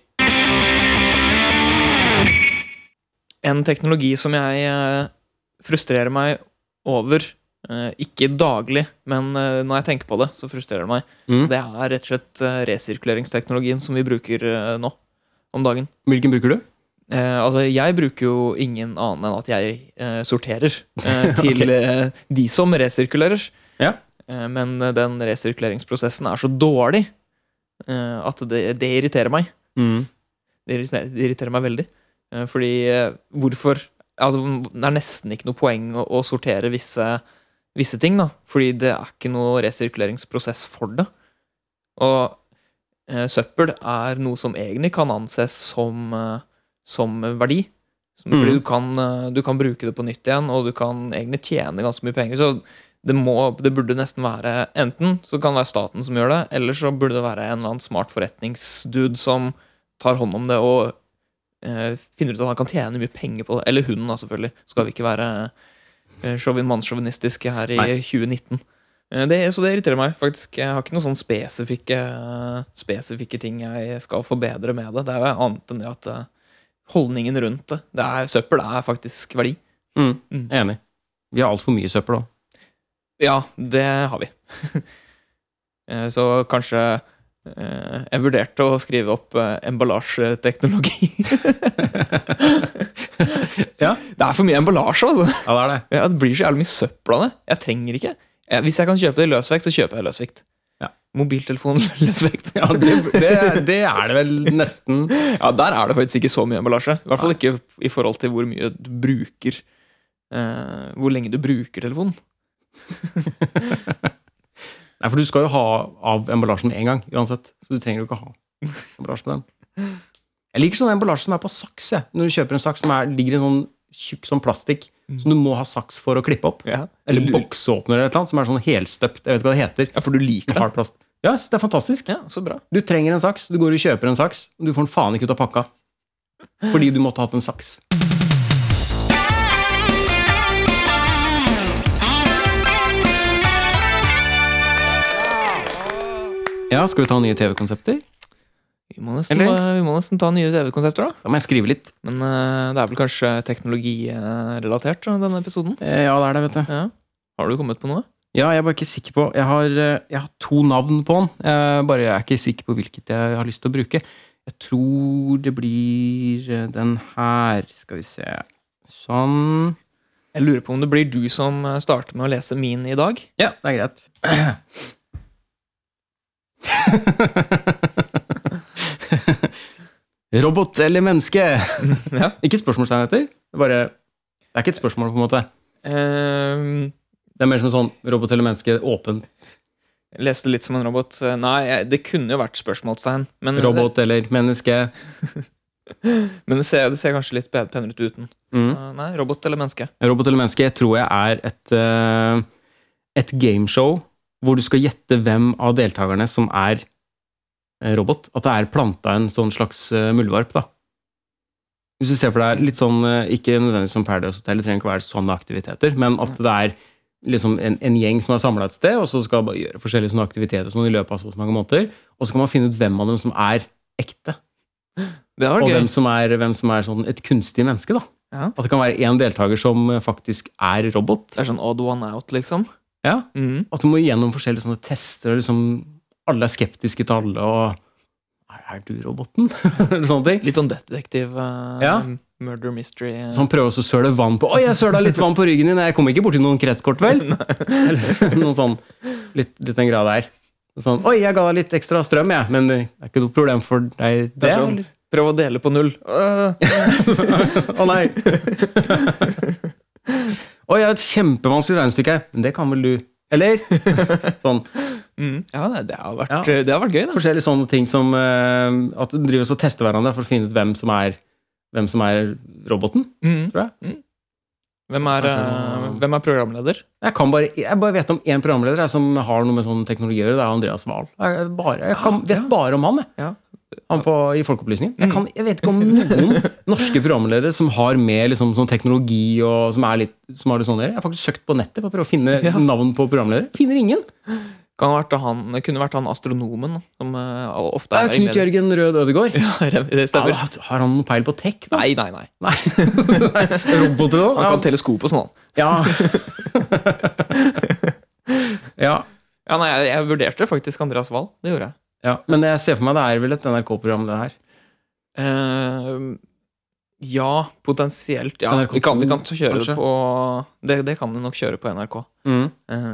S2: En teknologi som jeg eh, frustrerer meg over, eh, ikke daglig, men eh, når jeg tenker på det, så frustrerer det meg,
S1: Mm.
S2: det er rett og slett eh, resirkuleringsteknologien som vi bruker eh, nå om dagen.
S1: Hvilken bruker du?
S2: Eh, altså, jeg bruker jo ingen annen enn at jeg eh, sorterer eh, til
S1: Ok.
S2: eh, de som resirkulerer.
S1: Ja.
S2: Eh, men eh, den resirkuleringsprosessen er så dårlig eh, at det, det irriterer meg.
S1: Mm.
S2: Det irriterer, det irriterer meg veldig. Eh, Fordi eh, hvorfor Altså, det er nesten ikke noe poeng å, å sortere visse, visse ting, da. Fordi det er ikke noe resirkuleringsprosess for det. Og eh, søppel er noe som egentlig kan anses som, eh, som verdi. Som,
S1: Mm.
S2: Fordi du kan, eh, du kan bruke det på nytt igjen, og du kan egentlig tjene ganske mye penger. Så det, må, det burde nesten være Enten så kan det være staten som gjør det, eller så burde det være en eller annen smart forretningsdude som tar hånd om det og eh, finner ut at han kan tjene mye penger på det. Eller hunden, da, selvfølgelig. Skal vi ikke være eh, sjåvin- mannssjåvinistiske her i
S1: Nei.
S2: 2019. Eh, Det, så det irriterer meg, faktisk. Jeg har ikke noen sånn spesifikke, eh, spesifikke ting jeg skal forbedre med det. Det er jo annet enn det at eh, holdningen rundt det, det er, Søppel er faktisk verdi.
S1: Mm.
S2: Mm.
S1: Enig. Vi har altfor mye søppel òg.
S2: Ja, det har vi. Eh, Så kanskje eh, Jeg vurderte å skrive opp eh, emballasjeteknologi.
S1: Ja.
S2: Det er for mye emballasje, altså.
S1: Ja, det er det.
S2: Ja, det blir så jævlig mye søppel av det. Jeg trenger ikke. Eh, Hvis jeg kan kjøpe det i løsvekt, så kjøper jeg løsvekt.
S1: Ja.
S2: Mobiltelefon løsvekt.
S1: Ja, det, det, det er det vel nesten.
S2: Ja, der er det faktisk ikke så mye emballasje. I hvert fall ikke i forhold til hvor mye du bruker eh, Hvor lenge du bruker telefonen.
S1: Nei, for du skal jo ha av emballasjen én gang uansett. Så du trenger jo ikke ha emballasje på den. Jeg liker sånn emballasje som er på saks. Jeg. Når du kjøper en saks som er, ligger i en sånn tjukk sånn plastikk som du må ha saks for å klippe opp.
S2: Ja.
S1: Eller boksåpner eller et eller annet som er sånn helstøpt. Jeg vet ikke hva det heter.
S2: Ja, for du liker det.
S1: Hard plast. Ja, så det er fantastisk.
S2: Ja, så bra.
S1: Du trenger en saks, du går og kjøper en saks, og du får den faen ikke ut av pakka. Fordi du måtte hatt en saks. Ja, skal vi ta nye TV-konsepter?
S2: Vi må nesten,
S1: Eller?
S2: eh, vi må nesten ta nye TV-konsepter, da.
S1: Da må jeg skrive litt.
S2: Men eh, det er vel kanskje teknologirelatert, da, denne episoden?
S1: Eh, Ja, det er det, vet du.
S2: Ja. Har du kommet på noe?
S1: Ja, jeg er bare ikke sikker på Jeg har, eh, jeg har to navn på den. Jeg bare jeg er ikke sikker på hvilket jeg har lyst til å bruke. Jeg tror det blir eh, den her. Skal vi se. Sånn.
S2: Jeg lurer på om det blir du som eh, starter med å lese min i dag.
S1: Ja, det er greit. Robot eller menneske?
S2: Ja.
S1: Ikke spørsmålstegn etter. Det er, bare, det er ikke et spørsmål, på en måte. Ehm,
S2: Eh,
S1: Det er mer som sånn robot eller menneske, åpent.
S2: jeg leste litt som en robot. Eh, Nei, jeg- det kunne jo vært spørsmålstegn. Men, eh,
S1: Robot eller menneske.
S2: men det, ser, det ser kanskje litt pen- penere ut uten.
S1: Mm.
S2: Eh, Nei, robot eller menneske?
S1: Robot eller menneske tror jeg er et, eh, et gameshow hvor du skal gjette hvem av deltakerne som er eh, robot. At det er planta en sånn slags eh, muldvarp, da. Hvis du ser for deg litt sånn, eh, ikke nødvendigvis som Paradise Hotel, det trenger ikke være sånne aktiviteter, men at det er liksom en, en gjeng som er samla et sted, og så skal bare gjøre forskjellige sånne aktiviteter sånn i løpet av så og så mange måneder, og så kan man finne ut hvem av dem som er ekte,
S2: Det var
S1: og hvem
S2: gøy.
S1: som er, hvem som er sånn et kunstig menneske, da.
S2: Ja.
S1: At det kan være én deltaker som eh, faktisk er robot.
S2: Det er sånn odd one out, liksom.
S1: Ja,
S2: Mhm.
S1: At du må gjennom forskjellige sånne tester, og liksom alle er skeptiske til alle, og Er, er du roboten? Eller sånne ting.
S2: Litt sånn detektiv eh,
S1: Ja.
S2: murder mystery. eh.
S1: Så han prøver også å søle vann på Oi, jeg søla litt vann på ryggen din! Jeg kom ikke borti noen kretskort, vel? Eller noe sånn litt, litt den greia der. Sånn, Oi, jeg ga deg litt ekstra strøm, jeg, men eh, det er ikke noe problem for deg,
S2: Det
S1: det?
S2: er sånn,
S1: eller?»
S2: prøv å dele på null. Øh.
S1: Å nei! Oi, jeg har et kjempevanskelig regnestykke her, men det kan vel du? Eller? Sånn.
S2: Mm. Ja, nei, det har vært,
S1: Ja.
S2: det har vært gøy, da.
S1: forskjellige sånne ting som eh, At de driver og tester hverandre for å finne ut hvem som er, hvem som er roboten.
S2: Mm.
S1: tror jeg.
S2: Mm. Hvem, er,
S1: Kanskje
S2: eh,
S1: noe-
S2: hvem er programleder?
S1: Jeg, kan bare, jeg bare vet om én programleder jeg, som har noe med sånn teknologi å gjøre. Det er Andreas Wahl. Jeg, bare, jeg kan, vet
S2: ja.
S1: bare om han, jeg.
S2: Ja. Mm.
S1: Han på, i Folkeopplysningen. Jeg, kan, jeg vet ikke om noen norske programledere som har med liksom, sånn teknologi og som, er litt, som har litt sånn å gjøre. Jeg har faktisk søkt på nettet for å prøve å finne
S2: Ja.
S1: navn på programledere. Finner ingen.
S2: Kan ha vært han, det kunne vært han astronomen, da, som eh, ofte
S1: Det
S2: er
S1: er Knut
S2: veileder.
S1: Jørgen Rød Ødegård.
S2: Ja,
S1: Ja,
S2: det stemmer.
S1: har han noe peil på tech? Da?
S2: Nei, nei, nei.
S1: Nei. Roboter og sånn?
S2: Han
S1: Ja,
S2: kan teleskop og sånn. han.
S1: Ja. ja.
S2: Ja, nei, jeg, jeg vurderte faktisk Andreas Wahl. Det gjorde jeg.
S1: ja. Men jeg ser for meg det er vel et NRK-program, det her.
S2: Eh, ja, potensielt. Ja,
S1: NRK2,
S2: vi kan, vi kan så kjøre
S1: kanskje?
S2: det på det, det kan de nok kjøre på NRK. Eh,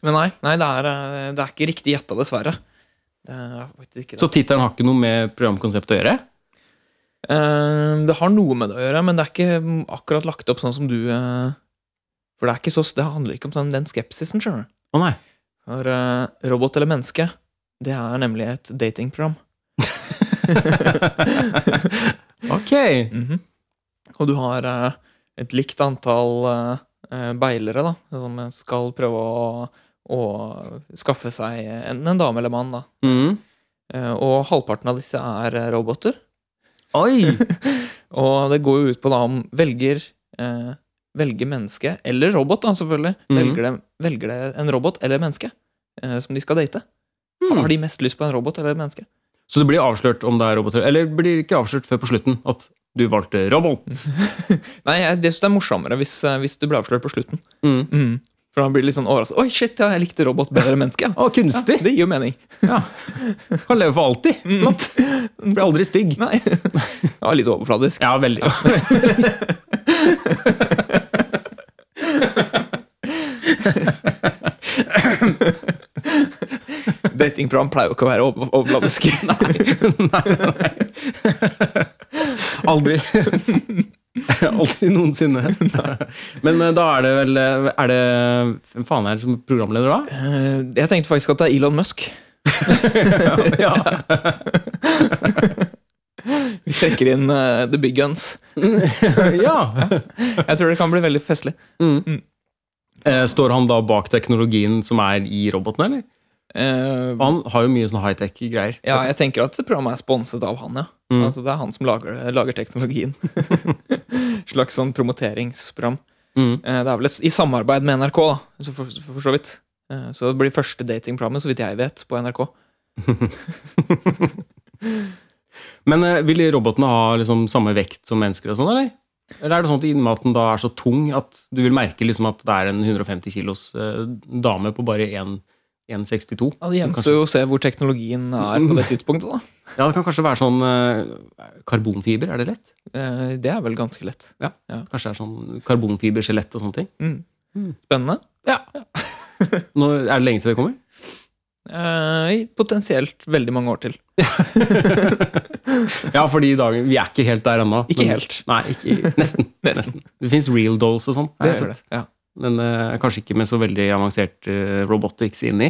S2: men nei, nei det, er, eh, det er ikke riktig gjetta, dessverre. Det er faktisk ikke det.
S1: Så tittelen har ikke noe med programkonseptet å gjøre?
S2: Eh, det har noe med det å gjøre, men det er ikke mm, akkurat lagt opp sånn som du eh, For det er ikke så, det handler ikke om sånn, den skepsisen, skjønner du.
S1: Å nei.
S2: For eh, Robot eller menneske, det er nemlig et datingprogram.
S1: Ok.
S2: Mhm. Og du har eh, et likt antall eh, eh, beilere da, som skal prøve å, å skaffe seg enten en dame eller mann. Da.
S1: Mm.
S2: Eh, og halvparten av disse er eh, roboter.
S1: Oi!
S2: Og det går jo ut på da om velger eh, Velger menneske eller robot, da, selvfølgelig.
S1: Mhm.
S2: Velger, det, velger det en robot eller menneske eh, som de skal date?
S1: Mm.
S2: Har de mest lyst på en robot eller et menneske?
S1: Så det blir avslørt om det er roboter Eller blir ikke avslørt før på slutten at du valgte robot.
S2: Nei, jeg, det synes jeg er morsommere hvis, eh, hvis du blir avslørt på slutten.
S1: Mm.
S2: Mm. For han blir litt sånn overrasket. Oi, shit, ja, jeg likte robot bedre enn menneske. Ja.
S1: Å,
S2: Ja,
S1: kunstig!
S2: det gir jo mening.
S1: Ja. Mm. Kan leve for alltid. Flott. Blir aldri stygg.
S2: Nei. Det var litt overfladisk.
S1: Ja, veldig.
S2: Datingprogram pleier jo ikke å være over overfladisk.
S1: Aldri. Aldri noensinne. Men eh, da er det vel eh, Er det Hvem faen er det som programleder da?
S2: Eh, Jeg tenkte faktisk at det er Elon Musk.
S1: Ja.
S2: Vi trekker inn eh, the big guns.
S1: ja.
S2: Jeg tror det kan bli veldig festlig.
S1: Eh, Står han da bak teknologien som er i roboten, eller?
S2: Eh,
S1: Han har jo mye sånn high-tech-greier.
S2: ja, jeg tenker at programmet er sponset av han, ja.
S1: Mm.
S2: Altså, det er han som lager, det- lager teknologien. Slags sånn promoteringsprogram.
S1: Mm.
S2: Eh, Det er vel et, i samarbeid med NRK, da, så for, for, for så vidt. Eh, Så det blir første datingprogrammet, så vidt jeg vet, på NRK.
S1: Men eh, vil robotene ha liksom samme vekt som mennesker og sånn, eller? Eller er det sånn at innmaten da er så tung at du vil merke liksom at det er en 150 kilos eh, dame på bare 1 1,62?
S2: Ja, Det gjenstår jo å se hvor teknologien er på det tidspunktet. da.
S1: Ja, det kan kanskje være sånn eh, karbonfiber, er det lett?
S2: Eh, Det er vel ganske lett.
S1: Kanskje det er sånn karbonfiberskjelett og sånne ting.
S2: Mm.
S1: Mm.
S2: Spennende.
S1: Nå er det lenge til det kommer.
S2: Eh, i Potensielt veldig mange år til.
S1: Ja, fordi i dag, vi er ikke helt der ennå.
S2: Ikke
S1: men-
S2: helt.
S1: Nei, ikke, nesten. nesten. Det fins real dolls og sånn.
S2: Jeg gjør det. Ja.
S1: Men eh, kanskje ikke med så veldig avansert eh, robotics inni.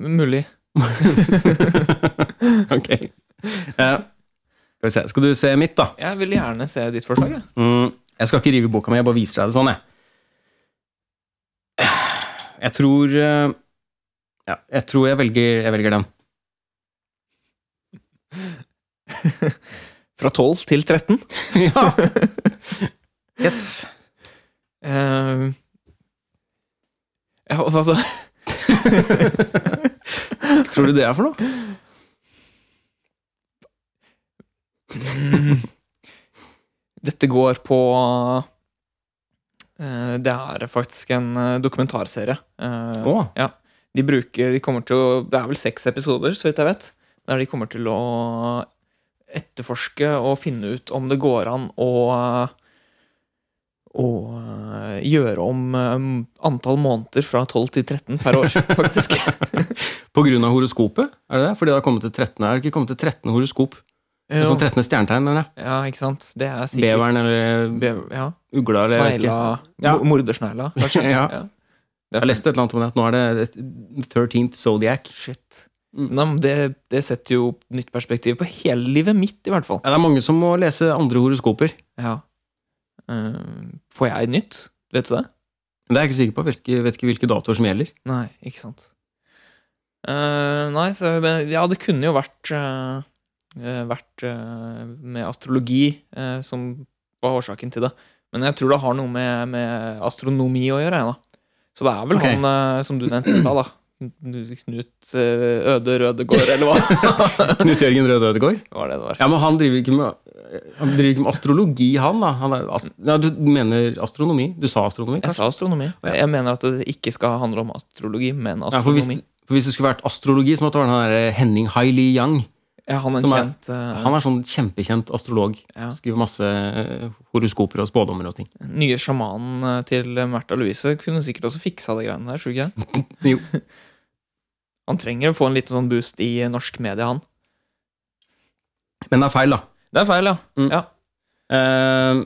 S2: Mulig.
S1: ok. Eh, skal vi se. Skal du se mitt, da?
S2: Jeg vil gjerne se ditt forslag. jeg.
S1: Mm, jeg skal ikke rive i boka mi, jeg bare viser deg det sånn, jeg. Jeg tror eh, Ja, jeg tror jeg velger, jeg velger den.
S2: Fra 12 til 13.
S1: ja. Yes.
S2: Eh, ja, altså,
S1: Tror du det er for noe?
S2: dette går på eh, Det er faktisk en eh, dokumentarserie. Eh,
S1: Å,
S2: De bruker, de kommer til å, Det er vel seks episoder, så vidt jeg vet, der de kommer til å etterforske og finne ut om det går an å å eh, gjøre om eh, antall måneder fra 12 til 13 per år, faktisk.
S1: på grunn av horoskopet? Er det det? Fordi det har kommet til 13, er det ikke kommet til 13 horoskop?
S2: Jo,
S1: Sånn 13 stjernetegn, mener jeg.
S2: ja, ikke sant? Det er sikkert
S1: Beveren eller
S2: Bever, ja.
S1: ugla eller jeg vet ikke.
S2: Snegla
S1: Ja.
S2: mo- Mordersnegla, kanskje?
S1: Ja.
S2: Det er
S1: Jeg leste et eller annet om det, at nå er det et- 13th Zodiac.
S2: Shit.
S1: Mm.
S2: Nei, men det, det setter jo nytt perspektiv på hele livet mitt, i hvert fall.
S1: Ja, det er mange som må lese andre horoskoper.
S2: Ja. Eh, får jeg nytt? Vet du det?
S1: Men det er jeg ikke sikker på. Vet ikke, vet ikke hvilke datoer som gjelder.
S2: Nei, ikke sant. Eh, nei, så men, Ja, det kunne jo vært eh, eh, Vært eh, med astrologi eh, som var årsaken til det. Men jeg tror det har noe med, med astronomi å gjøre. jeg, Da. Så det er vel
S1: Ok.
S2: han eh, som du nevnte i stad, da. Knut eh, Øde Rødegård, eller hva
S1: Knut Jørgen Røde Ødegård?
S2: var det det var?
S1: Ja, men han driver ikke med han driver ikke med astrologi, han da. Han er ast ja, du mener astronomi? Du sa astronomi,
S2: Jeg
S1: kanskje?
S2: sa astronomi. Jeg mener at det ikke skal handle om astrologi, men
S1: Ja, for, hvis,
S2: astronomi.
S1: for hvis det skulle vært astrologi, så måtte det være han der Henning Haili Yang.
S2: Ja, han er en
S1: som er-
S2: kjent eh,
S1: Han er sånn kjempekjent astrolog.
S2: Ja.
S1: Skriver masse eh, horoskoper og spådommer og ting.
S2: nye sjamanen eh, til Märtha Louise kunne sikkert også fiksa de greiene der. tror du ikke det?
S1: Jo.
S2: Han trenger å få en liten sånn boost i eh, norsk medie, han.
S1: Men det er feil, da.
S2: Det er feil, ja.
S1: Mm.
S2: ja.
S1: Eh,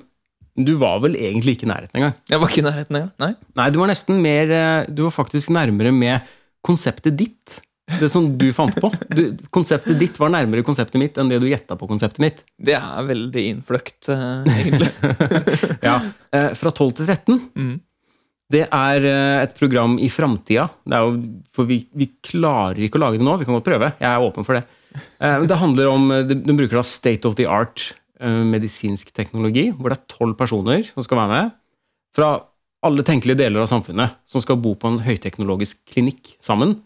S1: du var vel egentlig ikke i nærheten engang.
S2: Jeg var ikke i nærheten engang. Nei.
S1: Nei, du var nesten mer eh, Du var faktisk nærmere med konseptet ditt. Det som du fant på. Du, konseptet ditt var nærmere konseptet mitt enn det du gjetta på konseptet mitt.
S2: Det er veldig innfløkt, eh, egentlig.
S1: Ja. Eh, fra 12 til 13.
S2: Mm.
S1: Det er eh, et program i framtida. Det er jo, for vi, vi klarer ikke å lage det nå. Vi kan godt prøve. Jeg er åpen for det. Eh, men det handler om eh, De de bruker da state of the art eh, medisinsk teknologi, hvor det er tolv personer som skal være med. Fra alle tenkelige deler av samfunnet som skal bo på en høyteknologisk klinikk sammen.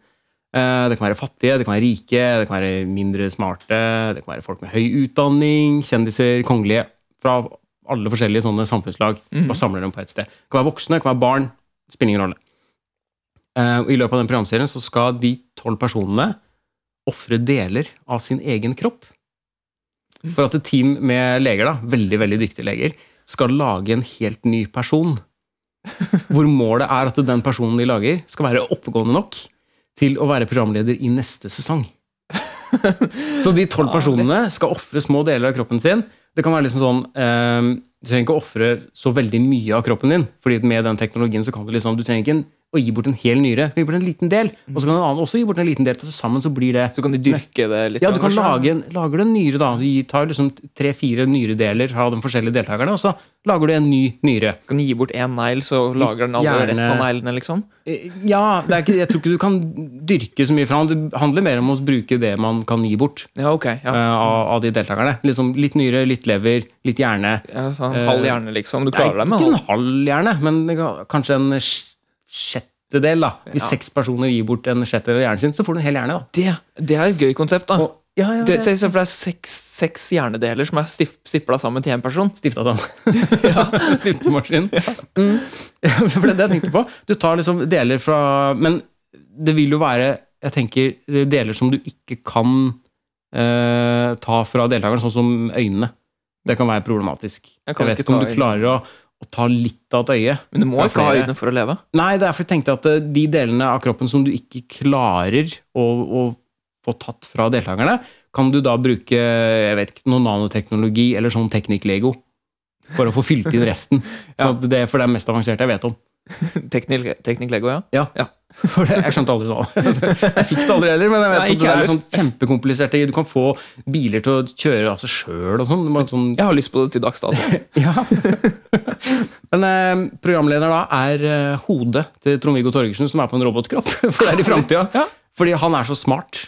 S1: Eh, Det kan være fattige, det kan være rike, det kan være mindre smarte, det kan være folk med høy utdanning, kjendiser, kongelige Fra alle forskjellige sånne samfunnslag. Bare samler dem på ett sted. Det kan være voksne, det kan være barn. det Spiller ingen rolle. Eh, og I løpet av den programserien så skal de tolv personene ofre deler av sin egen kropp. For at et team med leger, da, veldig veldig dyktige leger, skal lage en helt ny person. Hvor målet er at den personen de lager, skal være oppegående nok til å være programleder i neste sesong. Så de tolv personene skal ofre små deler av kroppen sin. Det kan være liksom sånn eh, Du trenger ikke å ofre så veldig mye av kroppen din, Fordi med den teknologien så kan du liksom Du trenger ikke en, å gi bort en hel nyre, du kan gi bort en liten del, og så kan en annen også gi bort en liten del. Så sammen så blir det
S2: Så kan de dyrke det litt.
S1: ja, du kan
S2: kanskje.
S1: lage en, lager du en nyre, da. Du gir- tar liksom tre-fire nyredeler av de forskjellige deltakerne, og så lager du en ny nyre.
S2: Kan gi bort én negl, så lager den alle
S1: Gjerne-
S2: resten av neglene, liksom?
S1: Eh, Ja, det er ikke, jeg tror ikke du kan dyrke så mye fra den. Det handler mer om å bruke det man kan gi bort
S2: Ja, ok.
S1: eh,
S2: Ja.
S1: av, av de deltakerne. Liksom litt nyre, litt lever, litt hjerne.
S2: Ja, så en halv
S1: eh,
S2: hjerne, liksom. Du
S1: Nei,
S2: klarer deg med
S1: ikke
S2: halv.
S1: en halv hjerne, men det kan- kanskje en sj- sjettedel, da. Hvis
S2: Ja.
S1: seks personer gir bort en sjettedel av hjernen sin, så får du en hel hjerne, da.
S2: Det, det er et gøy konsept, da.
S1: Og, ja, ja,
S2: Du vet,
S1: det-
S2: Se se for deg seks, seks hjernedeler som er stipla sammen til én person.
S1: Stifta den. Stiftemaskin. Mm. For det er det jeg tenkte på. Du tar liksom deler fra Men det vil jo være jeg tenker, det er deler som du ikke kan eh, ta fra deltakeren, sånn som øynene. Det kan være problematisk.
S2: Jeg
S1: Jeg,
S2: kan
S1: vet
S2: ikke
S1: ikke om
S2: ta
S1: du
S2: øynene.
S1: klarer å, å ta litt av et øye.
S2: Men du må
S1: fra
S2: ikke ha
S1: flere.
S2: øyne for å leve.
S1: Nei, det er fordi jeg tenkte at eh, de delene av kroppen som du ikke klarer å, å få tatt fra deltakerne, kan du da bruke jeg vet ikke, noe nanoteknologi eller sånn teknikk-lego for å få fylt inn resten. Så at det, for det er mest avanserte jeg vet om.
S2: Teknikk teknikk Lego, ja.
S1: For det, jeg skjønte aldri noe av det. Jeg fikk det aldri heller, men jeg vet
S2: Nei,
S1: at
S2: ikke
S1: det er
S2: heller.
S1: sånn kjempekompliserte Du kan få biler til å kjøre av seg sjøl og sånn. Du må sånn
S2: Jeg har lyst på det til dags dato.
S1: ja. Men eh, programleder da er eh, hodet til Trond-Viggo Torgersen, som er på en robotkropp. For det er i fremtiden.
S2: Ja.
S1: Fordi han er så smart.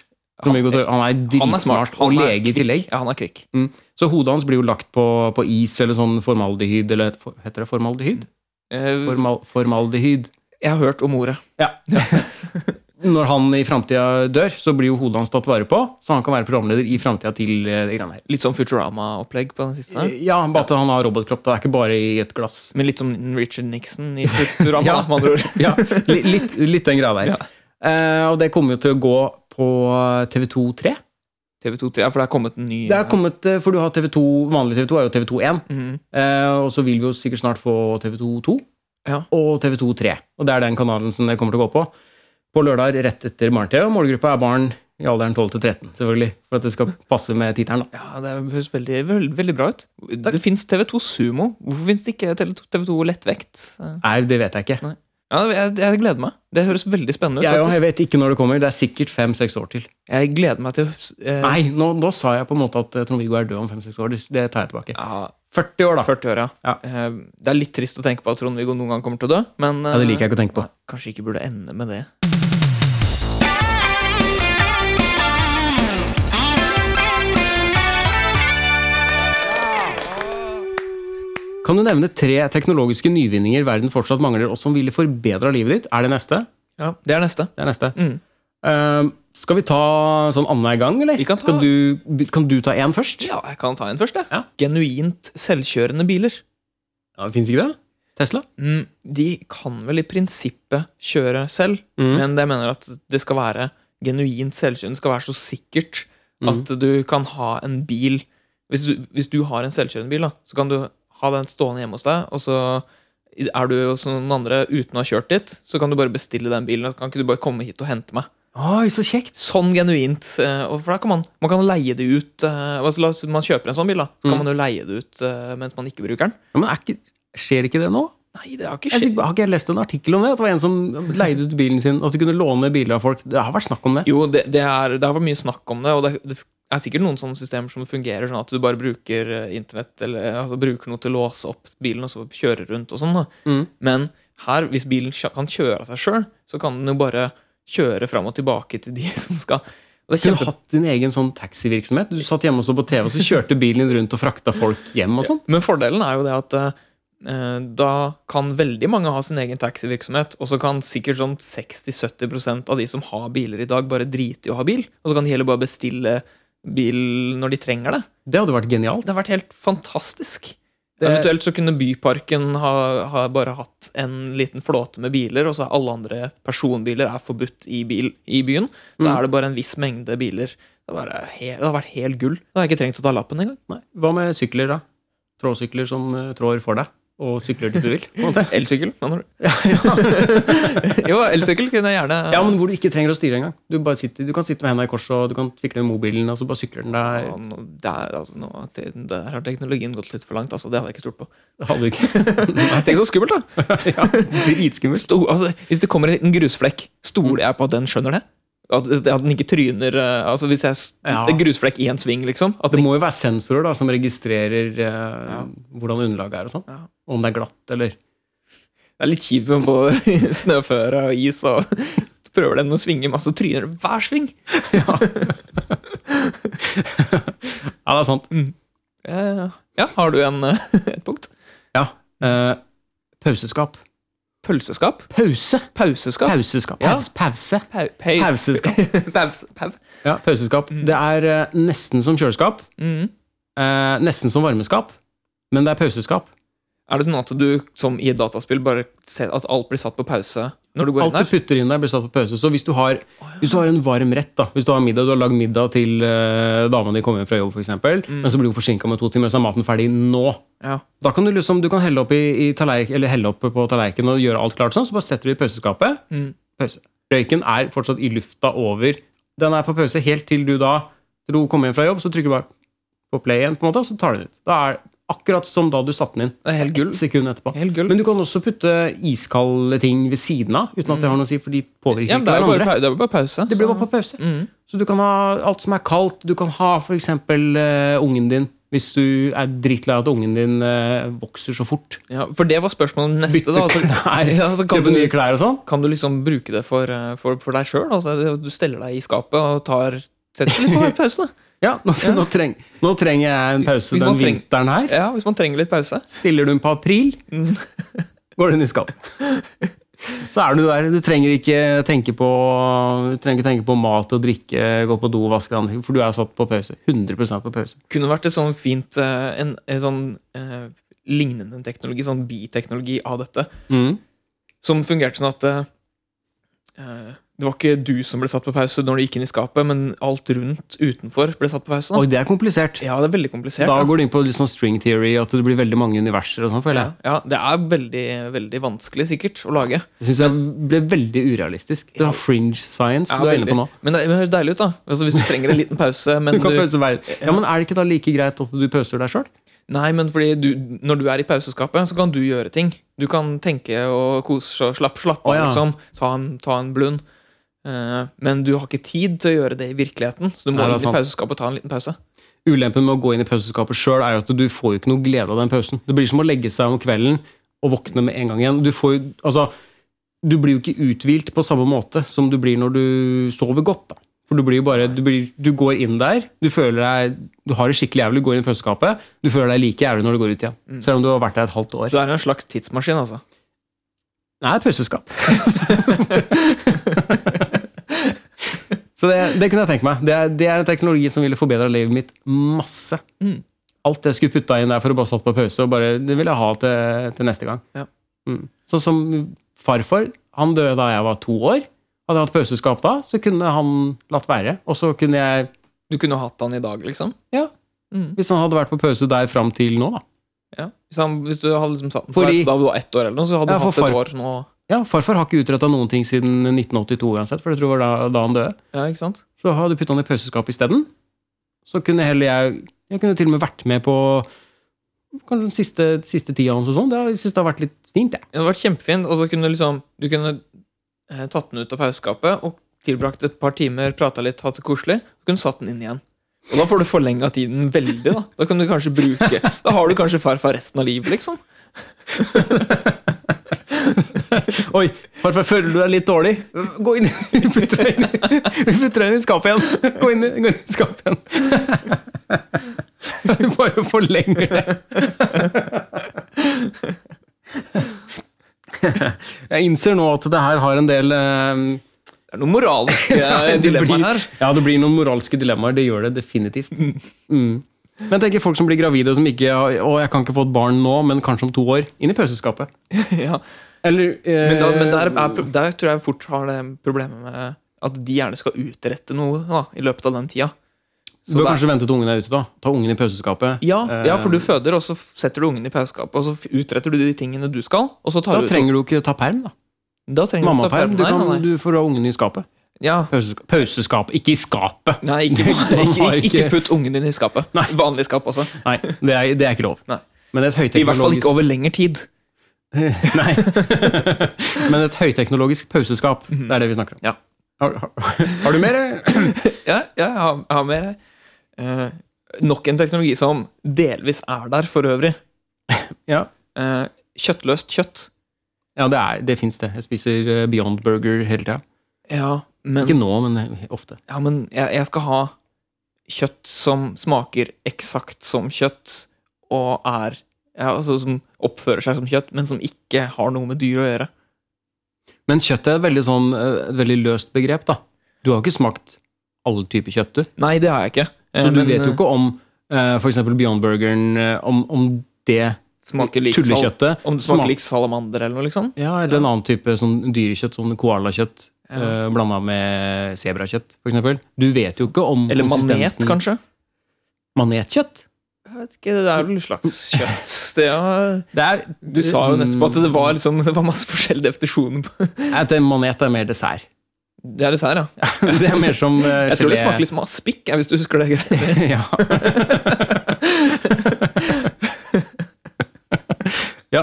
S1: Trond-Viggo Torgersen, han er
S2: Han er smart.
S1: dritsmart, og
S2: Han er
S1: lege i
S2: kvikk.
S1: tillegg.
S2: Ja, han er kvikk.
S1: Mm. Så hodet hans blir jo lagt på, på is eller sånn formaldehyd, eller for, heter det formaldehyd?
S2: Eh,
S1: Formal, formaldehyd.
S2: Jeg har hørt om ordet.
S1: Ja. Når han i framtida dør, så blir jo hodet hans tatt vare på, så han kan være programleder i framtida til eh, det greiene her.
S2: Litt sånn Futurama-opplegg på den siste. her.
S1: Ja, bare at han har robotkropp. Det er ikke bare i et glass.
S2: Men litt som Richard Nixon i Futurama,
S1: Ja.
S2: da, med andre ord.
S1: ja, li- litt, litt den greia der.
S2: Ja.
S1: Eh, og det kommer jo til å gå på TV2-3.
S2: TV2 3, ja, for det er kommet en ny
S1: Det er kommet, eh, for du har TV2, Vanlig TV2 er jo TV2-1,
S2: Mhm.
S1: eh, og så vil vi jo sikkert snart få TV2-2
S2: Ja.
S1: og TV2-3. Og det er den kanalen som det kommer til å gå på. På lørdag rett etter Barne-TV. og Målgruppa er barn i alderen 12 til 13, selvfølgelig. For at det skal passe med tittelen. da.
S2: Ja, det høres veldig, veld, veldig bra ut. Det fins TV2 Sumo. Hvorfor fins det ikke TV2 Lettvekt? Eh,
S1: Nei, det vet jeg ikke.
S2: Ja, jeg, jeg gleder meg. Det høres veldig spennende ut.
S1: Jeg, jeg
S2: faktisk.
S1: vet ikke når det kommer. Det er sikkert fem-seks år til.
S2: Jeg gleder meg til å- eh,
S1: Nei, nå, nå sa jeg på en måte at eh, Trond-Viggo er død om fem-seks år. Det- Det tar jeg tilbake.
S2: ja,
S1: 40 år, da.
S2: 40 år, ja.
S1: Ja.
S2: Eh, Det er litt trist å tenke på at Trond-Viggo noen gang kommer til å dø, men eh,
S1: Ja, det liker jeg ikke å tenke på.
S2: kanskje ikke burde ende med det.
S1: Kan du nevne tre teknologiske nyvinninger verden fortsatt mangler, og som ville forbedra livet ditt? Er det neste?
S2: Ja, Det er neste.
S1: Det er neste.
S2: Mm.
S1: Ehm, skal vi ta sånn annenhver gang, eller?
S2: Vi kan ta-
S1: Skal du, kan du ta én først?
S2: Ja, jeg kan ta en først, jeg.
S1: Ja.
S2: Genuint selvkjørende biler.
S1: Ja, Fins ikke det? Tesla?
S2: Mm, de kan vel i prinsippet kjøre selv,
S1: Mm.
S2: men jeg mener at det skal være genuint selvkjørende. Det skal være så sikkert at du kan ha en bil Hvis du, hvis du har en selvkjørende bil, da, så kan du ha den stående hjemme hos deg, og så er du hos noen andre uten å ha kjørt dit, så kan du bare bestille den bilen. og så Kan ikke du bare komme hit og hente meg?
S1: Oi, så kjekt!
S2: Sånn genuint. eh, og For da kan man, man kan leie det ut. eh, altså la oss si Man kjøper en sånn bil, da. Så kan man jo leie det ut eh, mens man ikke bruker den.
S1: Ja, men er ikke, skjer ikke det nå?
S2: Nei, det har ikke
S1: Jeg,
S2: skjedd.
S1: sier- har ikke jeg lest en artikkel om det? At det var en som leide ut bilen sin? At du kunne låne biler av folk? Det har vært snakk om det.
S2: Jo, det, det, er, det har vært mye snakk om det, og det, det er sikkert noen sånne systemer som fungerer sånn at du bare bruker eh, internett eller altså, bruker noe til å låse opp bilen og så kjøre rundt og sånn. da.
S1: Mm.
S2: Men her, hvis bilen kjø- kan kjøre av seg sjøl, så kan den jo bare kjøre fram og tilbake til de som skal. Og det er
S1: Kunne du
S2: kjempe...
S1: hatt din egen sånn taxivirksomhet? Du satt hjemme og så på TV, og så kjørte bilen din rundt og frakta folk hjem og sånn?
S2: Men fordelen er jo det at eh, da kan veldig mange ha sin egen taxivirksomhet, og så kan sikkert sånn 60-70 av de som har biler i dag, bare drite i å ha bil. Og så kan de heller bare bestille bil når de trenger det.
S1: Det hadde vært genialt.
S2: Det har vært helt fantastisk.
S1: Det-
S2: Eventuelt så kunne Byparken ha, ha bare hatt en liten flåte med biler, og så er alle andre personbiler er forbudt i, bil, i byen. Så
S1: Mm.
S2: er det bare en viss mengde biler. Det, er bare he- det har vært helt gull. Da har jeg ikke trengt å ta lappen engang.
S1: Nei. Hva med sykler, da? Trådsykler som eh, trår for deg, og sykler dit du vil? på en måte.
S2: Elsykkel? mener du? jo, elsykkel kunne jeg gjerne
S1: Ja, men Hvor du ikke trenger å styre engang. Du, bare sitter- du kan sitte med hendene i kors og du kan fikle med mobilen. og så bare sykler den
S2: Ja,
S1: der.
S2: nå- der, altså, nå, der har teknologien gått litt for langt. Altså, det hadde jeg ikke stolt på.
S1: Det hadde du ikke.
S2: Tenk så skummelt, da!
S1: ja, Dritskummelt.
S2: Sto, altså, hvis det kommer en liten grusflekk,
S1: Mm.
S2: stoler jeg på at den skjønner det? At, at den ikke tryner eh, altså Hvis jeg s-
S1: Ja.
S2: en grusflekk i en sving, liksom? At
S1: Det
S2: den,
S1: må jo være sensorer da, som registrerer eh, hvordan underlaget er. og sånn.
S2: Ja.
S1: Om det er glatt eller
S2: det er litt kjipt sånn på snøføre og is, og så prøver den å svinge masse, så tryner det hver sving!
S1: Ja, det er sant.
S2: Mm. Eh, ja, har du en, eh, et punkt?
S1: Ja. eh, pauseskap.
S2: Pølseskap?
S1: Pause!
S2: Pauseskap?
S1: Pauseskap.
S2: Ja.
S1: Paus, pause.
S2: Pau, pau,
S1: Pauseskap.
S2: paus, pau.
S1: Ja, pauseskap. Det er eh, nesten som kjøleskap.
S2: Mm.
S1: eh, nesten som varmeskap. Men det er pauseskap.
S2: Er det sånn at du, som i et dataspill, bare ser at alt blir satt på pause når du går
S1: Alt
S2: inn
S1: du
S2: der?
S1: putter inn der, blir satt på pause. Så hvis du har, hvis du har en varm rett, da, hvis du har middag, du har lagd middag til uh, dama di kommer hjem fra jobb, f.eks., eksempel men så blir hun forsinka med to timer, så er maten ferdig nå.
S2: Mm. Ja.
S1: Da kan du liksom, du kan helle opp, i, i tallerk, eller helle opp på tallerkenen og gjøre alt klart, sånn, så bare setter du i pauseskapet.
S2: Mm.
S1: Pause. Røyken er fortsatt i lufta over. Den er på pause helt til du da til hun kommer hjem fra jobb, så trykker du bare på play igjen, på en måte, og så tar du den ut. Da er det akkurat som da du satte den inn.
S2: Det er helt gull.
S1: Ett sekund etterpå.
S2: Helt gull.
S1: Men du kan også putte iskalde ting ved siden av, uten at det har noe å si, for de påvirker
S2: Mm. Ja,
S1: ikke
S2: men det er jo bare, altså.
S1: hverandre.
S2: pau- det er jo bare pause.
S1: Det blir bare på pause.
S2: Mm.
S1: Så du kan ha alt som er kaldt. Du kan ha f.eks. Uh, ungen din, hvis du er drittlei av at ungen din eh, vokser så fort.
S2: Ja, for det var spørsmålet om neste,
S1: Bytte
S2: da. Altså,
S1: klær,
S2: ja, altså, kan,
S1: kjøpe nye
S2: du,
S1: klær og sånn.
S2: kan du liksom bruke det for, eh, for, for deg sjøl? Altså, det- du steller deg i skapet og tar setter litt på pause. Da.
S1: Ja, nå, Nå, treng, nå trenger jeg en pause
S2: Hvis man
S1: den
S2: treng-
S1: vinteren her.
S2: Ja, hvis man trenger litt pause.
S1: Stiller du den på april,
S2: Mm.
S1: går den i skap. Så er du der. Du trenger ikke tenke på, du trenger ikke tenke på mat og drikke, gå på do og vaske deg, for du er satt på pause. 100 på pause.
S2: Kunne vært et sånn fint eh, en, en sånn eh, lignende teknologi, sånn biteknologi av dette.
S1: Mm.
S2: som fungerte sånn at eh, eh, det var ikke du som ble satt på pause når du gikk inn i skapet, men alt rundt utenfor ble satt på pause. Da.
S1: Oi, det er komplisert.
S2: Ja, det er veldig komplisert.
S1: Da
S2: da.
S1: går det inn på litt sånn string theory, at det blir veldig mange universer og sånn, føler
S2: ja,
S1: jeg.
S2: ja, det er veldig, veldig vanskelig sikkert å lage.
S1: Det syns jeg ble veldig urealistisk. Det var fringe science
S2: Ja,
S1: du er
S2: veldig.
S1: inne på nå.
S2: Men det det høres deilig ut, da. Altså, hvis du trenger en liten pause. Men
S1: Du
S2: du
S1: kan pause hver. Ja, men er det ikke da like greit at du pauser deg sjøl?
S2: nei, men fordi du, når du er i pauseskapet, så kan du gjøre ting. Du kan tenke og kose og slappe slapp av,
S1: Å, ja.
S2: liksom. Ta en, ta en blund. Eh, men du har ikke tid til å gjøre det i virkeligheten, så du må
S1: Nei, det er
S2: inn i
S1: sant.
S2: pauseskapet og ta en liten pause.
S1: Ulempen med å gå inn i pauseskapet sjøl er jo at du får jo ikke noe glede av den pausen. Det blir som å legge seg om kvelden og våkne med en gang igjen. Du, får, jo- altså, du blir jo ikke uthvilt på samme måte som du blir når du sover godt. Da. For du blir jo bare du, blir, du går inn der, du føler deg Du har det skikkelig jævlig, du går inn i pauseskapet, du føler deg like jævlig når du går ut igjen. Selv om du har vært der et halvt år.
S2: Så det er en slags tidsmaskin, altså.
S1: Nei, pauseskap. Så det, det kunne jeg tenke meg. Det er, det er en teknologi som ville forbedra livet mitt masse.
S2: Mm.
S1: Alt jeg skulle putta inn der for å bare satt på pause, og bare, det vil jeg ha til, til neste gang.
S2: Ja.
S1: Mm. Sånn som farfar. Han døde da jeg var to år. Hadde jeg hatt pauseskap da, så kunne han latt være. Og så kunne jeg,
S2: Du kunne jo hatt han i dag, liksom.
S1: ja,
S2: Mm.
S1: hvis han hadde vært på pause der fram til nå, da.
S2: Ja. Hvis, han, hvis du hadde liksom satt den for
S1: Fordi-
S2: deg da du var ett år, eller noe, så hadde
S1: Ja,
S2: du
S1: for
S2: hatt et
S1: far-
S2: år nå.
S1: Ja, farfar har ikke utretta noen ting siden 1982 uansett, for jeg tror det var da, da han døde.
S2: Ja, ikke sant?
S1: Så hadde jeg putta han i pauseskapet isteden. Så kunne heller jeg Jeg kunne til og med vært med på kanskje den siste, siste tida hans og sånn. Det har- Jeg synes det har vært litt fint, jeg.
S2: Det hadde vært kjempefint. Og så kunne du liksom Du kunne eh, tatt den ut av pauseskapet og tilbrakt et par timer, prata litt, hatt det koselig. Så kunne du satt den inn igjen. Og da får du forlenga tiden veldig, da. Da kan du kanskje bruke Da har du kanskje farfar resten av livet, liksom.
S1: Oi, farfar, føler du deg litt dårlig? Gå inn Vi putter deg inn, i- vi putter deg inn i skapet igjen. Gå inn, i- gå inn i skapet igjen. Vi bare forlenger det. Jeg innser nå at det her har en del eh,
S2: Det er noen moralske eh,
S1: det
S2: dilemmaer
S1: blir-
S2: her.
S1: Ja, det blir noen moralske dilemmaer. Det gjør det definitivt. Mm. Men tenk folk som blir gravide og som ikke har Å, jeg kan ikke få et barn nå, men kanskje om to år. Inn i pauseskapet.
S2: ja.
S1: Eller eh,
S2: Men, da, men der, er, pro- der tror jeg fort har det problemet med at de gjerne skal utrette noe da, i løpet av den tida.
S1: Du bør
S2: det er-
S1: kanskje vente til ungen er ute, da. Ta ungen i pauseskapet.
S2: Ja, ja, for du
S1: Eh,
S2: føder, og så setter du ungen i pauseskapet, og så f- utretter du de tingene du skal. Og så tar
S1: Da
S2: du ut-
S1: trenger du ikke ta perm, da.
S2: da trenger du ikke ta
S1: Mammaperm. Du,
S2: Nei, nei,
S1: kan-
S2: nei.
S1: du får ha ungen i skapet.
S2: Ja.
S1: Pauseska- Pauseskap, ikke i skapet!
S2: Nei,
S1: Man
S2: ikke, ikke,
S1: har ikke-
S2: ikke, ikke putt ungen din i skapet. Vanlig skap også.
S1: Nei, det er, det er ikke lov.
S2: Nei.
S1: Men et
S2: I hvert fall
S1: høyteknologisk
S2: ikke over lengre tid.
S1: Nei. Men et høyteknologisk pauseskap, det er det vi snakker om.
S2: Mhm. Ja.
S1: Har, har, har du mer? eller?
S2: Ja, ja jeg har, jeg har mer her. Eh, nok en teknologi som delvis er der for øvrig.
S1: Ja.
S2: Eh, kjøttløst kjøtt.
S1: Ja, det, er- det fins det. Jeg spiser eh, Beyond Burger hele tida.
S2: Ja, men
S1: Ikke nå, men eh, ofte.
S2: ja, men jeg, jeg skal ha kjøtt som smaker eksakt som kjøtt, og er ja, altså Som oppfører seg som kjøtt, men som ikke har noe med dyr å gjøre.
S1: Men kjøtt er et veldig, sånn, eh, et veldig løst begrep, da. Du har jo ikke smakt alle typer kjøtt, du.
S2: Nei, det har jeg ikke. Eh,
S1: Så du
S2: men,
S1: vet jo
S2: eh,
S1: ikke om eh, for eksempel Beyond Burgeren eh, Om, om det
S2: smaker lik sal
S1: tullekjøttet
S2: om det
S1: smak-
S2: smaker lik salamander eller noe, liksom.
S1: Ja, eller en annen type sånn dyrekjøtt, sånn koalakjøtt
S2: Ja.
S1: eh, blanda med sebrakjøtt, for eksempel. Du vet jo ikke om
S2: Eller manet,
S1: konsistensen-
S2: kanskje.
S1: Manetkjøtt?
S2: Jeg vet ikke, Det er vel en slags kjøtt. Det er,
S1: Det er,
S2: du sa jo nettopp at det var, liksom, det var masse forskjellige definisjoner. på-
S1: Mm, At en manet er mer dessert.
S2: Det er dessert, ja.
S1: det er mer som uh,
S2: Jeg tror det smaker litt som aspik, jeg, hvis du husker det. greit.
S1: ja. ja.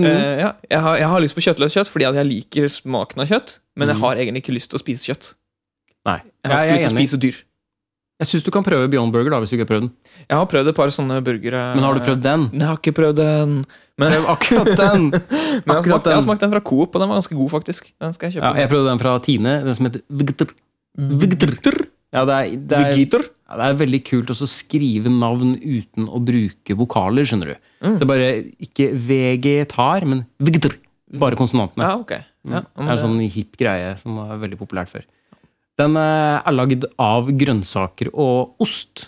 S1: Mm.
S2: Eh, ja, jeg, har, jeg har lyst på kjøttløst kjøtt fordi at jeg liker smaken av kjøtt, men jeg
S1: Mm.
S2: har egentlig ikke lyst til å spise kjøtt.
S1: Nei,
S2: Jeg har
S1: jeg er
S2: ikke lyst til å
S1: enig.
S2: spise dyr.
S1: Jeg syns du kan prøve Beyond Burger, da, hvis du ikke har prøvd den.
S2: Jeg har prøvd et par sånne burgere.
S1: Men har du prøvd den?
S2: Nei, Jeg har ikke prøvd den. Men, men
S1: Akkurat den!
S2: jeg, har
S1: akkurat
S2: smakt, jeg har
S1: den.
S2: smakt den fra Coop, og den var ganske god, faktisk. Den skal jeg
S1: Ja,
S2: kjøpe.
S1: jeg prøvde den fra Tine, den som heter Vgtr. Vgtr. Ja, det er, det er,
S2: Vegiter?
S1: ja, det er veldig kult også å skrive navn uten å bruke vokaler, skjønner du.
S2: Mm.
S1: Så det er bare ikke vegetar, men Vgtr. Bare konsonantene.
S2: Ja, ok. Ja,
S1: det
S2: men
S1: er en
S2: det-
S1: sånn hipp greie som var veldig populært før. Den eh, er lagd av grønnsaker og ost.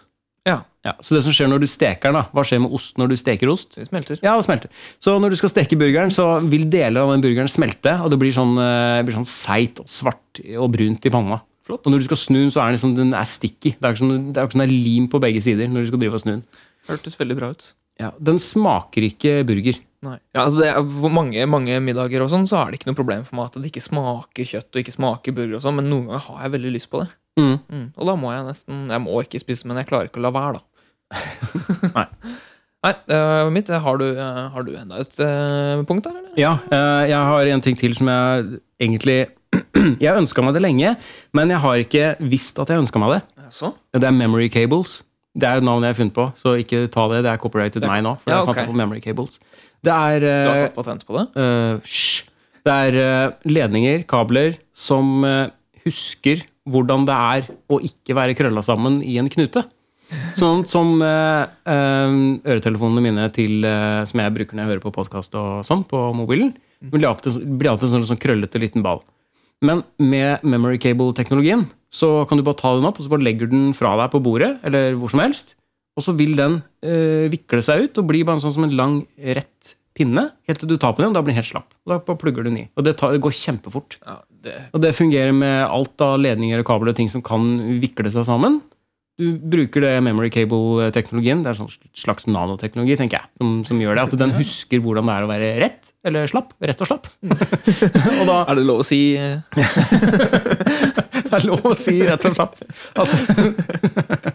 S2: Ja.
S1: så det som skjer når du steker den, da, hva skjer med ost når du steker ost?
S2: Det smelter.
S1: Ja, det smelter. Så når du skal steke burgeren, så vil deler av den burgeren smelte, og det blir sånn, eh, blir sånn seigt og svart og brunt i panna.
S2: Flott.
S1: Og når du skal snu den, så er den liksom, den er sticky. Det er ikke sånn, det er ikke sånn det er lim på begge sider når du skal drive og snu den.
S2: Hørtes veldig bra ut.
S1: Ja, den smaker ikke burger.
S2: Nei. Ja, altså det er, hvor mange, mange middager og sånn, så er det ikke noe problem for meg at det ikke smaker kjøtt og ikke smaker burger og sånn, men noen ganger har jeg veldig lyst på det.
S1: Mm.
S2: Mm. Og da må jeg nesten Jeg må ikke spise, men jeg klarer ikke å la være, da.
S1: Nei.
S2: Nei, øh, mitt, har du, øh, har du enda et øh, punkt der, eller?
S1: Ja, eh, jeg har en ting til som jeg egentlig Jeg ønska meg det lenge, men jeg har ikke visst at jeg ønska meg det.
S2: Jaså?
S1: Det er Memory Cables. Det er et navn jeg har funnet på, så ikke ta det. Det er copyrighted meg nå. For
S2: Ja,
S1: jeg fant
S2: ok.
S1: det på Memory Cables. Det er
S2: Du har
S1: eh,
S2: tatt patent på det?
S1: Eh, hysj. Det er eh, ledninger, kabler, som eh, husker hvordan det er å ikke være krølla sammen i en knute. Sånn som eh, eh, øretelefonene mine til, eh, som jeg bruker når jeg hører på podkast og sånn, på mobilen. Blir alltid, blir alltid en sånn, sånn krøllete liten ball. Men med memory cable-teknologien så kan du bare ta den opp, og så bare legger du den fra deg på bordet, eller hvor som helst, og så vil den eh, vikle seg ut og bli bare sånn som en lang, rett pinne, helt til du tar på den, og da blir den helt slapp. Og da bare plugger du den i. Og det, tar, det går kjempefort.
S2: Ja, det,
S1: Og det fungerer med alt av ledninger og kabler og ting som kan vikle seg sammen. Du bruker det memory cable-teknologien. Det er sånn slags nanoteknologi, tenker jeg, som, som gjør det. At den husker hvordan det er å være rett eller slapp. Rett og slapp. og da
S2: Er det lov å si eh,
S1: Det er lov å si rett og slett at,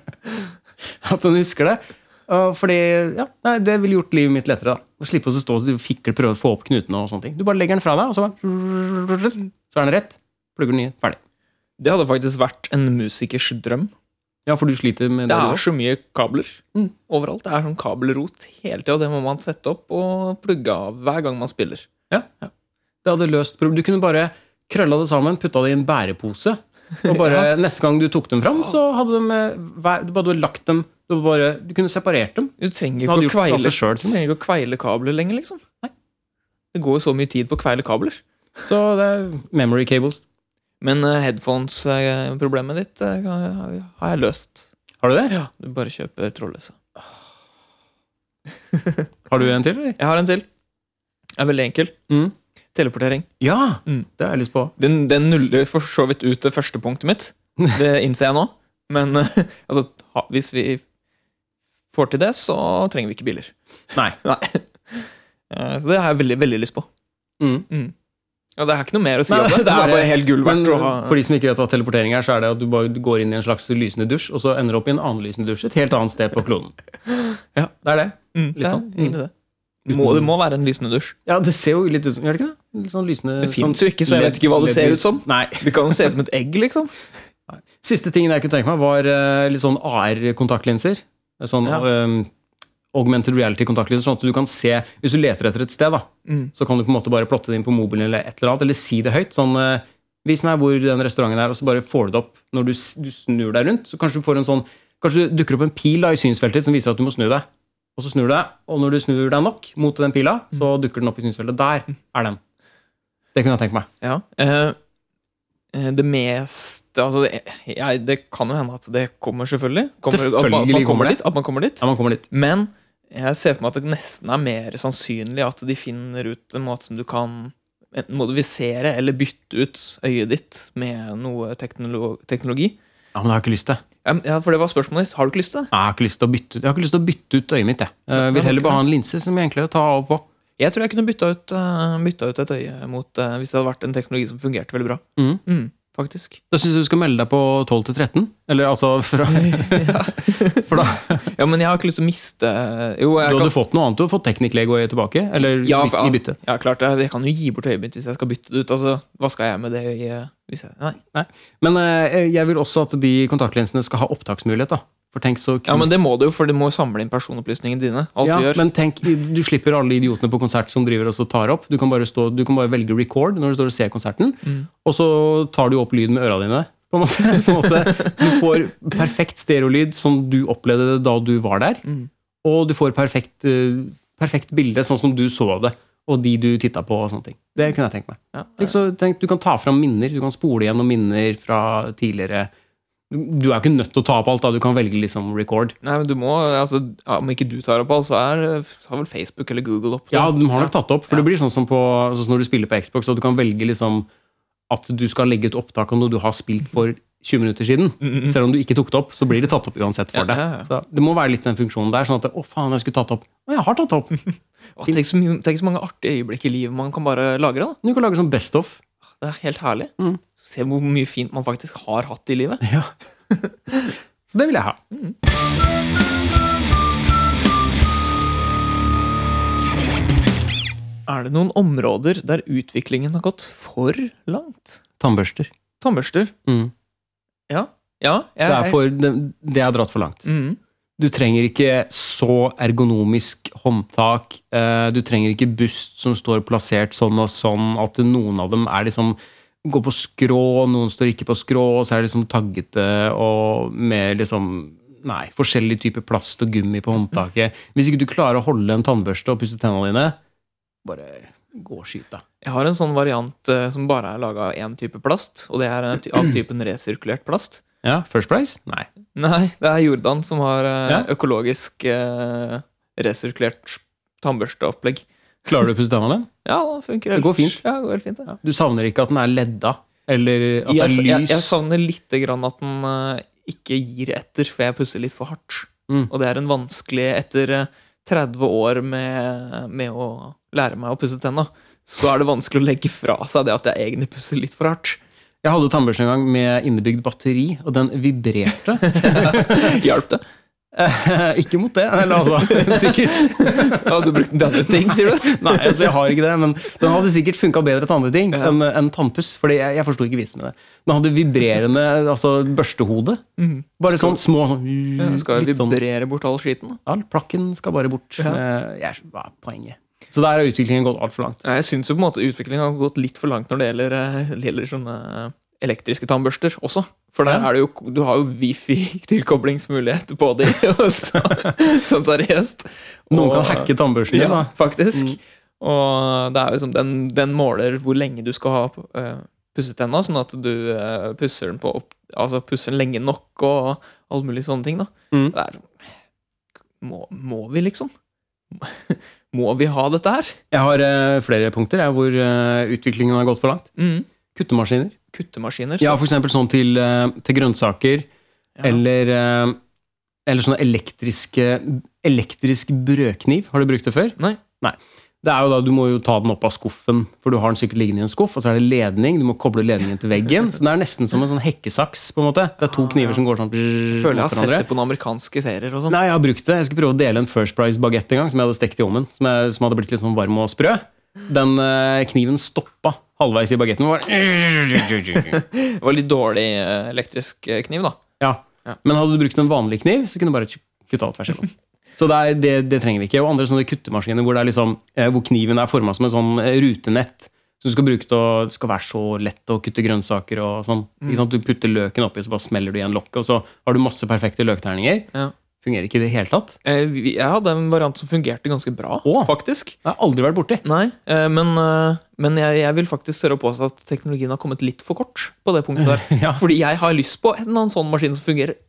S1: at den husker det. Uh, Fordi, ja, nei, Det ville gjort livet mitt lettere. da. Å slippe å stå og fikle prøve å få opp knutene. og sånne ting. Du bare legger den fra deg, og så bare, Så er den rett. Plugger den i. Ferdig.
S2: Det hadde faktisk vært en musikers drøm.
S1: Ja, for du sliter med
S2: Det
S1: det,
S2: er
S1: du også?
S2: så mye kabler
S1: Mm.
S2: overalt. Det er sånn kabelrot hele tida. Det må man sette opp og plugge av hver gang man spiller.
S1: Det hadde løst problem. Du kunne bare krølla det sammen, putta det i en bærepose. Og bare Neste gang du tok dem fram, så hadde de eh, hver- Du bare hadde lagt dem Du, bare, du kunne separert dem.
S2: Du
S1: Du
S2: trenger ikke,
S1: hadde
S2: å
S1: gjort det av
S2: kveile,
S1: seg selv,
S2: du
S1: tror jeg.
S2: trenger ikke å kveile kabler lenger, liksom. Nei. Det går jo så mye tid på å kveile kabler.
S1: Så det er memory cables.
S2: Men uh, headphones-problemet ditt eh, har jeg løst.
S1: Har du det?
S2: Ja, Du bare kjøper trådløse.
S1: Har du en til? eller?
S2: Jeg har en til. Den er veldig enkel.
S1: Mm.
S2: Teleportering.
S1: Ja!
S2: Mm.
S1: Det har jeg lyst på.
S2: Den, den nuller for så vidt ut det første punktet mitt. Det innser jeg nå. Men eh, altså, ha, hvis vi får til det, så trenger vi ikke biler.
S1: Nei.
S2: Eh, så det har jeg veldig, veldig lyst på.
S1: Mm.
S2: Ja, det er ikke noe mer å si
S1: Nei,
S2: om det. Det er bare eh, helt gull
S1: Men
S2: verdt å ha.
S1: for de som ikke vet hva teleportering er, så er det at du bare går inn i en slags lysende dusj, og så ender du opp i en annen lysende dusj et helt annet sted på kloden.
S2: Ja.
S1: Det er det.
S2: Mm,
S1: litt
S2: det er
S1: sånn.
S2: egentlig det. Det Må, det må være en lysende dusj.
S1: Ja, det ser jo litt ut som Gjør det ikke det? Litt sånn lysende
S2: Det finnes jo ikke, så jeg vet ikke hva det ser ut som.
S1: Nei.
S2: Det kan jo se ut som et egg, liksom.
S1: Siste tingen jeg kunne tenke meg, var eh, litt sånn AR-kontaktlinser. Sånn
S2: Ja.
S1: eh, augmented reality-kontaktlinser, sånn at du kan se Hvis du leter etter et sted, da,
S2: Mm.
S1: så kan du på en måte bare plotte det inn på mobilen eller et eller annet, eller si det høyt. Sånn eh, Vis meg hvor den restauranten er, og så bare får du det opp når du, s- du snur deg rundt. Så kanskje du får en sånn Kanskje det dukker opp en pil da i synsfeltet som viser at du må snu deg. Og så snur du deg, og når du snur deg nok mot den pila, så
S2: Mm.
S1: dukker den opp i synsfeltet. Der er den. Det kunne jeg tenke meg.
S2: Ja. eh, eh, det meste Altså, det, jeg, det kan jo hende at det kommer, selvfølgelig. Kommer, at, man,
S1: Selvfølgelig
S2: man
S1: kommer
S2: kommer
S1: det.
S2: dit, at man kommer dit.
S1: Ja, man kommer dit.
S2: Men jeg ser for meg at det nesten er mer sannsynlig at de finner ut en måte som du kan enten modifisere eller bytte ut øyet ditt med noe teknolo teknologi.
S1: Ja, Men jeg har ikke lyst til det.
S2: Ja, men- ja, for det var spørsmålet ditt. Har du ikke lyst til det?
S1: Jeg har ikke lyst til å bytte ut, jeg har ikke lyst til å bytte ut øyet mitt. Jeg, jeg vil heller bare ha en linse som er enklere å ta av og på.
S2: Jeg tror jeg kunne bytta ut, eh, bytta ut et øye mot eh, hvis det hadde vært en teknologi som fungerte veldig bra.
S1: Mhm.
S2: Mm, faktisk.
S1: Da syns jeg du skal melde deg på 12 til 13. Eller altså fra
S2: ja.
S1: For da
S2: ja, men jeg har ikke lyst til å miste eh, Jo,
S1: Du
S2: jeg
S1: hadde
S2: kan,
S1: fått noe annet. Du hadde fått teknikklegøyet tilbake. Eller
S2: Ja,
S1: byt-
S2: for-
S1: i bytte.
S2: ja, klart, jeg, jeg kan jo gi bort øyet mitt hvis jeg skal bytte det ut. Altså, Hva skal jeg med det øyet? Hvis jeg, nei.
S1: Men eh, jeg vil også at de kontaktlinsene skal ha opptaksmulighet. da. For tenk så kult.
S2: Ja, men det må du jo, for du må jo samle inn personopplysningene dine. Alt
S1: Ja,
S2: du gjør.
S1: men tenk, du slipper alle idiotene på konsert som driver og så tar opp. Du kan bare, stå, du kan bare velge record når du står og ser konserten,
S2: Mm.
S1: og så tar du opp lyd med øra dine. På en måte. Sånn at du får perfekt stereolyd som du opplevde det da du var der,
S2: Mm.
S1: og du får perfekt, eh, perfekt bilde sånn som du så det, og de du titta på og sånne ting. Det kunne jeg tenkt meg.
S2: Ja,
S1: Tenk, så, tenk, du kan ta fram minner, du kan spole gjennom minner fra tidligere Du du er ikke nødt til å ta opp alt, da. Du kan velge liksom record.
S2: Nei, men du må, altså, ja, Om ikke du tar opp alt, så er, har vel Facebook eller Google opp det.
S1: Ja, de har nok tatt det opp. For det blir sånn som på, sånn som når du spiller på Xbox, og du kan velge liksom at du skal legge et opptak av noe du har spilt for 20 minutter siden. Selv om du ikke tok det opp, så blir det tatt opp uansett for
S2: Ja,
S1: deg.
S2: ja, ja.
S1: Så det må være litt den funksjonen der. Sånn at 'Å, faen, jeg skulle tatt det opp'. Å, jeg har tatt det opp.
S2: Å, tenk, så mye, tenk så mange artige øyeblikk i livet man kan bare lagre. da.
S1: Du kan lage sånn best of.
S2: Det er helt herlig.
S1: Mhm.
S2: Se hvor mye fint man faktisk har hatt i livet.
S1: Ja. Så det vil jeg ha.
S2: Er det noen områder der utviklingen har gått for langt?
S1: Tannbørster.
S2: Tannbørster.
S1: Mm.
S2: Ja. ja jeg,
S1: Det er, for, det, det er dratt for langt.
S2: Mhm.
S1: Du trenger ikke så ergonomisk håndtak. eh, Du trenger ikke bust som står plassert sånn og sånn, at noen av dem er liksom går på skrå, noen står ikke på skrå, og så er det liksom taggete og med liksom Nei, forskjellig type plast og gummi på håndtaket. Hvis ikke du klarer å holde en tannbørste og pusse tennene dine, bare gå og skyt deg.
S2: jeg har en sånn variant eh, som bare er laga av én type plast, og det er en ty- av typen resirkulert plast.
S1: Ja, First Price? Nei.
S2: Nei, det er Jordan som har eh,
S1: Ja.
S2: økologisk eh, resirkulert tannbørsteopplegg.
S1: Klarer du å pusse tennene dine?
S2: Ja, det funker helt
S1: går fint.
S2: Ja, det går helt fint ja.
S1: Du savner ikke at den er ledda, eller at
S2: jeg,
S1: det er
S2: jeg,
S1: lys?
S2: jeg savner lite grann at den eh, ikke gir etter, for jeg pusser litt for hardt.
S1: Mm.
S2: Og det er en vanskelig Etter eh, 30 år med, med å lære meg å pusse tenna, så er det vanskelig å legge fra seg det at jeg egentlig pusser litt for hardt.
S1: Jeg hadde tannbørste en gang med innebygd batteri, og den vibrerte.
S2: Hjalp det?
S1: ikke mot det, eller altså Sikkert.
S2: Ja, du brukte den til andre ting, sier du?
S1: Nei, altså, jeg har ikke det, men den hadde sikkert funka bedre til andre ting enn enn tannpuss. Fordi jeg, jeg forsto ikke vitsen med det. Den hadde vibrerende altså, børstehode. Bare sånn små sånn,
S2: Ja, skal
S1: litt
S2: jeg
S1: sånn
S2: vibrere bort all skiten? da?
S1: ja, Plakken skal bare bort.
S2: Ja.
S1: Eh, Jeg, er- hva er poenget? Så der har utviklingen gått altfor langt.
S2: Nei, Jeg syns jo på en måte utviklingen har gått litt for langt når det gjelder, eh, gjelder sånne eh, elektriske tannbørster også. For der er det jo, du har jo wifi-tilkoblingsmulighet på de, og så, sånn seriøst.
S1: Noen
S2: Og-
S1: kan hacke tannbørsten din.
S2: Ja,
S1: da.
S2: faktisk.
S1: mm.
S2: Og det er jo liksom, den, den måler hvor lenge du skal ha uh, pusset tenna, sånn at du eh, pusser den på opp, altså pusser den lenge nok og alle mulige sånne ting. da.
S1: Mm.
S2: Det er, må, må vi liksom? må vi ha dette her?
S1: Jeg har eh, flere punkter jeg, hvor eh, utviklingen har gått for langt. Kuttemaskiner.
S2: Mm. Kuttemaskiner.
S1: Ja, for eksempel sånn til, eh, til grønnsaker,
S2: Ja.
S1: eller, eh, eller sånne elektriske Elektrisk brødkniv, har du brukt det før?
S2: Nei.
S1: Det er jo da, Du må jo ta den opp av skuffen, for du har den sikkert liggende i en skuff. Og så er det ledning, du må koble ledningen til veggen. Så det er nesten som en sånn hekkesaks. på en måte. Det er to kniver som går sånn brrr,
S2: Føler jeg
S1: mot
S2: har sett
S1: hverandre.
S2: det på noen amerikanske serier og sånn.
S1: Nei, jeg har brukt det. Jeg skulle prøve å dele en First Price-bagett en gang, som jeg hadde stekt i ovnen. Som, jeg, som hadde blitt litt sånn varm og sprø. Den eh, kniven stoppa halvveis i bagetten. og Var...
S2: Det var litt dårlig eh, elektrisk eh, kniv, da.
S1: Ja.
S2: Ja.
S1: Men hadde du brukt en vanlig kniv, så kunne du bare kutta alt tvers igjennom. Så det, er, det, det trenger vi ikke. Og andre sånne kuttemaskiner hvor, det er liksom, eh, hvor kniven er forma som en sånn eh, rutenett. Så du skal bruke til å, det skal være så lett å kutte grønnsaker og sånn.
S2: Mm.
S1: Ikke sant? Du putter løken oppi, så bare smeller du igjen lokket, og så har du masse perfekte løkterninger.
S2: Ja.
S1: Fungerer ikke i det hele tatt.
S2: Eh, vi- Jeg hadde en variant som fungerte ganske bra,
S1: Å.
S2: faktisk.
S1: Det har jeg aldri vært borti.
S2: Nei, eh, men, eh, men jeg, jeg vil faktisk tørre å påstå at teknologien har kommet litt for kort på det punktet der.
S1: Ja.
S2: Fordi jeg har lyst på en eller annen sånn maskin som fungerer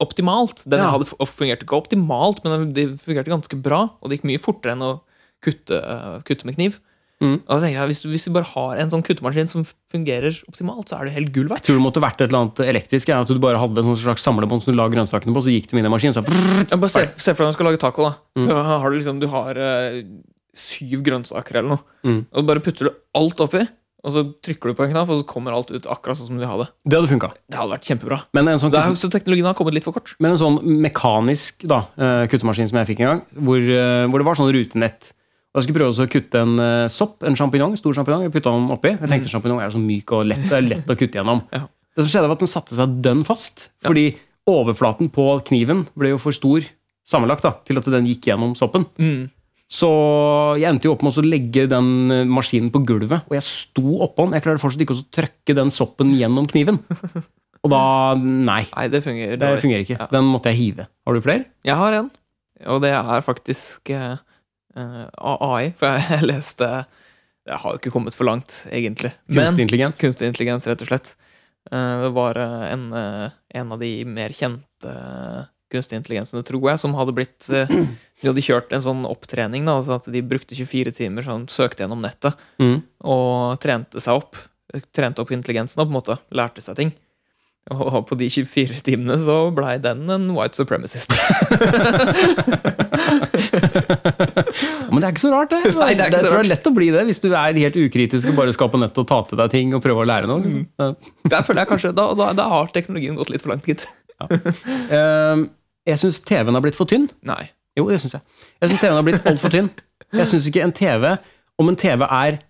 S2: optimalt. Den
S1: Ja.
S2: jeg hadde f- fungerte ikke optimalt, men den- det fungerte ganske bra, og det gikk mye fortere enn å kutte, eh, kutte med kniv.
S1: Mm.
S2: Og da tenker jeg, hvis du, hvis du bare har en sånn kuttemaskin som fungerer optimalt, så er det helt gull verdt.
S1: tror det måtte vært et eller annet elektrisk. Ja, at du bare hadde en sånn slags samlebånd som du la grønnsakene på, så gikk det med i maskinen. Så brrrt.
S2: Ja, bare se, se for deg når du skal lage taco.
S1: Mm.
S2: da Så har Du liksom, du har eh, syv grønnsaker eller noe.
S1: Mm.
S2: Og bare putter du alt oppi, og så trykker du på en knapp, og så kommer alt ut akkurat sånn som du vil ha det.
S1: det hadde funka.
S2: Det hadde vært kjempebra.
S1: Men en sånn,
S2: Det er, jo- så teknologien har kommet litt for kort.
S1: men en sånn mekanisk da, eh, kuttemaskin som jeg fikk en gang, hvor, eh, hvor det var sånn rutenett. Og jeg skulle prøve også å kutte en eh, sopp, en sjampinjong, stor sjampinjong. Jeg putta den oppi. Jeg tenkte champignon er så myk og lett, det er lett å kutte gjennom.
S2: Ja.
S1: Det som skjedde, var at den satte seg dønn fast. Fordi overflaten på kniven ble jo for stor sammenlagt da, til at den gikk gjennom soppen. Så jeg endte jo opp med å legge den eh, maskinen på gulvet, og jeg sto oppå den. Jeg klarte fortsatt ikke å trykke den soppen gjennom kniven. Og da Nei,
S2: Nei, det fungerer.
S1: det
S2: dårlig.
S1: fungerer ikke.
S2: Ja.
S1: Den måtte jeg hive. Har du flere?
S2: Jeg har en, og det er faktisk eh, eh, AI. For jeg, jeg leste Det har jo ikke kommet for langt, egentlig. Men-
S1: Kunstig intelligens?
S2: Kunstig intelligens, rett og slett. Eh, Det var eh, en, eh, en av de mer kjente eh, kunstig intelligensene, tror jeg, som hadde blitt eh, De hadde kjørt en sånn opptrening, da, altså at de brukte 24 timer, sånn, søkte gjennom nettet
S1: Mm.
S2: og trente seg opp. eh, Trente opp intelligensen og på en måte lærte seg ting. Og på de 24 timene så blei den en white supremacist.
S1: Ja, Men det er ikke så rart, det.
S2: Nei, det er ikke
S1: jeg
S2: så
S1: tror det
S2: rart.
S1: er lett å bli det hvis du er helt ukritisk og bare skal på nettet og ta til deg ting og prøve å lære noe. Liksom.
S2: Mm.
S1: Ja.
S2: Der føler jeg kanskje, da, da, da har teknologien gått litt for langt, gitt.
S1: Eh, jeg syns TV-en har blitt for tynn.
S2: Nei.
S1: Jo, det syns jeg. Jeg syns TV-en har blitt altfor tynn. Jeg syns ikke en TV Om en TV er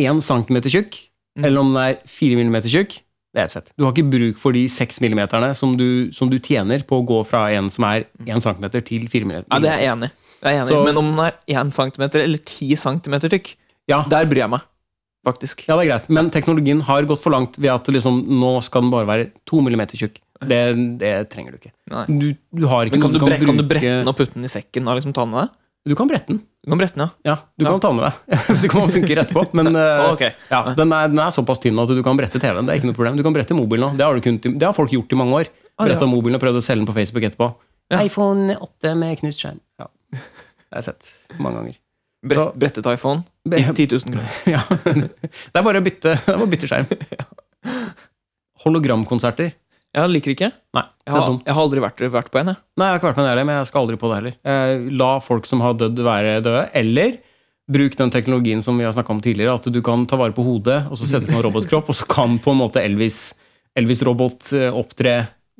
S1: 1 cm tjukk,
S2: Mm.
S1: eller om den er 4 mm tjukk, det er helt fett. Du har ikke bruk for de 6 mm som du, som du tjener på å gå fra en som er 1 cm til 4 mm.
S2: Ja, det er jeg enig i. Det er jeg enig. i.
S1: Så-
S2: Men om den er 1 cm eller 10 cm tykk,
S1: Ja.
S2: der bryr jeg meg. Faktisk.
S1: Ja, det er greit. Men teknologien har gått for langt ved at liksom, nå skal den bare være 2 mm tjukk. Det, det trenger du ikke.
S2: Nei.
S1: Du, du har ikke
S2: Men kan du,
S1: noe-
S2: bre kan du brette
S1: bruke-
S2: den og putte den i sekken og liksom ta den med deg?
S1: Du kan brette den.
S2: Du kan brette den, ja.
S1: Ja, du
S2: Ja.
S1: kan ta den med deg. Det kan funke etterpå, men eh,
S2: Å, ok.
S1: ja, den, er, den er såpass tynn at du kan brette TV-en. Det er ikke noe problem. Du kan brette mobilen òg. Det, har du kunnet i- det har folk gjort i mange år.
S2: Ah, ja.
S1: Bretta mobilen og prøvd å selge den på Facebook etterpå.
S2: Ja.
S1: iPhone 8 med knust skjerm. Ja. Det har jeg sett mange ganger.
S2: Brett, brettet iPhone.
S1: Be-
S2: 10 000 kroner.
S1: Ja. Det er bare å bytte, det er bare å bytte skjerm. Hologramkonserter.
S2: Jeg liker ikke.
S1: Nei,
S2: Jeg
S1: det er
S2: har,
S1: dumt.
S2: jeg har aldri vært, vært på en, jeg.
S1: Nei, jeg har ikke vært med der, men jeg skal aldri på det heller. Eh, la folk som har dødd, være døde. Eller bruk den teknologien som vi har snakka om tidligere, at du kan ta vare på hodet, og så setter du på en robotkropp, og så kan på en måte Elvis, Elvis-robot eh, opptre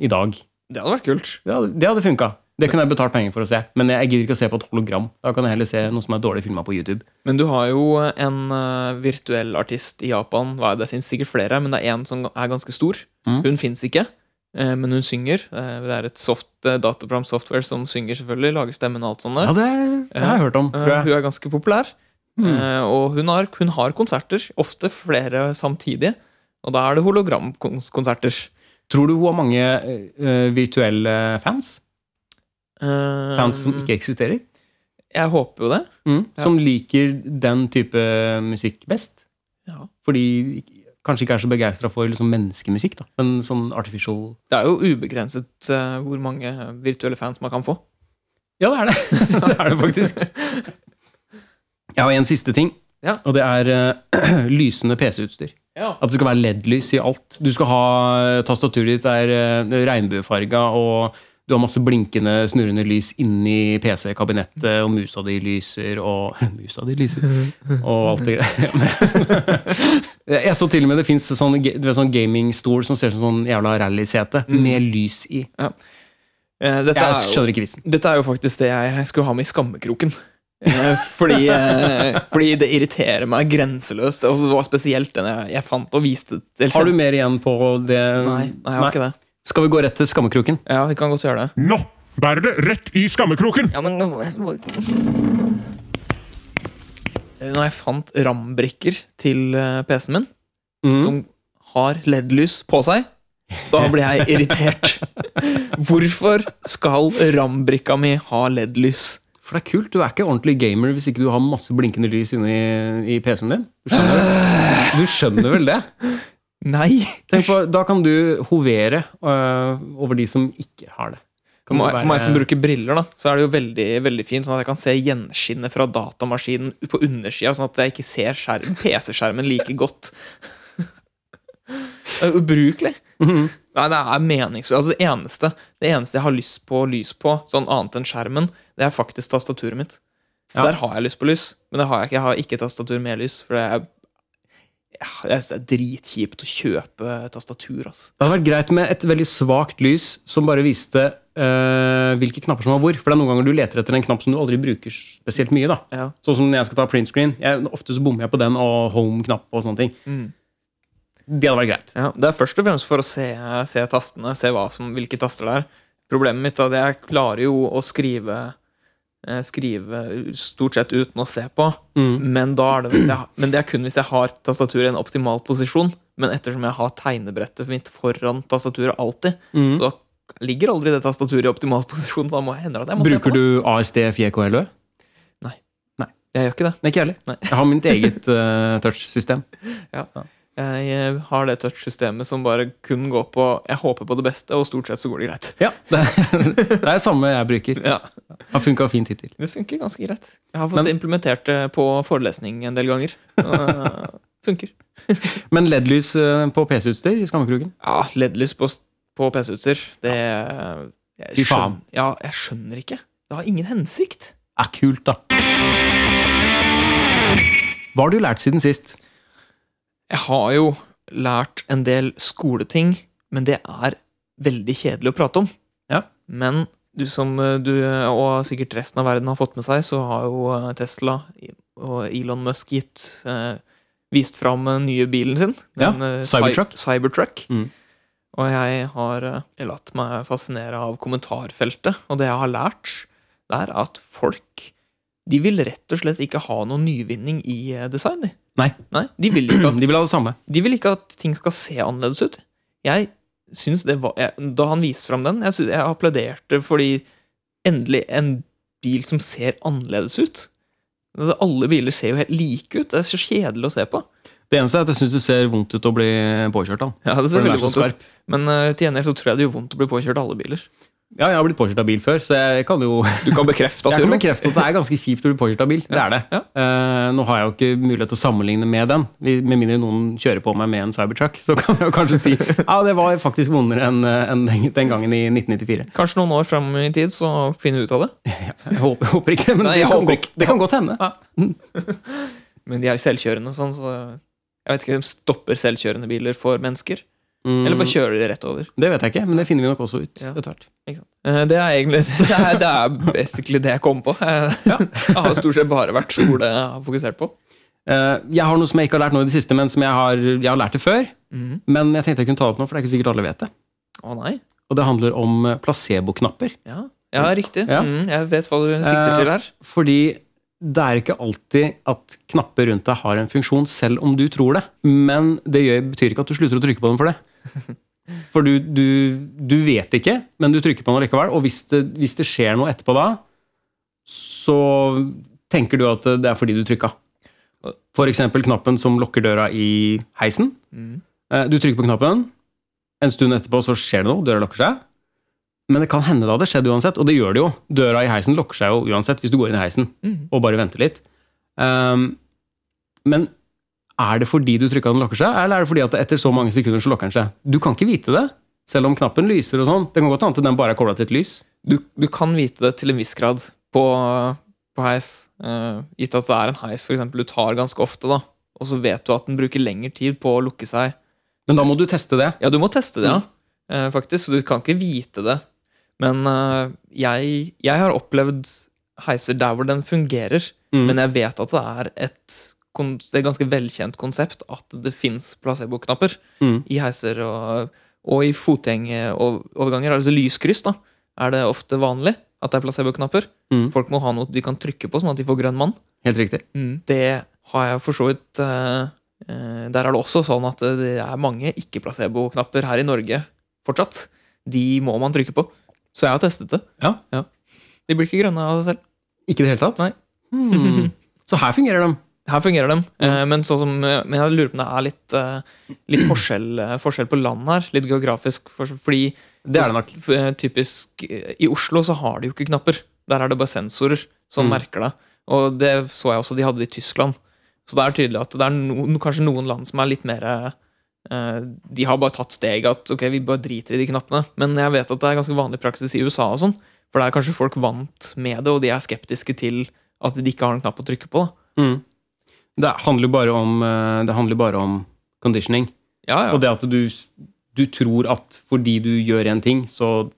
S1: i dag.
S2: Det hadde vært kult.
S1: Det hadde, det hadde funka. Det kunne jeg betalt penger for å se, men jeg gidder ikke å se på et hologram. Da kan jeg heller se noe som er dårlig filma på YouTube.
S2: Men du har jo en eh, virtuell artist i Japan. Hva er det? det finnes sikkert flere, men det er en som er ganske stor.
S1: Mhm.
S2: Hun fins ikke, eh, men hun synger. Eh, Det er et soft, eh, dataprogram software som synger, selvfølgelig. Lager stemmen og alt sånt. der.
S1: Ja, det, det har jeg hørt om,
S2: Eh,
S1: tror jeg.
S2: Hun er ganske populær.
S1: Mm.
S2: Eh, Og hun har, hun har konserter, ofte flere samtidig. Og da er det hologramkonserter.
S1: Tror du hun har mange eh, virtuelle fans?
S2: Eh,
S1: Fans som ikke eksisterer?
S2: Jeg håper jo det.
S1: Mm, Som liker den type musikk best?
S2: Ja.
S1: Fordi de kanskje ikke er så begeistra for liksom menneskemusikk, da. men sånn artificial
S2: Det er jo ubegrenset eh, hvor mange virtuelle fans man kan få.
S1: Ja, det er det! det er det faktisk. Jeg har en siste ting,
S2: Ja.
S1: og det er eh, lysende PC-utstyr.
S2: Ja.
S1: At det skal være LED-lys i alt. Du skal ha Tastaturet ditt er eh, regnbuefarga, og du har masse blinkende, snurrende lys inni PC-kabinettet, og musa di lyser, og Musa di lyser, og alt det greia. Jeg så til og med det fins sånn, ga- du vet, sånn gamingstol som ser ut som sånn jævla rallysete, med lys i.
S2: Eh, Dette
S1: Jeg
S2: Mm. er jo
S1: skjønner ikke vitsen.
S2: Dette er jo faktisk det jeg skulle ha med i skammekroken. Eh, Fordi, eh, fordi det irriterer meg grenseløst. Og det var spesielt den jeg, jeg fant og viste. Eller,
S1: Har du mer igjen på det?
S2: Nei, nei, jeg har ikke det.
S1: Skal vi gå rett til skammekroken?
S2: Ja, vi kan godt gjøre det.
S4: Nå bærer det rett i skammekroken!
S5: Ja, men nå-
S2: Eh, Når jeg fant RAM-brikker til eh, PC-en min, som har LED-lys på seg, da blir jeg irritert. Hvorfor skal RAM-brikka mi ha LED-lys?
S1: For det er kult, du er ikke ordentlig gamer hvis ikke du har masse blinkende lys inni i PC-en din. Du skjønner,
S2: Øh.
S1: du skjønner vel det?
S2: Nei!
S1: Tenk på, Da kan du hovere øh, over de som ikke har det.
S2: For
S1: Kan
S2: meg,
S1: det være-
S2: for meg som bruker briller, da, så er det jo veldig, veldig fint, sånn at jeg kan se gjenskinnet fra datamaskinen på undersida, sånn at jeg ikke ser skjerm- PC-skjermen like godt. Det er jo ubrukelig.
S1: Mhm.
S2: Nei, det er meningsløst. Altså, det, eneste, det eneste jeg har lyst på lys på, sånn annet enn skjermen, det er faktisk tastaturet mitt.
S1: Ja.
S2: Der har jeg lyst på lys, men det har jeg ikke. Jeg har ikke tastatur med lys, for det er, jeg synes det er dritkjipt å kjøpe tastatur, altså.
S1: Det hadde vært greit med et veldig svakt lys som bare viste øh, hvilke knapper som var hvor. For det er noen ganger du leter etter en knapp som du aldri bruker spesielt mye. da.
S2: Ja.
S1: Sånn som når jeg skal ta print screen. Jeg, ofte så bommer jeg på den og home-knapp og sånne ting.
S2: Mm.
S1: Det hadde vært greit.
S2: Ja, det er først og fremst for å se, se tastene, se hva som, hvilke taster det er. Problemet mitt er at jeg klarer jo å skrive eh, Skrive stort sett uten å se på,
S1: Mm.
S2: men, da er det hvis jeg, men det er kun hvis jeg har tastaturet i en optimal posisjon. Men ettersom jeg har tegnebrettet mitt foran tastaturet alltid,
S1: Mm.
S2: så ligger aldri det tastaturet i optimal posisjon. Så da må jeg hende at jeg må
S1: Bruker
S2: se på det.
S1: du ASD, FJK eller Ø?
S2: Jeg gjør ikke det.
S1: Nei, ikke jeg heller.
S2: Nei.
S1: Jeg har mitt eget øh, touch-system.
S2: Jeg eh, har det touch-systemet som bare kun går på Jeg håper på det beste, og stort sett så går det greit.
S1: Ja, det, det er det samme jeg bruker.
S2: Ja.
S1: Har funka fint hittil.
S2: Det funker ganske greit. Jeg har fått
S1: Men-
S2: det implementert det på forelesning en del ganger. Og, eh, funker.
S1: Men LED-lys øh, på PC-utstyr i skammekroken?
S2: Ja, LED-lys på, s- på PC-utstyr, det jeg
S1: Fy faen.
S2: skjønner- Ja, jeg skjønner ikke. Det har ingen hensikt.
S1: er kult, da. Hva har du lært siden sist?
S2: Jeg har jo lært en del skoleting, men det er veldig kjedelig å prate om.
S1: Ja.
S2: Men du som eh, du, eh, og sikkert resten av verden har fått med seg, så har jo eh, Tesla i- og Elon Musk gitt eh, Vist fram den nye bilen sin.
S1: Ja,
S2: den, eh,
S1: Cybertruck.
S2: Cy- Cybertruck.
S1: Mm.
S2: Og jeg har eh, latt meg fascinere av kommentarfeltet, og det jeg har lært, det er at folk de vil rett og slett ikke ha noen nyvinning i eh, design. de.
S1: Nei.
S2: Nei, de vil ikke at
S1: De vil ha det samme.
S2: de vil ikke at ting skal se annerledes ut. Jeg synes det var jeg, Da han viste fram den, jeg, synes, jeg applauderte fordi endelig en bil som ser annerledes ut. Altså, alle biler ser jo helt like ut. Det er så kjedelig å se på.
S1: Det eneste er at jeg syns det ser vondt ut å bli påkjørt av.
S2: Ja, det
S1: For den
S2: ser
S1: er
S2: veldig
S1: så
S2: vondt ut.
S1: skarp.
S2: Men eh, til gjengjeld så tror jeg det gjør vondt å bli påkjørt av alle biler.
S1: Ja, jeg har blitt påkjørt av bil før, så jeg kan jo
S2: Du kan bekrefte at
S1: jeg
S2: du
S1: kan bekrefte at det er ganske kjipt å bli påkjørt av bil. Det er det.
S2: Ja.
S1: Eh, nå har jeg jo ikke mulighet til å sammenligne med den. Vi- Med mindre noen kjører på meg med en cybertruck, så kan jeg jo kanskje si ja, det var faktisk vondere enn eh, enn den- den gangen i 1994.
S2: Kanskje noen år fram i tid, så finner vi ut av det.
S1: Jeg håper, håper ikke det, men
S2: Nei,
S1: det,
S2: jeg
S1: kan
S2: håper
S1: godt,
S2: ikke.
S1: det kan godt hende.
S2: Men de er jo selvkjørende, og sånn, så jeg vet ikke om de stopper selvkjørende biler for mennesker. Eller bare kjører de rett over.
S1: Mm, Det vet jeg ikke, men det finner vi nok også ut
S2: Ja.
S1: etter hvert.
S2: Ikke sant? Eh, Det er egentlig det er, det er basically det jeg kom på. Eh, Jeg har stort sett bare vært skole jeg har fokusert på.
S1: Eh, jeg har noe som jeg ikke har lært nå i det siste, men som jeg har, jeg har lært det før. Men jeg tenkte jeg kunne ta det opp nå, for det er ikke sikkert alle vet det.
S2: Å nei.
S1: Og det handler om eh, placeboknapper.
S2: Ja, ja riktig.
S1: Ja.
S2: Mm, jeg vet hva du sikter til her.
S1: Fordi det er ikke alltid at knapper rundt deg har en funksjon, selv om du tror det. Men det gjør, betyr ikke at du slutter å trykke på dem for det. For du, du, du vet ikke, men du trykker på den likevel. Og hvis det, hvis det skjer noe etterpå da, så tenker du at det er fordi du trykka. For eksempel knappen som lukker døra i heisen.
S2: Mm.
S1: Eh, Du trykker på knappen, en stund etterpå så skjer det noe, døra lukker seg. Men det kan hende det hadde skjedd uansett, og det gjør det jo. Døra i heisen lukker seg jo uansett hvis du går inn i heisen
S2: Mhm.
S1: og bare venter litt. Ehm, men er det fordi du trykka den lukker seg, eller er det fordi at etter så mange sekunder så lukker den seg? Du kan ikke vite det, selv om knappen lyser og sånn. Det kan godt hende at den bare er kobla til et lys.
S2: Du, du kan vite det til en viss grad på, på heis. Eh, gitt at det er en heis for eksempel, du tar ganske ofte, da. og så vet du at den bruker lengre tid på å lukke seg.
S1: Men da må du teste det.
S2: Ja, du må teste det, ja.
S1: Mm.
S2: Eh, faktisk. Så du kan ikke vite det. Men eh, jeg, jeg har opplevd heiser der hvor den fungerer.
S1: Mm.
S2: Men jeg vet at det er et, kon- det er et ganske velkjent konsept at det fins placebo-knapper
S1: Mm.
S2: i heiser og, og i fotgjengeroverganger. Altså lyskryss, da. Er det ofte vanlig at det er placebo-knapper?
S1: Mm.
S2: Folk må ha noe de kan trykke på, sånn at de får grønn mann.
S1: Helt riktig.
S2: Det har jeg for så vidt eh, eh, Der er det også sånn at det er mange ikke-placebo-knapper her i Norge fortsatt. De må man trykke på. Så jeg har testet det.
S1: Ja.
S2: De blir ikke grønne av seg selv.
S1: Ikke i det hele tatt?
S2: Nei.
S1: Hmm. Så her fungerer de.
S2: Her fungerer de.
S1: Mm.
S2: eh, Men, sånn som, eh, men jeg lurer på om det er litt, eh, litt forskjell, eh, forskjell på land her. Litt geografisk. for- Fordi
S1: Det er det nok.
S2: f- eh, typisk eh, I Oslo så har de jo ikke knapper. Der er det bare sensorer som
S1: Mm.
S2: merker deg. Og det så jeg også de hadde i Tyskland. Så det er tydelig at det er no, kanskje noen land som er litt mer eh, De har bare tatt steget at ok, vi bare driter i de knappene. Men jeg vet at det er ganske vanlig praksis i USA og sånn. For der er kanskje folk vant med det, og de er skeptiske til at de ikke har en knapp å trykke på. da.
S1: Mm. Det handler jo bare om, eh, det handler bare om conditioning.
S2: Ja, ja.
S1: Og det at du, du tror at fordi du gjør en ting, så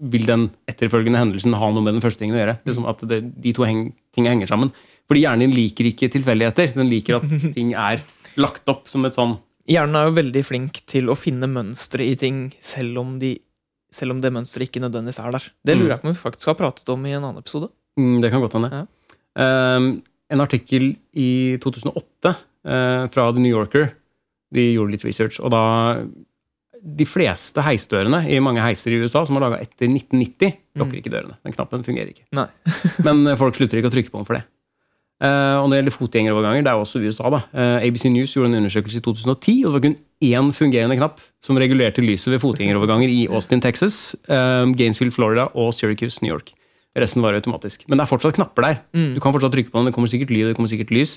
S1: vil den etterfølgende hendelsen ha noe med den første tingen å gjøre. Liksom at det, de to heng, tingene henger sammen. Fordi hjernen din liker ikke tilfeldigheter. Den liker at ting er lagt opp som et sånn
S2: Hjernen er jo veldig flink til å finne mønstre i ting, selv om, de, selv om det mønsteret ikke nødvendigvis er der. Det lurer jeg på om vi faktisk har pratet om i en annen episode.
S1: Mm, Det kan godt hende. Ehm, en artikkel i 2008 eh, fra The New Yorker De gjorde litt research, og da De fleste heisdørene i mange heiser i USA som er laga etter 1990, lukker ikke dørene. Den knappen fungerer ikke.
S2: Nei.
S1: Men eh, folk slutter ikke å trykke på den for det. Eh, og når det gjelder fotgjengeroverganger, det er jo også i USA, da. Eh, ABC News gjorde en undersøkelse i 2010, og det var kun én fungerende knapp som regulerte lyset ved fotgjengeroverganger i Austin, Texas, eh, Gainesville, Florida og Syracuse, New York. Resten var automatisk. Men det er fortsatt knapper der. Du kan fortsatt trykke på den, det kommer sikkert lyd, det kommer sikkert lys,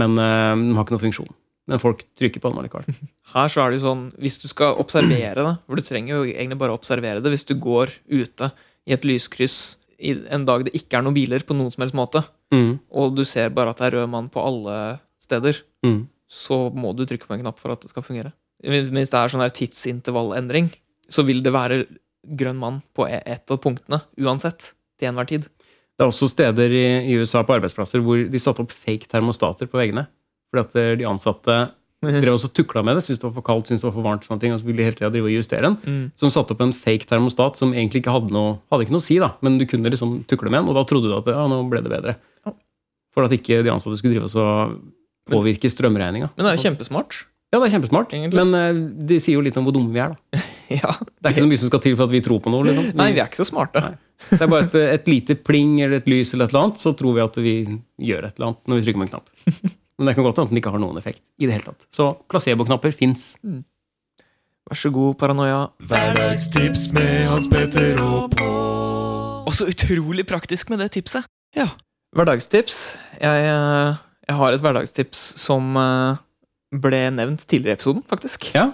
S1: men eh, den har ikke noen funksjon. Men folk trykker på den allikevel.
S2: Her så er det jo sånn, hvis du skal observere det, for du trenger jo egentlig bare å observere det, hvis du går ute i et lyskryss i en dag det ikke er noen biler på noen som helst måte,
S1: Mm,
S2: og du ser bare at det er rød mann på alle steder,
S1: mm.
S2: så må du trykke på en knapp for at det skal fungere. Hvis hvis det er sånn her tidsintervallendring, så vil det være grønn mann på e- ett av punktene uansett. Til enhver tid.
S1: Det er også steder i, i USA på arbeidsplasser hvor de satte opp fake termostater på veggene. Fordi at eh, de ansatte drev også tukla med det, syntes det var for kaldt, syntes det var for varmt, sånne ting, og så ville de hele tida drive og justere den.
S2: Mm.
S1: Så de satte opp en fake termostat som egentlig ikke hadde noe, hadde ikke noe å si, da, men du kunne liksom tukle med den, og da trodde du at ja, nå ble det bedre.
S2: Ja.
S1: For at ikke de ansatte skulle drive og så påvirke strømregninga.
S2: Men det er jo kjempesmart.
S1: Ja, det er kjempesmart,
S2: Egentlig.
S1: men eh, det sier jo litt om hvor dumme vi er, da.
S2: Ja.
S1: Det er ikke så mye som skal til for at vi tror på noe, liksom.
S2: Nei, vi er ikke så smarte.
S1: Det er bare et, et lite pling eller et lys eller et eller annet, så tror vi at vi gjør et eller annet når vi trykker på en knapp. Men det kan godt hende at den ikke har noen effekt i det hele tatt. Så placeboknapper fins.
S2: Vær så god, paranoia.
S5: Hverdagstips med Hans Petter og Pål.
S6: Og så utrolig praktisk med det tipset.
S2: Hverdagstips. Jeg, eh, jeg har et hverdagstips som eh, ble nevnt tidligere i episoden, faktisk.
S1: Ja.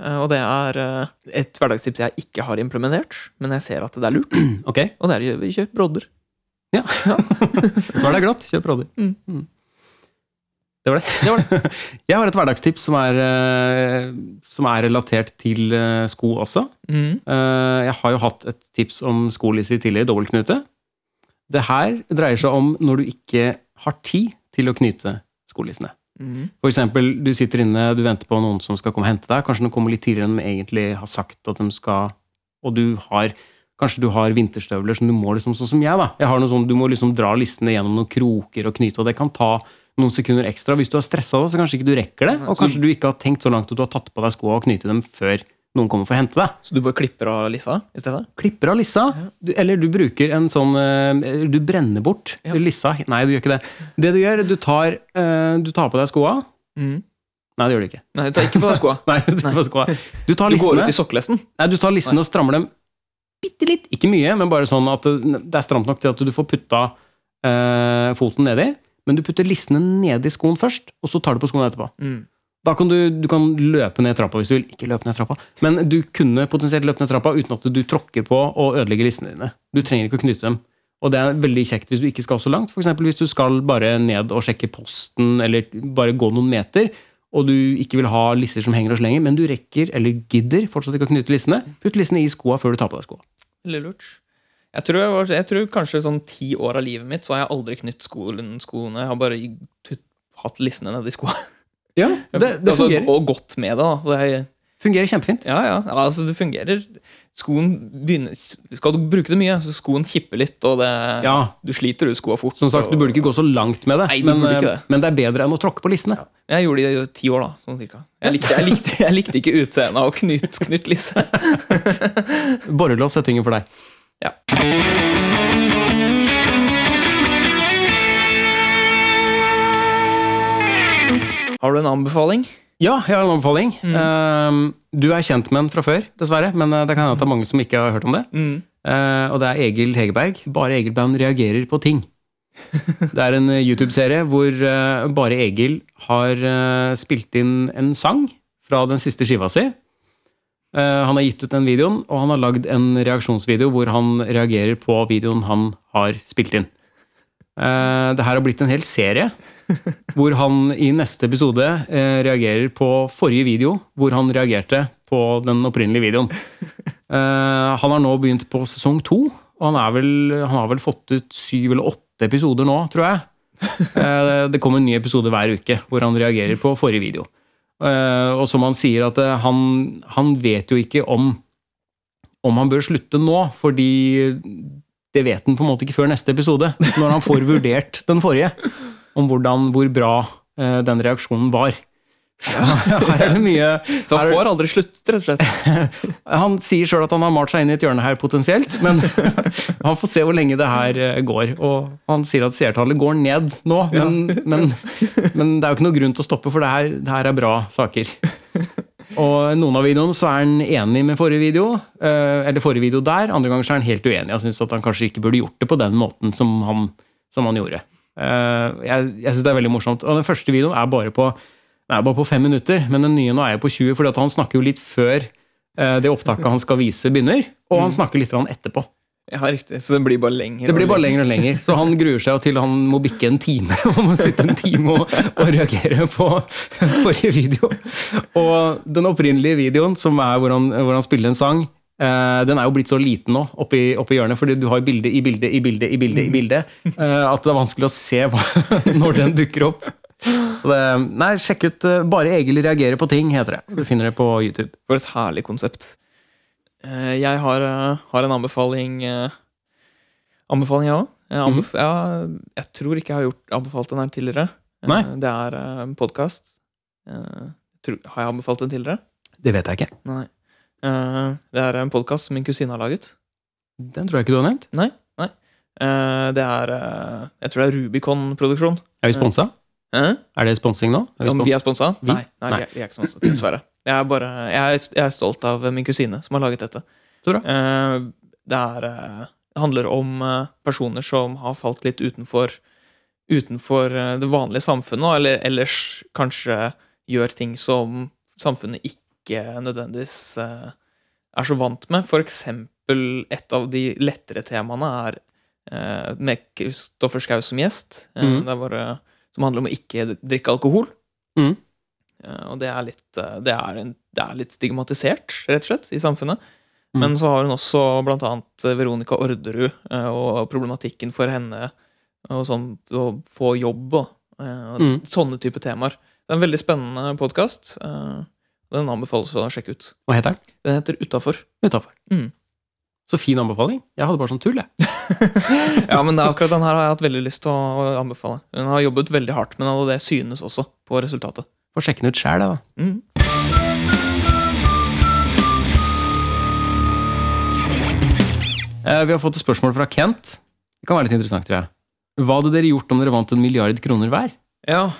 S2: Eh, Og det er eh, et hverdagstips jeg ikke har implementert, men jeg ser at det er lurt.
S1: Ok,
S2: Og det er å gjøre- kjøpe brodder.
S1: nå er det glatt. Kjøp Roddy.
S2: Mm.
S1: Mm. Det var det. Jeg har et hverdagstips som er, eh, som er relatert til eh, sko også.
S2: Mm.
S1: Eh, Jeg har jo hatt et tips om skolisser tidligere, dobbeltknute. Det her dreier seg om når du ikke har tid til å knyte skolissene.
S2: Mhm.
S1: For eksempel, du sitter inne, du venter på noen som skal komme og hente deg. Kanskje de kommer litt tidligere enn de egentlig har sagt at de skal. Og du har, kanskje du har vinterstøvler som du må liksom, sånn som jeg da. Jeg har noe sånn, Du må liksom dra listene gjennom noen kroker og knyte, og det kan ta noen sekunder ekstra. Hvis du er stressa, da, så kanskje ikke du rekker det. Og kanskje du ikke har tenkt så langt at du har tatt på deg skoa og knyte dem før noen kommer for å hente deg
S2: Så du bare klipper av lissa i stedet?
S1: klipper av lissa, du, eller du bruker en sånn eh, Du brenner bort
S2: Ja.
S1: lissa. Nei, du gjør ikke det. Det du gjør, du tar, eh, du tar på deg skoa.
S2: Mhm.
S1: Nei, det gjør du ikke.
S2: Nei, ta ikke på deg skoa.
S1: Nei, Du, tar på skoa. du tar
S2: Du går
S1: lissene,
S2: ut i sokkelesten.
S1: nei, du tar lissene og strammer dem bitte litt. Ikke mye, men bare sånn at det det er stramt nok til at du får putta eh, foten nedi. Men du putter lissene nedi skoen først, og så tar du på skoen etterpå.
S2: Mm.
S1: Da kan du, du kan løpe ned trappa hvis du vil. Ikke løpe ned trappa, men du kunne potensielt løpe ned trappa uten at du tråkker på og ødelegger lissene dine. Du trenger ikke å knyte dem. Og det er veldig kjekt hvis du ikke skal så langt. F.eks. hvis du skal bare ned og sjekke posten, eller bare gå noen meter, og du ikke vil ha lisser som henger og slenger, men du rekker, eller gidder, fortsatt ikke å knyte lissene, putt lissene i skoa før du tar på deg skoa.
S2: Veldig lurt. Jeg tror, jeg, var, jeg tror kanskje sånn ti år av livet mitt så har jeg aldri knytt skolen, skoene. Jeg har bare tut, hatt lissene nedi skoa.
S1: Ja, det, det
S2: Altså,
S1: fungerer.
S2: og gått med det, da. Så jeg,
S1: fungerer kjempefint.
S2: ja, ja. ja, Altså, det fungerer. Skoen begynner Skal du bruke det mye, så skoen kipper litt, og det
S1: Ja,
S2: Du sliter ut skoa fort.
S1: som sagt, du burde ikke gå så langt med det,
S2: Nei, du
S1: men, eh,
S2: burde ikke det.
S1: men det er bedre enn å tråkke på lissene.
S2: Jeg gjorde det i ti år, da. Sånn cirka. Jeg likte, jeg likte, jeg likte ikke utseendet av Knut, Knut Lisse.
S1: Borrelås er tingen for deg.
S2: Har du en anbefaling?
S1: Ja, jeg har en anbefaling. Eh, du er kjent med den fra før, dessverre. Men eh, det kan hende at det er mange som ikke har hørt om det. Eh, og det er Egil Hegerberg. Bare Egil Band reagerer på ting. Det er en eh, YouTube-serie hvor eh, bare Egil har eh, spilt inn en sang fra den siste skiva si. Eh, han har gitt ut den videoen, og han har lagd en reaksjonsvideo hvor han reagerer på videoen han har spilt inn. Uh, det her har blitt en hel serie hvor han i neste episode eh, reagerer på forrige video, hvor han reagerte på den opprinnelige videoen. Eh, han har nå begynt på sesong to, og han, er vel, han har vel fått ut syv eller åtte episoder nå, tror jeg. Eh, det kommer en ny episode hver uke hvor han reagerer på forrige video. Eh, og som han sier, at eh, han, han vet jo ikke om, om han bør slutte nå, fordi det vet han på en måte ikke før neste episode, når han får vurdert den forrige om hvordan, hvor bra eh, den reaksjonen var. Så her er det mye
S2: Så
S1: her
S2: han
S1: er-
S2: får aldri slutt, rett og slett.
S1: Han sier sjøl at han har malt seg inn i et hjørne her, potensielt, men han får se hvor lenge det her eh, går. Og han sier at seertallet går ned nå, men, men, men det er jo ikke noe grunn til å stoppe, for det her, det her er bra saker. Og i noen av videoene så er han enig med forrige video, eh, eller forrige video der. Andre ganger så er han helt uenig. Jeg syns at han kanskje ikke burde gjort det på den måten som han, som han gjorde. Eh, Jeg, jeg syns det er veldig morsomt. Og den første videoen er bare på den er bare på fem minutter, men den nye nå er jo på 20, fordi at han snakker jo litt før eh, det opptaket han skal vise, begynner. Og han snakker litt grann etterpå.
S2: Ja, riktig. Så det blir bare lenger.
S1: Det blir
S2: og
S1: bare lenger og lenger. Så han gruer seg jo til han må bikke en time. og må sitte en time og, og reagere på forrige video. Og den opprinnelige videoen, som er hvor han, hvor han spiller en sang, eh, den er jo blitt så liten nå, oppi, oppi hjørnet, fordi du har bilde i bilde i bilde i bilde, i bilde eh, at det er vanskelig å se hva, når den dukker opp. Så det, nei, sjekk ut eh, Bare Egil reagerer på ting, heter det. Du finner det på YouTube.
S2: For et herlig konsept. Eh, Jeg har, eh, har en anbefaling eh, Anbefaling, jeg òg. Jeg, anbef ja, jeg tror ikke jeg har gjort, anbefalt den her tidligere. Eh,
S1: Nei.
S2: Det er eh, en podkast. Har jeg anbefalt den tidligere?
S1: Det vet jeg ikke.
S2: Nei. Eh, Det er en podkast som min kusine har laget.
S1: Den tror jeg ikke du har nevnt.
S2: Eh, Det er eh, Jeg tror det er Rubicon-produksjon.
S1: Er vi sponsa?
S2: Eh?
S1: Er det sponsing nå? Er vi
S2: Om
S1: spon-
S2: vi er sponsa?
S1: Vi?
S2: Nei, nei,
S1: Nei.
S2: Vi, er, vi er ikke sponsa, dessverre. Jeg er, bare, jeg, er, jeg er stolt av min kusine som har laget dette.
S1: Så bra.
S2: Eh, det, er, eh, det handler om eh, personer som har falt litt utenfor, utenfor eh, det vanlige samfunnet, og eller ellers kanskje gjør ting som samfunnet ikke nødvendigvis eh, er så vant med. For eksempel et av de lettere temaene er eh, med Kristoffer Schau som gjest, eh,
S1: Mhm.
S2: det er bare, som handler om å ikke drikke alkohol.
S1: Mhm.
S2: Eh, og det er, litt, eh, det, er en, det er litt stigmatisert, rett og slett, i samfunnet.
S1: Mhm.
S2: Men så har hun også blant annet eh, Veronica Orderud eh, og problematikken for henne og sånn, å få jobb og, eh, og
S1: Mhm.
S2: sånne type temaer. Det er en veldig spennende podkast. Den anbefales å sjekke ut.
S1: Hva heter den?
S2: Den heter Utafor.
S1: Utafor.
S2: Mm.
S1: Så fin anbefaling. Jeg hadde bare sånn tull, jeg.
S2: Ja, men akkurat den her har jeg hatt veldig lyst til å anbefale. Hun har jobbet veldig hardt med den, og det synes også på resultatet.
S1: Får sjekke den ut sjæl, da.
S2: Mm.
S1: Eh, Vi har fått et spørsmål fra Kent. Det kan være litt interessant, tror jeg. Hva hadde dere gjort om dere vant en milliard kroner hver?
S2: Ja.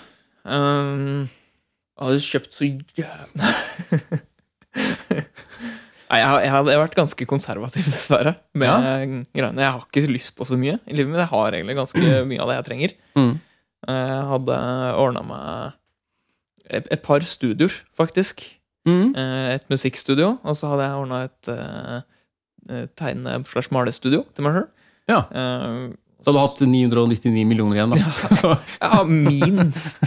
S2: ehm, jeg hadde kjøpt så jævla Nei, jeg, har- jeg hadde vært ganske konservativ, dessverre. Med greiene. Jeg har ikke lyst på så mye i livet mitt. Jeg har egentlig ganske mye av det jeg trenger. Eh,
S1: Mm.
S2: Jeg hadde ordna meg et, et par studioer, faktisk. Eh, Et musikkstudio, og så hadde jeg ordna et eh, eh, tegne-slash-malestudio til meg Eh, sjøl.
S1: Ja. Da hadde du hatt 999 millioner igjen, da. Så
S2: Ja, minst!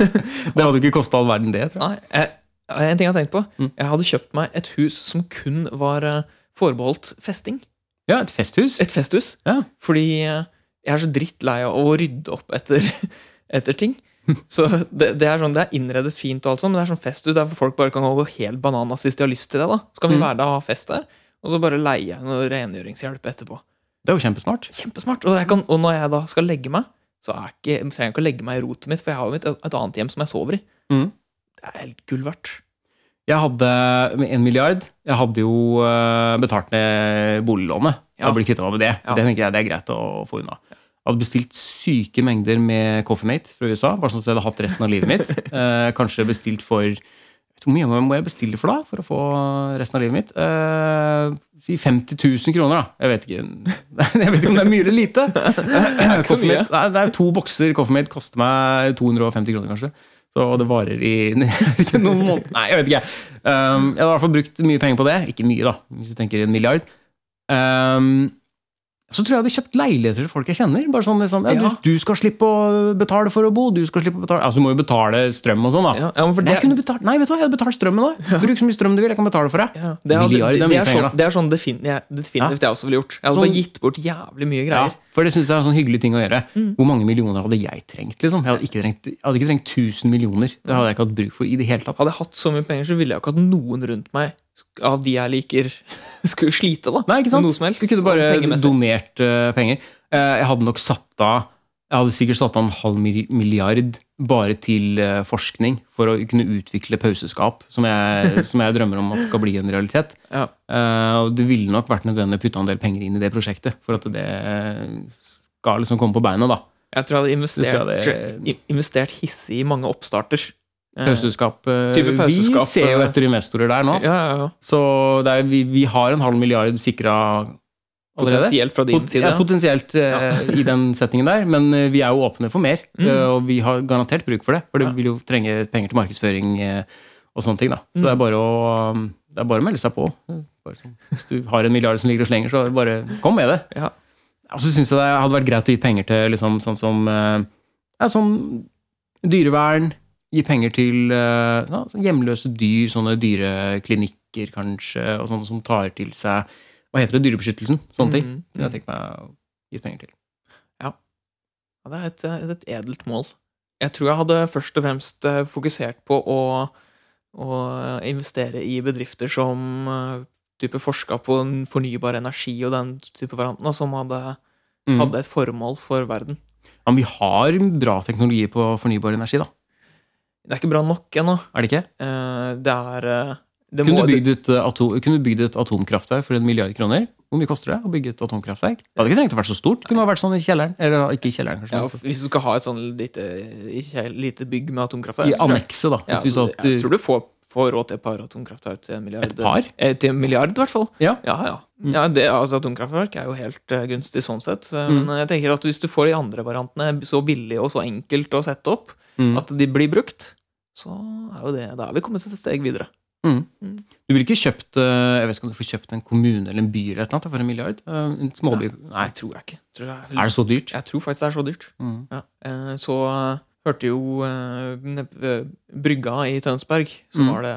S1: det hadde ikke kosta all verden, det, tror jeg.
S2: Nei, jeg, en ting jeg har tenkt på.
S1: Mm.
S2: Jeg hadde kjøpt meg et hus som kun var eh, forbeholdt festing.
S1: Ja, et festhus.
S2: Et festhus.
S1: Ja.
S2: Fordi eh, jeg er så drittlei av å rydde opp etter, etter ting. Så det, det er sånn, det er innredet fint, og alt sånt, men det er sånn festhus der folk bare kan gå helt bananas hvis de har lyst til det. da. Så kan vi
S1: Mm.
S2: være der og ha fest der, og så bare leie noe rengjøringshjelp etterpå.
S1: Det er jo kjempesmart.
S2: Kjempesmart! Og, jeg kan, og når jeg da skal legge meg, så er ikke, trenger jeg ikke å legge meg i rotet mitt, for jeg har jo mitt, et annet hjem som jeg sover i.
S1: Mm.
S2: Det er helt gull verdt.
S1: Jeg hadde med en milliard. Jeg hadde jo eh, betalt ned boliglånet.
S2: Ja.
S1: Jeg ble kvitta meg med det.
S2: Ja.
S1: Det tenker jeg det er greit å få unna. Jeg hadde bestilt syke mengder med Coffeemate fra USA. bare sånn at jeg hadde hatt resten av livet mitt. Eh, kanskje bestilt for vet du Hvor mye må jeg bestille for da, for å få resten av livet mitt? Eh, si 50 000 kroner, da. Jeg vet ikke, jeg vet ikke om det er mye eller lite.
S2: ikke så
S1: Coffee
S2: mye.
S1: Mate- nei, det er to bokser Coffeemate koster meg 250 kroner, kanskje. Så og det varer i jeg vet ikke, noen måneder Nei, jeg vet ikke. Um, jeg hadde i hvert fall brukt mye penger på det. Ikke mye, da, hvis du tenker en milliard. Um, så tror jeg jeg hadde kjøpt leiligheter til folk jeg kjenner. Bare sånn liksom, ja,
S2: Ja.
S1: du, du skal slippe å betale for å bo, du skal slippe å betale Altså, du må jo betale strøm og sånn, da.
S2: Ja, ja, men for
S1: Nei, jeg kunne betalt, nei, vet du hva, jeg hadde betalt strømmen òg. Bruk så mye strøm du vil, jeg kan betale for deg.
S2: Ja, det, er,
S1: Milliard,
S2: det,
S1: det er
S2: det,
S1: mye
S2: er
S1: penger,
S2: sånn, det er sånn defin, jeg, definitivt jeg også ville gjort. Jeg hadde
S1: Sånn-
S2: bare gitt bort jævlig mye
S1: Ja,
S2: greier.
S1: for det synes jeg er en sånn hyggelig ting å gjøre. Hvor mange millioner hadde jeg trengt? liksom? Jeg hadde ikke trengt, jeg hadde ikke trengt 1000 millioner. Det hadde jeg ikke hatt bruk for i det hele tatt.
S2: Hadde jeg hatt så mye penger, så ville jeg jo ikke at noen rundt meg sk- av de jeg liker, skulle slite. da
S1: Nei, ikke sant?
S2: Med Noe som helst.
S1: Du kunne
S2: sånn
S1: bare
S2: pengemessig.
S1: donert eh, penger. Eh, jeg hadde nok satt av jeg hadde sikkert satt av en halv mil- milliard bare til eh, forskning, for å kunne utvikle pauseskap, som jeg, som jeg drømmer om at skal bli en realitet.
S2: Ja.
S1: Eh, og det ville nok vært nødvendig å putte en del penger inn i det prosjektet, for at det eh, skal liksom komme på beina. da.
S2: Jeg tror jeg hadde investert,
S1: Det tror jeg det-
S2: i- investert hissig i mange oppstarter. Eh,
S1: Pauseskap, eh,
S2: Type pauseskap,
S1: Vi ser jo
S2: eh,
S1: etter investorer der nå.
S2: Ja, ja, ja.
S1: Så det er, vi, vi har en halv milliard sikra allerede.
S2: Potensielt fra din
S1: Pot-
S2: side.
S1: ja, potensielt eh, i den setningen der, men eh, vi er jo åpne for mer.
S2: Mm.
S1: eh, og vi har garantert bruk for det, for det
S2: Ja.
S1: vil jo trenge penger til markedsføring eh, og sånne ting. da. Så
S2: Mm.
S1: det, er bare å, um, det er bare å melde seg på. Bare sånn, hvis du har en milliard som ligger og slenger, så bare kom med det.
S2: Ja.
S1: Og så syns jeg det hadde vært greit å gi penger til liksom, sånn som eh, ja, sånn dyrevern. Gi penger til eh, ja, sånn hjemløse dyr, sånne dyreklinikker kanskje, og sånne som tar til seg Hva heter det? Dyrebeskyttelsen? Sånne ting.
S2: Mm,
S1: Det har
S2: mm.
S1: jeg tenkt meg å gi penger til.
S2: Ja, det er et, eh, et edelt mål. Jeg tror jeg hadde først og fremst eh, fokusert på å, å investere i bedrifter som eh, type forska på en fornybar energi og den type varianten, og som hadde,
S1: Mm.
S2: hadde et formål for verden.
S1: Ja, men vi har bra teknologi på fornybar energi, da.
S2: Det er ikke bra nok ennå.
S1: Er det ikke?
S2: Eh, Det er eh, det
S1: Kunne
S2: må-
S1: du bygd et, eh, ato- kunne du bygd et atomkraftverk for en milliard kroner? Hvor mye koster det å bygge et atomkraftverk? Det hadde ikke trengt å være så stort. Det kunne ha vært sånn i kjelleren. Eller ikke i kjelleren,
S2: ja,
S1: kanskje.
S2: Hvis du skal ha et sånn eh, lite, ikke helt lite bygg med atomkraftverk
S1: I annekset, da.
S2: Ja,
S1: At hvis du
S2: så-
S1: hadde-
S2: jeg tror du får, få råd til et par atomkraftverk til en milliard.
S1: Et par?
S2: Eh, til en milliard, i hvert fall.
S1: Ja.
S2: Ja, ja. ja det, altså, atomkraftverk er jo helt eh, gunstig sånn sett. eh, Men jeg tenker at hvis du får de andre variantene så billig og så enkelt å sette opp,
S1: Mm.
S2: at de blir brukt, så er jo det Da er vi kommet et steg videre.
S1: Du ville ikke kjøpt eh, Jeg vet ikke om du får kjøpt en kommune eller en by eller et eller annet for en milliard? Eh, En småby? Nei,
S2: Jeg tror jeg ikke. Tror jeg,
S1: er det så dyrt?
S2: Jeg tror faktisk det er så dyrt.
S1: Mm.
S2: Ja. Eh, Så eh, hørte jo eh, ned ved Brygga i Tønsberg, så,
S1: Mm.
S2: var det,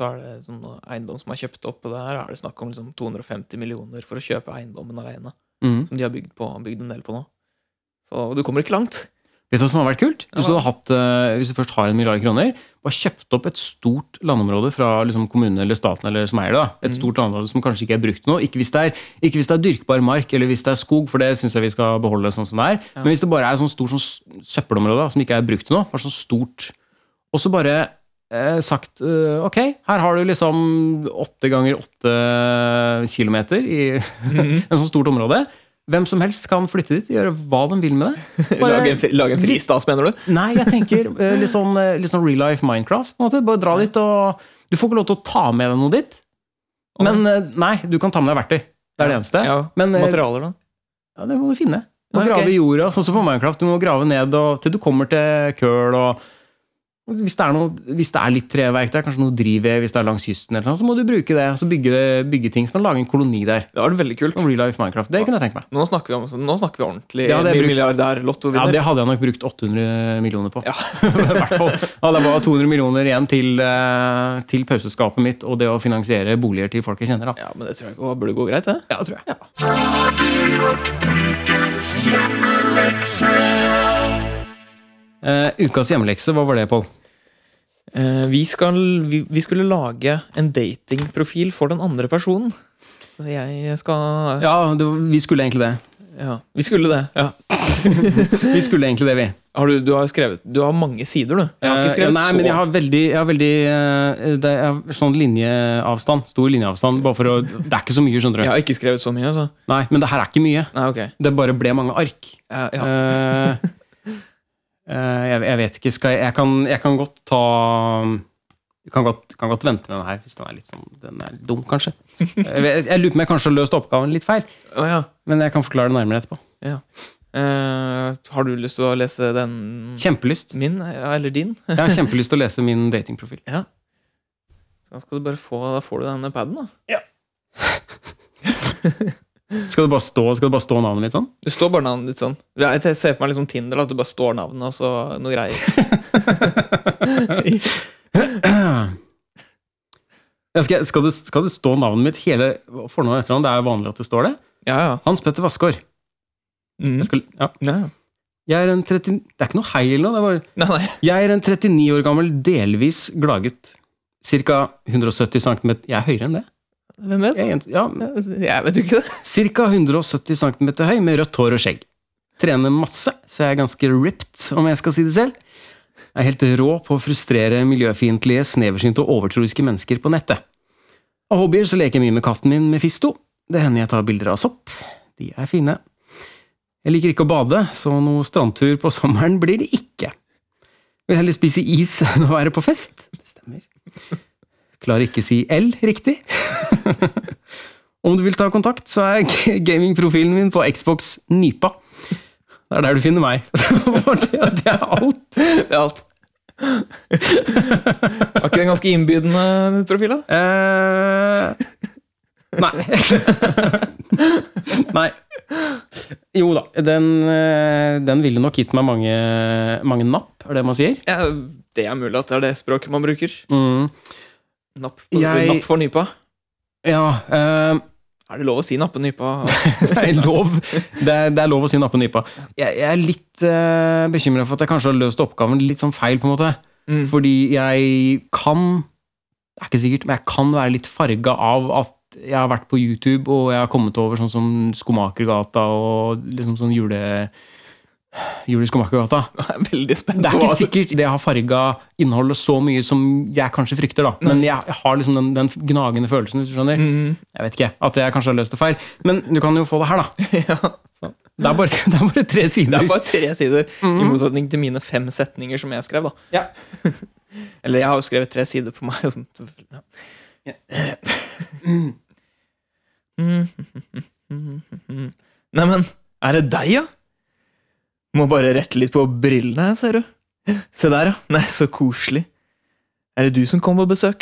S2: så er det sånn eiendom som er kjøpt opp. Og der er det snakk om liksom 250 millioner for å kjøpe eiendommen alene.
S1: Mm.
S2: Som de har bygd, på, bygd en del på nå. Så du kommer ikke langt.
S1: Vet du hva som hadde vært kult? Hvis du,
S2: Ja.
S1: hadde hatt, eh, hvis du først har en milliard kroner, bare kjøpt opp et stort landområde fra liksom, kommunen eller staten eller som eier det. da. Et stort landområde som kanskje ikke er brukt nå. Ikke hvis, det er, ikke hvis det er dyrkbar mark eller hvis det er skog, for det syns jeg vi skal beholde sånn som det er. Men hvis det bare er sånn stort sånn s- søppelområde da, som ikke er brukt nå, bare sånn stort Og så bare eh, sagt eh, ok, her har du liksom åtte ganger åtte kilometer i en sånn stort område. Hvem som helst kan flytte dit, gjøre hva de vil med det. Bare-
S2: Lage en, fri- lage en fristat, mener du?
S1: Nei, jeg tenker eh, litt sånn, eh, litt sånn real life Minecraft. på en måte. Bare dra dit og Du får ikke lov til å ta med deg noe dit. Men eh, nei, du kan ta med deg verktøy. Det er det eneste.
S2: Ja,
S1: Men eh,
S2: Materialer, da?
S1: ja, det må du finne. Du må
S2: Ja, ok.
S1: grave i jorda, sånn som på Minecraft. Du må grave ned og, til du kommer til køl og og hvis det, er noe, hvis det er litt treverk der, kanskje noe drivved hvis det er langs kysten, eller noe, så må du bruke det. Så bygge, bygge ting. Så kan du lage en koloni der.
S2: Det var veldig kult.
S1: Noe Real life Minecraft. Det kunne jeg tenkt meg.
S2: Nå snakker vi, om, nå snakker vi ordentlig
S1: Ja, det er brukt. Ja,
S2: milliardær-lottovinner.
S1: Det hadde jeg nok brukt 800 millioner på.
S2: Ja.
S1: I hvert fall. Ja, det var 200 millioner igjen til, eh, til pauseskapet mitt og det å finansiere boliger til folk jeg kjenner. Da.
S2: Ja, men det tror jeg går- burde gå greit, det.
S1: Ja, tror jeg. Eh, ukas hjemmelekse, hva var det, Pål?
S2: Eh, vi, skal, vi, vi skulle lage en datingprofil for den andre personen. Så jeg skal Ja.
S1: Ja, det, vi skulle egentlig det.
S2: Vi skulle det. ja.
S1: Vi skulle egentlig det, vi.
S2: Har du, du har skrevet Du har mange sider, du. Jeg har ikke
S1: Eh,
S2: skrevet
S1: Nei,
S2: så
S1: men jeg har veldig, jeg har veldig eh, det er sånn linjeavstand. Stor linjeavstand. Bare for å, det er ikke så mye, skjønner du.
S2: Jeg har ikke skrevet så mye, altså.
S1: Nei, Men det her er ikke mye.
S2: Nei, ok.
S1: Det bare ble mange ark.
S2: Ja, ja.
S1: Eh, eh, jeg, jeg vet ikke. Skal jeg, jeg, kan, jeg kan godt ta jeg kan godt, kan godt vente med den her, hvis den er litt sånn, den er dum, kanskje. Jeg, vet- jeg lurer på om jeg kanskje har løst oppgaven litt feil,
S2: Å, ja.
S1: men jeg kan forklare det nærmere etterpå.
S2: ja. Eh, har du lyst til å lese den
S1: Kjempelyst.
S2: min, ja, eller din?
S1: Jeg har kjempelyst til å lese min datingprofil.
S2: Ja. Da skal du bare få Da får du denne paden, da.
S1: Skal det bare stå, skal det bare stå navnet mitt sånn?
S2: Det står bare navnet ditt sånn. Jeg ser for meg liksom Tinder, at du bare står navnet og så noe greier.
S1: Ja, Skal, skal, det, skal det stå navnet mitt hele fornavnet og etternavn? Det er jo vanlig at det står det.
S2: Ja, ja.
S1: Hans Petter Vassgaard. Jeg,
S2: Mm.
S1: skal- ja.
S2: ja. ja.
S1: jeg er en 30... Det er ikke noe hei eller noe. det er bare...
S2: Nei, nei.
S1: Jeg er en 39 år gammel, delvis glaget. Cirka 170 cm Jeg er høyere enn det.
S2: Hvem vet?
S1: Jeg er en, ja,
S2: Jeg vet jo ikke det.
S1: cirka 170 cm høy, med rødt hår og skjegg. Trener masse, så jeg er ganske ripped, om jeg skal si det selv. Jeg er helt rå på å frustrere miljøfiendtlige, sneversynte og overtroiske mennesker på nettet. Av hobbyer så leker jeg mye med katten min Mefisto. Det hender jeg tar bilder av sopp. De er fine. Jeg liker ikke å bade, så noe strandtur på sommeren blir det ikke. Vil heller spise is enn å være på fest. Det stemmer. Klarer ikke si L riktig. Om du vil ta kontakt, så er g- gamingprofilen min på Xbox Nypa. Det er der du finner meg. det, det er alt.
S2: Det er alt. Var ikke det en ganske innbydende profil, da?
S1: Eh, nei. nei. Jo da, den, eh, den ville nok gitt meg mange, mange napp, er det man sier.
S2: Ja, det er mulig at det er det språket man bruker.
S1: Mm.
S2: Napp,
S1: Jeg-
S2: napp for nypa.
S1: Ja, eh,
S2: Er det lov å si nappe nypa?
S1: det, er lov, det, er, det er lov å si nappe nypa. Jeg, jeg er litt uh, bekymra for at jeg kanskje har løst oppgaven litt sånn feil, på en måte.
S2: Mm.
S1: Fordi jeg kan Det er ikke sikkert, men jeg kan være litt farga av at jeg har vært på YouTube, og jeg har kommet over sånn som Skomakergata og liksom sånn jule... Jul i Skomakergata.
S2: Jeg er veldig spent
S1: Det er
S2: på
S1: ikke
S2: hva
S1: sikkert det har farga innholdet så mye som jeg kanskje frykter, da. Men jeg, jeg har liksom den, den gnagende følelsen, hvis du skjønner. Jeg vet ikke, At jeg kanskje har løst det feil. Men du kan jo få det her, da. Så, det, er bare, det er bare tre sider. Mm.
S2: Det er bare tre sider, i motsetning til mine fem setninger som jeg skrev. da.
S1: Ja.
S2: Eller jeg har jo skrevet tre sider på meg. ja. Neimen, Mm. er det deg, ja? Må bare rette litt på brillene her, ser du. Se der, ja. Nei, så koselig. Er det du som kommer på besøk?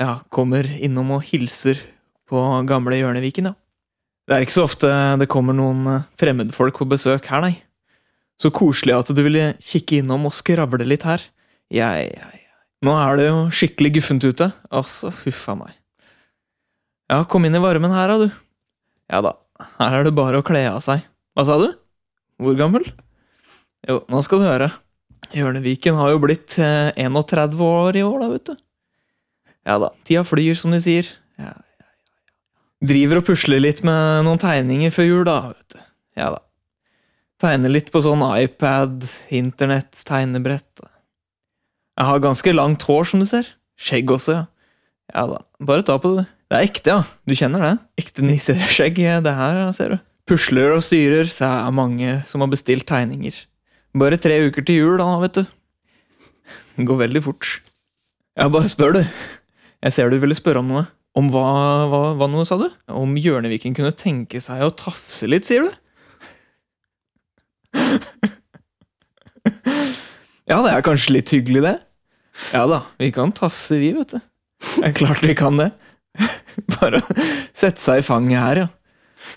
S2: Ja, kommer innom og hilser på gamle Hjørneviken, ja. Det er ikke så ofte det kommer noen eh, fremmedfolk på besøk her, nei. Så koselig at du ville kikke innom og skravle litt her. Jeg, jeg, jeg. Nå er det jo skikkelig guffent ute. Altså, huffa meg. Ja, kom inn i varmen her, da, du. Ja da, her er det bare å kle av seg. Hva sa du? Hvor gammel? Jo, nå skal du høre. Hjørneviken har jo blitt eh, 31 år i år, da, vet du. Ja da, tida flyr, som de sier. Ja, ja, ja, ja. Driver og pusler litt med noen tegninger før jul, da, vet du. Ja da. Tegner litt på sånn iPad, internett, tegnebrett. Jeg har ganske langt hår, som du ser. Skjegg også, ja. Ja da, bare ta på det. du. Det er ekte, ja. Du kjenner det? Ekte niseskjegg, eh, det her, ja, ser du. Pusler og styrer, det er mange som har bestilt tegninger. Bare tre uker til jul, da, vet du. Det går veldig fort. Ja, bare spør, du. Jeg ser du ville spørre om noe. Om hva, hva, hva noe, sa du? Om Hjørneviken kunne tenke seg å tafse litt, sier du? Ja, det er kanskje litt hyggelig, det. Ja da, vi kan tafse, vi, vet du. Det er klart vi kan det. Bare å sette seg i fanget her, ja.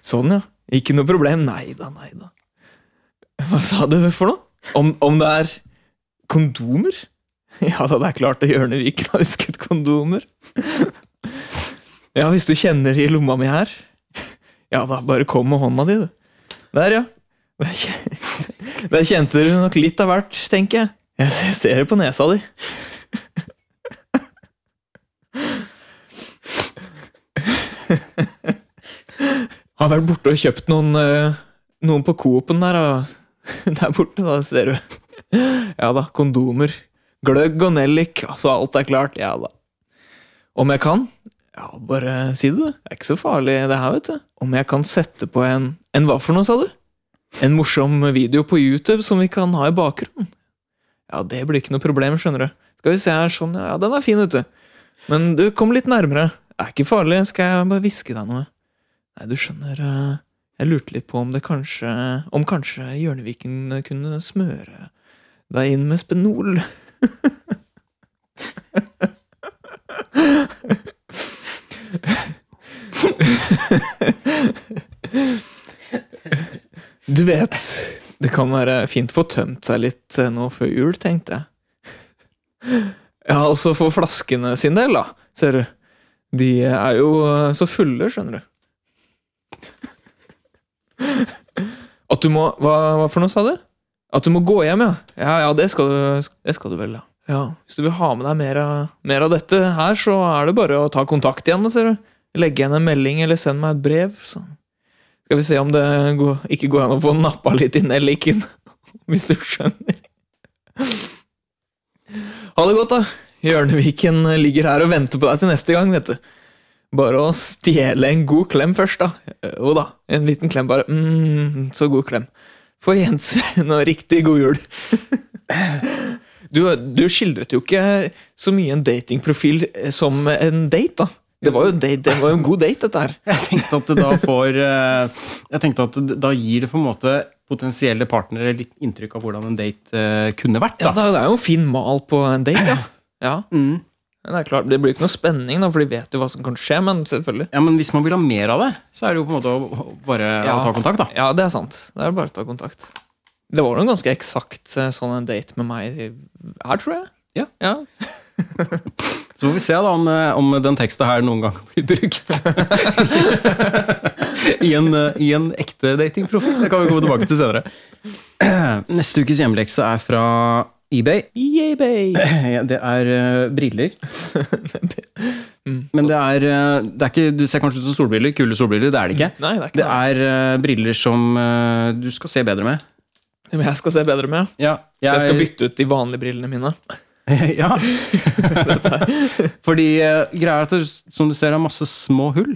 S2: Sånn, ja. Ikke noe problem. Nei da, nei da. Hva sa du for noe? Om, om det er kondomer? Ja da, det er klart det Hjørneviken har husket kondomer. Ja, hvis du kjenner i lomma mi her. Ja da, bare kom med hånda di, du. Der, ja. Der kjen- Der kjente du nok litt av hvert, tenker jeg. Jeg ser det på nesa di. Har vært borte og kjøpt noen, eh, noen på Coop-en der, da. der borte, da, ser du. Ja da, kondomer. Gløgg og nellik, altså alt er klart. Ja da. Om jeg kan? Ja, bare si det, du. Det er ikke så farlig, det her, vet du. Om jeg kan sette på en En hva for noe, sa du? En morsom video på YouTube som vi kan ha i bakgrunnen. Ja, det blir ikke noe problem, skjønner du. Skal vi se her, sånn, ja, den er fin, vet du. Men du, kom litt nærmere. Det er ikke farlig, skal jeg bare hviske deg noe? Nei, du skjønner, eh, jeg lurte litt på om det kanskje Om kanskje Hjørneviken kunne smøre deg inn med spenol? Du vet, det kan være fint å få tømt seg litt eh, nå før jul, tenkte jeg. Ja, altså for flaskene sin del, da, ser du. De er jo eh, så fulle, skjønner du. At du må Hva, hva for noe, sa du? At du må gå hjem, ja. Ja, ja, det skal du, det skal du vel, ja. ja. Hvis du vil ha med deg mer av, mer av dette her, så er det bare å ta kontakt igjen, da, ser du. Legge igjen en melding, eller send meg et brev. sånn. Skal vi se om det går, ikke går an å få nappa litt i nelliken, hvis du skjønner. Ha det godt, da. Hjørneviken ligger her og venter på deg til neste gang, vet du. Bare å stjele en god klem først, da. Jo da, en liten klem, bare. Mm, så god klem. På gjensyn og riktig god jul. Du, du skildret jo ikke så mye en datingprofil som en date, da. Det var jo, en date, det var jo en god date, dette her.
S1: Jeg tenkte at det da får eh, Jeg tenkte at det- da gir det på en måte potensielle partnere litt inntrykk av hvordan en date eh, kunne vært.
S2: Ja,
S1: Da.
S2: det er- det er jo en fin mal på en date, ja. ja.
S1: Mm.
S2: Men det er klart, det blir ikke noe spenning, da, for de vet jo hva som kan skje, men selvfølgelig.
S1: Ja, Men hvis man vil ha mer av det, så er det jo på en måte å å bare
S2: Ja.
S1: ta kontakt, da.
S2: Ja, det er sant. Det er bare å ta kontakt. Det var jo en ganske eksakt eh, sånn en date med meg her, tror jeg.
S1: Ja.
S2: ja.
S1: Så får vi se da om, eh, om den teksten her noen gang blir brukt. I, en, eh, I en ekte datingprofil. Det kan vi komme tilbake til senere. Neste ukes hjemmelekse er fra eBay. Ja, Det er eh, briller. Men det er, eh, det er ikke Du ser kanskje ut som solbriller. Kule solbriller, det er det ikke.
S2: Nei, det er ikke
S1: Det
S2: det.
S1: er eh, briller som eh, du skal se bedre med.
S2: Men jeg skal se bedre med.
S1: Ja,
S2: Så jeg skal bytte ut de vanlige brillene mine.
S1: ja. Fordi eh, greia er at det, som du ser, er masse små hull.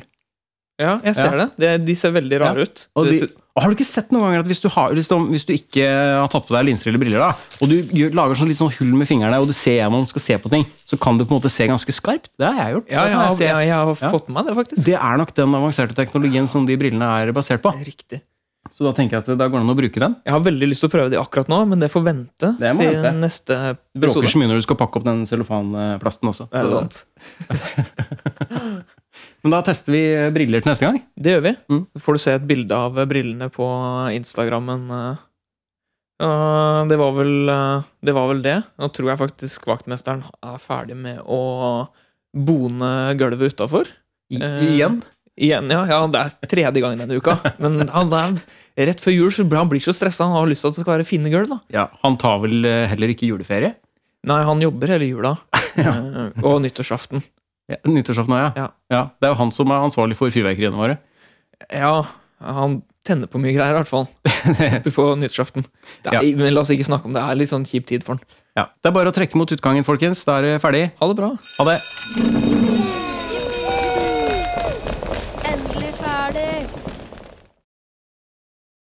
S2: Ja, jeg ser det. De, de ser veldig rare ut.
S1: Og de,
S2: Det-
S1: Har du ikke sett noen ganger at hvis du, har, hvis du, hvis du ikke har tatt på deg linser eller briller, da, og du gjør, lager sånn litt sånn hull med fingrene, og du ser gjennom skal se på ting, så kan du på en måte se ganske skarpt? Det har jeg gjort.
S2: Ja,
S1: Det
S2: jeg,
S1: kan
S2: har-
S1: jeg se.
S2: jeg, jeg har fått med meg det, faktisk.
S1: Det er nok den avanserte teknologien som de brillene er basert på.
S2: Riktig.
S1: Så da tenker jeg at da går det an å bruke den.
S2: Jeg har veldig lyst til å prøve det akkurat nå, men det får vente
S1: Det må
S2: til
S1: vente.
S2: neste
S1: Bråker
S2: episode.
S1: så mye når du skal pakke opp den cellofanplasten også.
S2: Det, er
S1: Så,
S2: sant.
S1: men da tester vi eh, briller til neste gang.
S2: det gjør vi.
S1: Mm.
S2: Så får du se et bilde av brillene på Instagrammen. eh. Eh, Det var vel eh, det. Var vel det. Nå tror jeg faktisk vaktmesteren er ferdig med å bone gulvet utafor.
S1: I,
S2: Eh,
S1: igjen.
S2: Igjen, ja, ja, det er tredje gangen denne uka. Men han er, rett før jul så blir- han blir så stressa. Han har lyst til at det skal være fine gulv. da.
S1: Ja, han tar vel eh, heller ikke juleferie.
S2: Nei, han jobber hele jula. Eh, Og nyttårsaften.
S1: Ja, Nyttårsaften òg, ja.
S2: Ja.
S1: ja. Det er jo han som er ansvarlig for fyrverkeriene våre.
S2: Ja, han tenner på mye greier, i hvert fall. På nyttårsaften. Det er, Men la oss ikke snakke om det. Det er litt sånn kjip tid for han.
S1: Ja. Det er bare å trekke mot utgangen, folkens. Da er det ferdig.
S2: Ha det bra.
S1: Ha det.